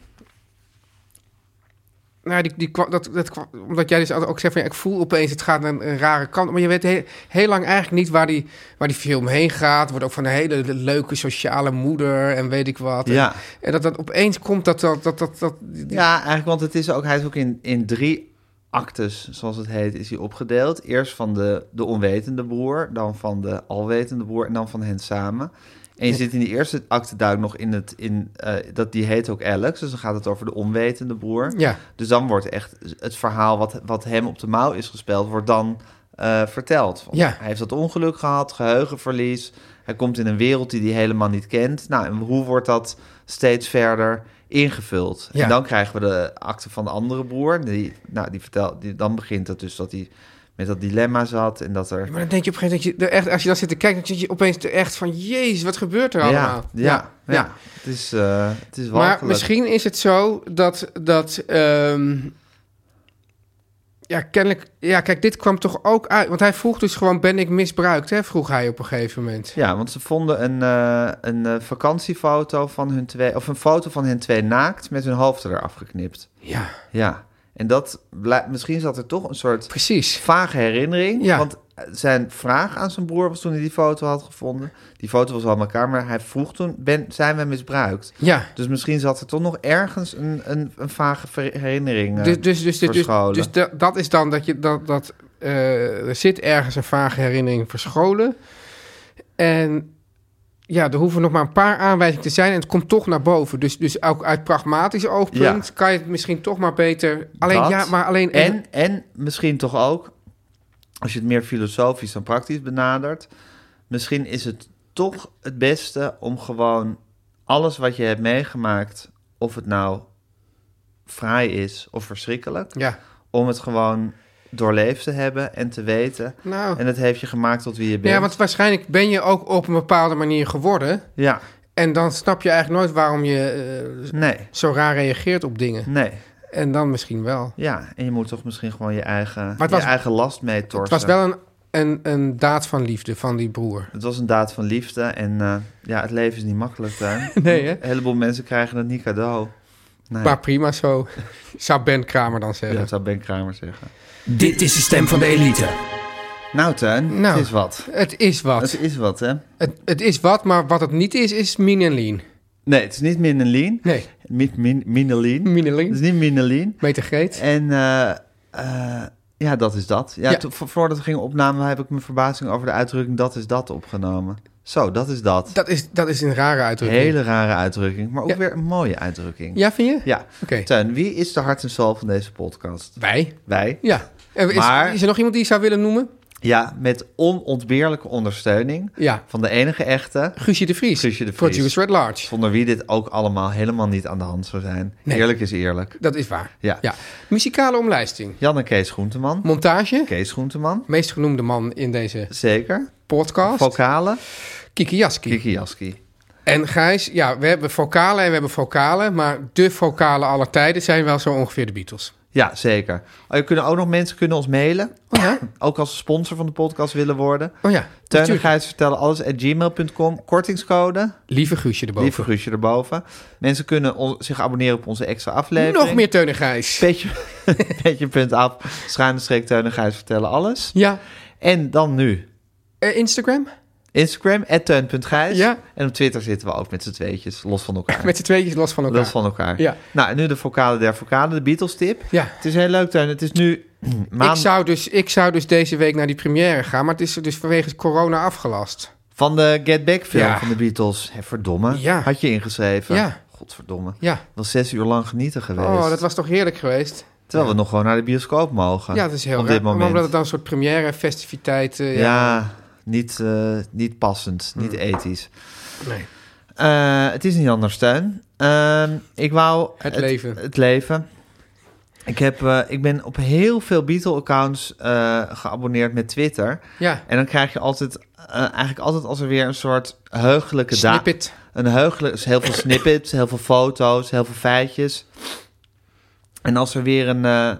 [SPEAKER 3] Nou, die, die, kwa- dat, dat, kwa- omdat jij dus altijd ook zegt van ja, ik voel opeens het gaat naar een, een rare kant. Maar je weet heel, heel lang eigenlijk niet waar die, waar die film heen gaat. Er Wordt ook van een hele leuke sociale moeder en weet ik wat.
[SPEAKER 2] Ja.
[SPEAKER 3] En, en dat dat opeens komt dat dat. dat, dat, dat die- die-
[SPEAKER 2] Ja, eigenlijk, want het is ook, hij is ook in, in drie actes, zoals het heet, is hij opgedeeld. Eerst van de, de onwetende broer, dan van de alwetende broer en dan van hen samen. En je zit in die eerste acte duik nog in het, in, eh, dat die heet ook Alex, dus dan gaat het over de onwetende broer.
[SPEAKER 3] Ja.
[SPEAKER 2] Dus dan wordt echt het verhaal wat, wat hem op de mouw is gespeld, wordt dan eh, verteld. Want
[SPEAKER 3] Ja.
[SPEAKER 2] Hij heeft dat ongeluk gehad, geheugenverlies. Hij komt in een wereld die hij helemaal niet kent. Nou, en hoe wordt dat steeds verder ingevuld?
[SPEAKER 3] Ja.
[SPEAKER 2] En dan krijgen we de akte van de andere broer. Die, nou, die vertelt, die, dan begint het dus dat hij met dat dilemma zat en dat er...
[SPEAKER 3] Maar dan denk je op een gegeven moment, dat je, er echt, als je dan zit te kijken, dan zit je opeens er echt van, jezus, wat gebeurt er
[SPEAKER 2] Ja,
[SPEAKER 3] allemaal?
[SPEAKER 2] ja, ja, Het is, eh het is
[SPEAKER 3] Maar
[SPEAKER 2] walgelijk.
[SPEAKER 3] misschien is het zo dat. dat ehm, ja, kennelijk. Ja, kijk, dit kwam toch ook uit. Want hij vroeg dus gewoon: ben ik misbruikt? Hè? Vroeg hij op een gegeven moment.
[SPEAKER 2] Ja, want ze vonden een, eh, een eh, vakantiefoto van hun twee, of een foto van hen twee naakt met hun hoofden eraf geknipt.
[SPEAKER 3] Ja,
[SPEAKER 2] Ja, en dat blijkt, misschien zat er toch een soort
[SPEAKER 3] precies.
[SPEAKER 2] vage herinnering.
[SPEAKER 3] Ja.
[SPEAKER 2] Want zijn vraag aan zijn broer was toen hij die foto had gevonden. Die foto was al aan elkaar, maar hij vroeg toen: ben, zijn we misbruikt?
[SPEAKER 3] Ja.
[SPEAKER 2] Dus misschien zat er toch nog ergens een, een, een vage ver- herinnering. eh,
[SPEAKER 3] Dus, dus, dus, dus, dus,
[SPEAKER 2] verscholen.
[SPEAKER 3] dus dat, dat is dan dat je. Dat, dat, eh, er zit ergens een vage herinnering verscholen. En. Ja, er hoeven nog maar een paar aanwijzingen te zijn en het komt toch naar boven. Dus, dus ook uit pragmatisch oogpunt
[SPEAKER 2] Ja.
[SPEAKER 3] kan je het misschien toch maar beter... Alleen
[SPEAKER 2] Dat.
[SPEAKER 3] ja, maar alleen...
[SPEAKER 2] En, en misschien toch ook, als je het meer filosofisch dan praktisch benadert, misschien is het toch het beste om gewoon alles wat je hebt meegemaakt, of het nou fraai is of verschrikkelijk,
[SPEAKER 3] Ja.
[SPEAKER 2] om het gewoon doorleefd te hebben en te weten.
[SPEAKER 3] Nou.
[SPEAKER 2] En dat heeft je gemaakt tot wie je bent.
[SPEAKER 3] Ja, want waarschijnlijk ben je ook op een bepaalde manier geworden.
[SPEAKER 2] Ja, dus
[SPEAKER 3] En dan snap je eigenlijk nooit waarom je eh,
[SPEAKER 2] nee,
[SPEAKER 3] zo raar reageert op dingen.
[SPEAKER 2] nee.
[SPEAKER 3] En dan misschien wel.
[SPEAKER 2] Ja, en je moet toch misschien gewoon je eigen,
[SPEAKER 3] het was-
[SPEAKER 2] je eigen last mee
[SPEAKER 3] Het
[SPEAKER 2] torsen.
[SPEAKER 3] was wel een, een, een daad van liefde van die broer.
[SPEAKER 2] Het was een daad van liefde en eh, ja, het leven is niet makkelijk daar.
[SPEAKER 3] [LAUGHS] Nee, hè?
[SPEAKER 2] Een heleboel mensen krijgen het niet cadeau. Nee,
[SPEAKER 3] Maar prima zo, [LAUGHS] zou Ben Kramer dan
[SPEAKER 2] ja,
[SPEAKER 3] zeggen.
[SPEAKER 2] dat zou Ben Kramer zeggen.
[SPEAKER 4] Dit is de stem van de elite.
[SPEAKER 2] Nou Tuin,
[SPEAKER 3] Nou.
[SPEAKER 2] het is wat.
[SPEAKER 3] Het is wat.
[SPEAKER 2] Het is wat, hè?
[SPEAKER 3] Het, het is wat, maar wat het niet is, is Min en Lean.
[SPEAKER 2] Nee, het is niet Minnelien.
[SPEAKER 3] Nee,
[SPEAKER 2] Mi- min, Minnelien.
[SPEAKER 3] [LAUGHS] Min en
[SPEAKER 2] Het is
[SPEAKER 3] Lean.
[SPEAKER 2] niet Minnelien.
[SPEAKER 3] Meter Greet.
[SPEAKER 2] En eh, eh, ja, dat is dat. Ja,
[SPEAKER 3] Ja.
[SPEAKER 2] toen- vo- voordat we gingen opnamen heb ik mijn verbazing over de uitdrukking dat is dat opgenomen. Zo, dat is dat.
[SPEAKER 3] Dat is, dat is een rare uitdrukking.
[SPEAKER 2] Hele rare uitdrukking, maar ook
[SPEAKER 3] Ja.
[SPEAKER 2] weer een mooie uitdrukking.
[SPEAKER 3] Ja, vind je?
[SPEAKER 2] Ja.
[SPEAKER 3] Oké.
[SPEAKER 2] Tuin, wie is de hart en ziel van deze podcast?
[SPEAKER 3] Wij?
[SPEAKER 2] Wij.
[SPEAKER 3] Ja. Er Is,
[SPEAKER 2] Maar-
[SPEAKER 3] is er nog iemand die je zou willen noemen?
[SPEAKER 2] Ja, met onontbeerlijke ondersteuning
[SPEAKER 3] Ja.
[SPEAKER 2] van de enige echte,
[SPEAKER 3] Guusje de Vries.
[SPEAKER 2] Guusje de Vries.
[SPEAKER 3] Producer at large.
[SPEAKER 2] zonder wie dit ook allemaal helemaal niet aan de hand zou zijn.
[SPEAKER 3] Nee.
[SPEAKER 2] Eerlijk is eerlijk.
[SPEAKER 3] Dat is waar.
[SPEAKER 2] Ja.
[SPEAKER 3] Muzikale omlijsting.
[SPEAKER 2] Jan en Kees Groenteman.
[SPEAKER 3] Montage.
[SPEAKER 2] Kees Groenteman,
[SPEAKER 3] Meest genoemde man in deze
[SPEAKER 2] zeker.
[SPEAKER 3] podcast.
[SPEAKER 2] Vocale,
[SPEAKER 3] Kiki Jaski.
[SPEAKER 2] Kiki Jaski.
[SPEAKER 3] En Gijs, ja, we hebben vocalen en we hebben vocalen. Maar de vocalen aller tijden zijn wel zo ongeveer de Beatles.
[SPEAKER 2] Ja, zeker. Oh, je kunnen ook nog mensen kunnen ons mailen.
[SPEAKER 3] Oh ja?
[SPEAKER 2] Ook als ze sponsor van de podcast willen worden.
[SPEAKER 3] Oh ja. natuurlijk.
[SPEAKER 2] Teunigheid vertellen alles at gmail.com. Kortingscode.
[SPEAKER 3] Lieve Guusje erboven.
[SPEAKER 2] Lieve Guusje erboven. Mensen kunnen on- zich abonneren op onze extra aflevering.
[SPEAKER 3] Nog meer Teun en Gijs.
[SPEAKER 2] Petje, [LAUGHS] petje punt af. Schuine streek Teun en Gijs vertellen alles.
[SPEAKER 3] Ja.
[SPEAKER 2] En dan nu.
[SPEAKER 3] Eh, Instagram?
[SPEAKER 2] Instagram, teun.gijs.
[SPEAKER 3] Ja.
[SPEAKER 2] En op Twitter zitten we ook met z'n tweetjes, los van elkaar.
[SPEAKER 3] [LAUGHS] Met z'n tweetjes los van elkaar.
[SPEAKER 2] Los van elkaar.
[SPEAKER 3] Ja.
[SPEAKER 2] Nou, en nu de vocale der vocale, de Beatles tip.
[SPEAKER 3] Ja.
[SPEAKER 2] Het is heel leuk, Teun. Het is nu [CLEARS THROAT] maand
[SPEAKER 3] Ik, zou dus, ik zou dus deze week naar die première gaan. Maar het is er dus vanwege corona afgelast.
[SPEAKER 2] van de Get Back film
[SPEAKER 3] Ja.
[SPEAKER 2] van de Beatles. Hé, verdomme,
[SPEAKER 3] Ja.
[SPEAKER 2] had je ingeschreven.
[SPEAKER 3] Ja.
[SPEAKER 2] Godverdomme.
[SPEAKER 3] Ja.
[SPEAKER 2] Wel zes uur lang genieten geweest.
[SPEAKER 3] Oh, dat was toch heerlijk geweest.
[SPEAKER 2] Terwijl we nog gewoon naar de bioscoop mogen.
[SPEAKER 3] Ja, dat is heel
[SPEAKER 2] Ah, Op
[SPEAKER 3] raar.
[SPEAKER 2] dit moment.
[SPEAKER 3] Omdat het dan een soort première festiviteit... eh,
[SPEAKER 2] ja. niet, eh, niet passend, niet ethisch.
[SPEAKER 3] Hmm. Nee.
[SPEAKER 2] Eh, het is niet anders, Teun. Ehm, ik wou...
[SPEAKER 3] Het leven.
[SPEAKER 2] Het leven. Ik, heb, eh, ik ben op heel veel Beatle-accounts eh, geabonneerd met Twitter.
[SPEAKER 3] Ja.
[SPEAKER 2] En dan krijg je altijd, eh, eigenlijk altijd als er weer een soort heugelijke da-
[SPEAKER 3] Snippet.
[SPEAKER 2] Een heugelijk, heel veel snippets, heel veel foto's, heel veel feitjes. En als er weer een eh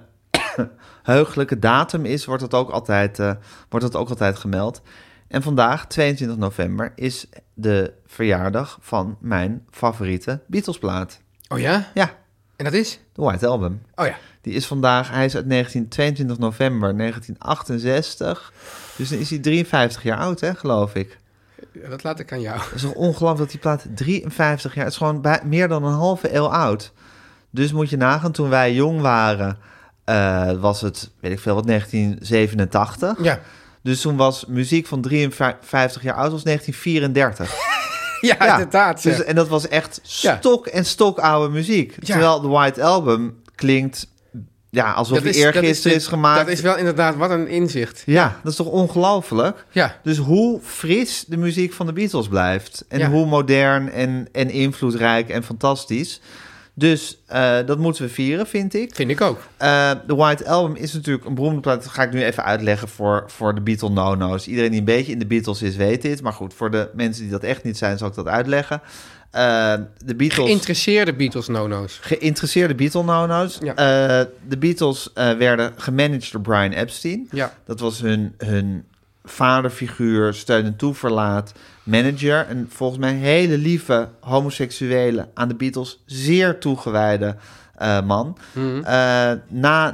[SPEAKER 2] [COUGHS] heugelijke datum is, wordt dat, ook altijd, eh, wordt dat ook altijd gemeld. En vandaag, 22 november, is de verjaardag van mijn favoriete Beatlesplaat.
[SPEAKER 3] Oh ja?
[SPEAKER 2] Ja,
[SPEAKER 3] En dat is?
[SPEAKER 2] De White Album.
[SPEAKER 3] Oh ja.
[SPEAKER 2] Die is vandaag, hij is uit 19, 22 november 1968. Dus dan is hij 53 jaar oud, hè, geloof ik.
[SPEAKER 3] Ja, Dat laat ik aan jou.
[SPEAKER 2] Het is toch ongelooflijk dat die plaat 53 jaar... Het is gewoon bij, meer dan een halve eeuw oud. Dus moet je nagaan, toen wij jong waren... eh, was het, weet ik veel wat, 1987.
[SPEAKER 3] Ja.
[SPEAKER 2] Dus toen was muziek van 53 jaar oud, was
[SPEAKER 3] [LAUGHS]
[SPEAKER 2] 1934.
[SPEAKER 3] [LAUGHS] Ja, inderdaad.
[SPEAKER 2] Dus,
[SPEAKER 3] zeg.
[SPEAKER 2] en dat was echt
[SPEAKER 3] Ja.
[SPEAKER 2] stok en stok oude muziek.
[SPEAKER 3] Ja.
[SPEAKER 2] Terwijl de White Album klinkt ja, alsof die eergisteren is, gemaakt.
[SPEAKER 3] Dat is wel inderdaad, wat een inzicht.
[SPEAKER 2] Ja, dat is toch ongelooflijk?
[SPEAKER 3] Ja.
[SPEAKER 2] Dus hoe fris de muziek van de Beatles blijft. En
[SPEAKER 3] Ja.
[SPEAKER 2] hoe modern en, en invloedrijk en fantastisch. Dus eh, dat moeten we vieren, vind ik.
[SPEAKER 3] Vind ik ook.
[SPEAKER 2] Eh, De White Album is natuurlijk een beroemde plaat. Dat ga ik nu even uitleggen voor, voor de Beatle no-no's. Iedereen die een beetje in de Beatles is, weet dit. Maar goed, voor de mensen die dat echt niet zijn, zal ik dat uitleggen. Eh, de Beatles
[SPEAKER 3] Geïnteresseerde Beatles nono's.
[SPEAKER 2] geïnteresseerde Beatle no-no's.
[SPEAKER 3] Ja.
[SPEAKER 2] Eh, de Beatles eh, werden gemanaged door Brian Epstein.
[SPEAKER 3] Ja.
[SPEAKER 2] Dat was hun, hun vaderfiguur, steun en toeverlaat, manager. En volgens mij een hele lieve homoseksuele, aan de Beatles zeer toegewijde eh, man. Eh, na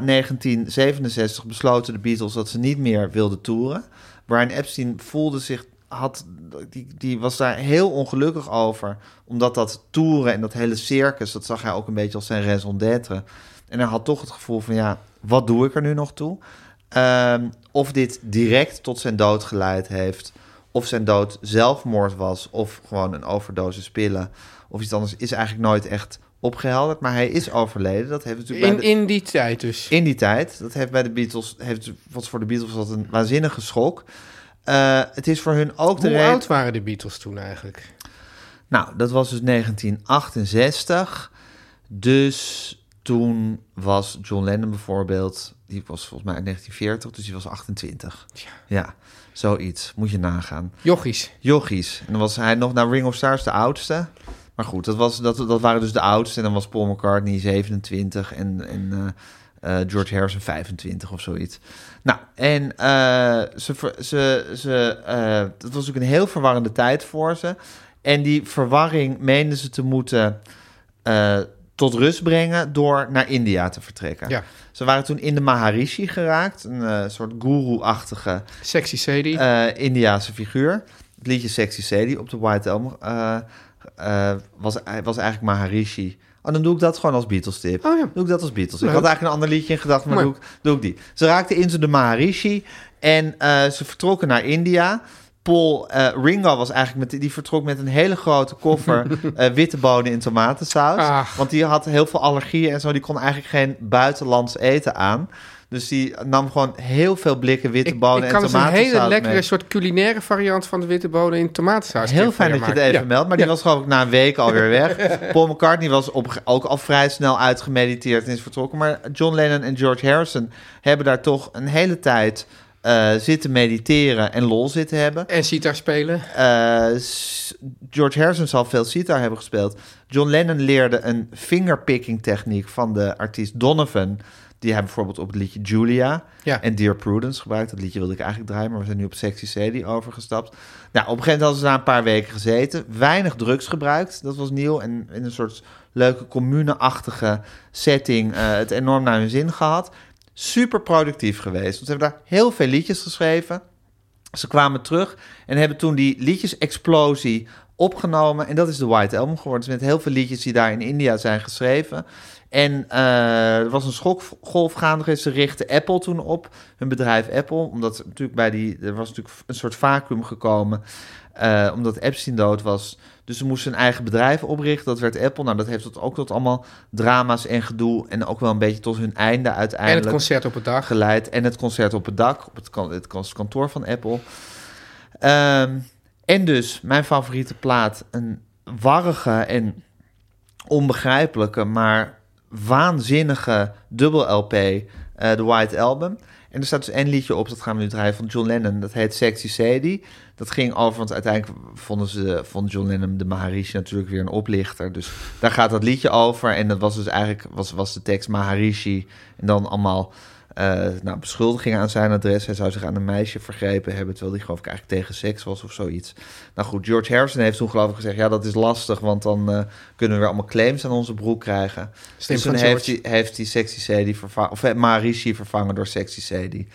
[SPEAKER 2] 1967 besloten de Beatles dat ze niet meer wilden toeren. Brian Epstein voelde zich had, die, die was daar heel ongelukkig over. Omdat dat toeren en dat hele circus, dat zag hij ook een beetje als zijn raison d'être. En hij had toch het gevoel van, ja, wat doe ik er nu nog toe? Ehm, of dit direct tot zijn dood geleid heeft, of zijn dood zelfmoord was, of gewoon een overdosis pillen, of iets anders, is eigenlijk nooit echt opgehelderd. Maar hij is overleden, dat heeft natuurlijk bij
[SPEAKER 3] In,
[SPEAKER 2] de-
[SPEAKER 3] in die tijd dus.
[SPEAKER 2] in die tijd. Dat heeft bij de Beatles, heeft, was voor de Beatles wat een waanzinnige schok. Eh, het is voor hun ook de
[SPEAKER 3] Hoe
[SPEAKER 2] reden.
[SPEAKER 3] oud waren de Beatles toen eigenlijk?
[SPEAKER 2] Nou, dat was dus 1968. Dus toen was John Lennon bijvoorbeeld, die was volgens mij uit 1940, dus die was 28. Ja, zoiets. Moet je nagaan.
[SPEAKER 3] Jochies.
[SPEAKER 2] Jochies. En dan was hij nog naar Ring of Stars de oudste. Maar goed, dat, was, dat, dat waren dus de oudste. En dan was Paul McCartney 27 en, en eh, eh, George Harrison 25 of zoiets. Nou, en eh, ze, ver- ze, ze, eh, dat was ook een heel verwarrende tijd voor ze. En die verwarring meenden ze te moeten eh, tot rust brengen door naar India te vertrekken.
[SPEAKER 3] Ja.
[SPEAKER 2] Ze waren toen in de Maharishi geraakt, een eh, soort guru-achtige
[SPEAKER 3] Sexy Sadie.
[SPEAKER 2] eh Indiaanse figuur. Het liedje Sexy Sadie op de White Elm eh, eh, was, was eigenlijk Maharishi. Oh, dan doe ik dat gewoon als Beatles tip.
[SPEAKER 3] Oh ja.
[SPEAKER 2] Doe ik dat als Beatles.
[SPEAKER 3] Leuk.
[SPEAKER 2] Ik had eigenlijk een ander liedje in gedachten, maar
[SPEAKER 3] Mooi.
[SPEAKER 2] doe ik, doe ik die. Ze raakten in ze de Maharishi en eh, ze vertrokken naar India. Paul eh, Ringo was eigenlijk met, die vertrok met een hele grote
[SPEAKER 3] [LAUGHS]
[SPEAKER 2] koffer eh, witte bonen in tomatensaus.
[SPEAKER 3] Ach.
[SPEAKER 2] Want die had heel veel allergieën en zo. Die kon eigenlijk geen buitenlands eten aan. Dus die nam gewoon heel veel blikken witte
[SPEAKER 3] ik, ik
[SPEAKER 2] bonen en
[SPEAKER 3] kan dus een
[SPEAKER 2] tomatensaus
[SPEAKER 3] hele lekkere
[SPEAKER 2] mee.
[SPEAKER 3] soort culinaire variant van de witte bonen in tomatensaus.
[SPEAKER 2] Heel fijn dat je het even meldt, maar die was geloof ik na een week
[SPEAKER 3] [LAUGHS]
[SPEAKER 2] alweer weg. Paul McCartney was op, ook al vrij snel uitgemediteerd en is vertrokken. Maar John Lennon en George Harrison hebben daar toch een hele tijd eh, zitten mediteren en lol zitten hebben.
[SPEAKER 3] En sitar spelen.
[SPEAKER 2] Eh, s- George Harrison zal veel sitar hebben gespeeld. John Lennon leerde een fingerpicking techniek van de artiest Donovan. Die hij bijvoorbeeld op het liedje Julia
[SPEAKER 3] Ja.
[SPEAKER 2] en Dear Prudence gebruikt. Dat liedje wilde ik eigenlijk draaien, maar we zijn nu op Sexy Sadie overgestapt. Nou, op een gegeven moment hadden ze daar een paar weken gezeten. Weinig drugs gebruikt, dat was nieuw. En in een soort leuke commune-achtige setting eh, het enorm naar hun zin gehad. Super productief geweest. Want ze hebben daar heel veel liedjes geschreven. Ze kwamen terug en hebben toen die liedjesexplosie opgenomen. En dat is de White Album geworden. Dus met heel veel liedjes die daar in India zijn geschreven. En eh, er was een schokgolf gaande. Ze richtten Apple toen op, hun bedrijf Apple. Omdat er natuurlijk bij die, er was natuurlijk een soort vacuüm gekomen. eh, omdat Epstein dood was. Dus ze moesten een eigen bedrijf oprichten. Dat werd Apple. Nou, dat heeft tot, ook tot allemaal drama's en gedoe. En ook wel een beetje tot hun einde
[SPEAKER 3] En
[SPEAKER 2] uiteindelijk
[SPEAKER 3] het concert op het dag.
[SPEAKER 2] geleid. En het concert op het dak, op het, kan- het kan- kantoor van Apple. Ehm, en dus, mijn favoriete plaat, een warrige en onbegrijpelijke, maar waanzinnige dubbel LP, eh, de White Album. En er staat dus één liedje op, dat gaan we nu draaien, van John Lennon. Dat heet Sexy Sadie. Dat ging over, want uiteindelijk vonden ze, vond John Lennon de Maharishi natuurlijk weer een oplichter. Dus daar gaat dat liedje over. En dat was dus eigenlijk, was, was de tekst Maharishi. En dan allemaal eh, nou, beschuldigingen aan zijn adres. Hij zou zich aan een meisje vergrepen hebben, terwijl die geloof ik eigenlijk tegen seks was of zoiets. Nou goed, George Harrison heeft toen geloof ik gezegd, ja dat is lastig, want dan eh, kunnen we weer allemaal claims aan onze broek krijgen.
[SPEAKER 3] Slim
[SPEAKER 2] dus toen
[SPEAKER 3] van
[SPEAKER 2] heeft hij,
[SPEAKER 3] George.
[SPEAKER 2] heeft hij Sexy Sadie vervangen, of eh, Maharishi vervangen door Sexy Sadie.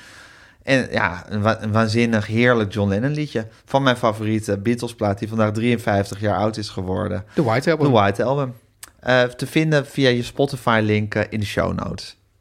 [SPEAKER 2] En ja, een, wa- een waanzinnig heerlijk John Lennon liedje van mijn favoriete Beatles plaat, die vandaag 53 jaar oud is geworden.
[SPEAKER 3] De White Album.
[SPEAKER 2] The White Album. Eh, te vinden via je Spotify link eh, in de show notes.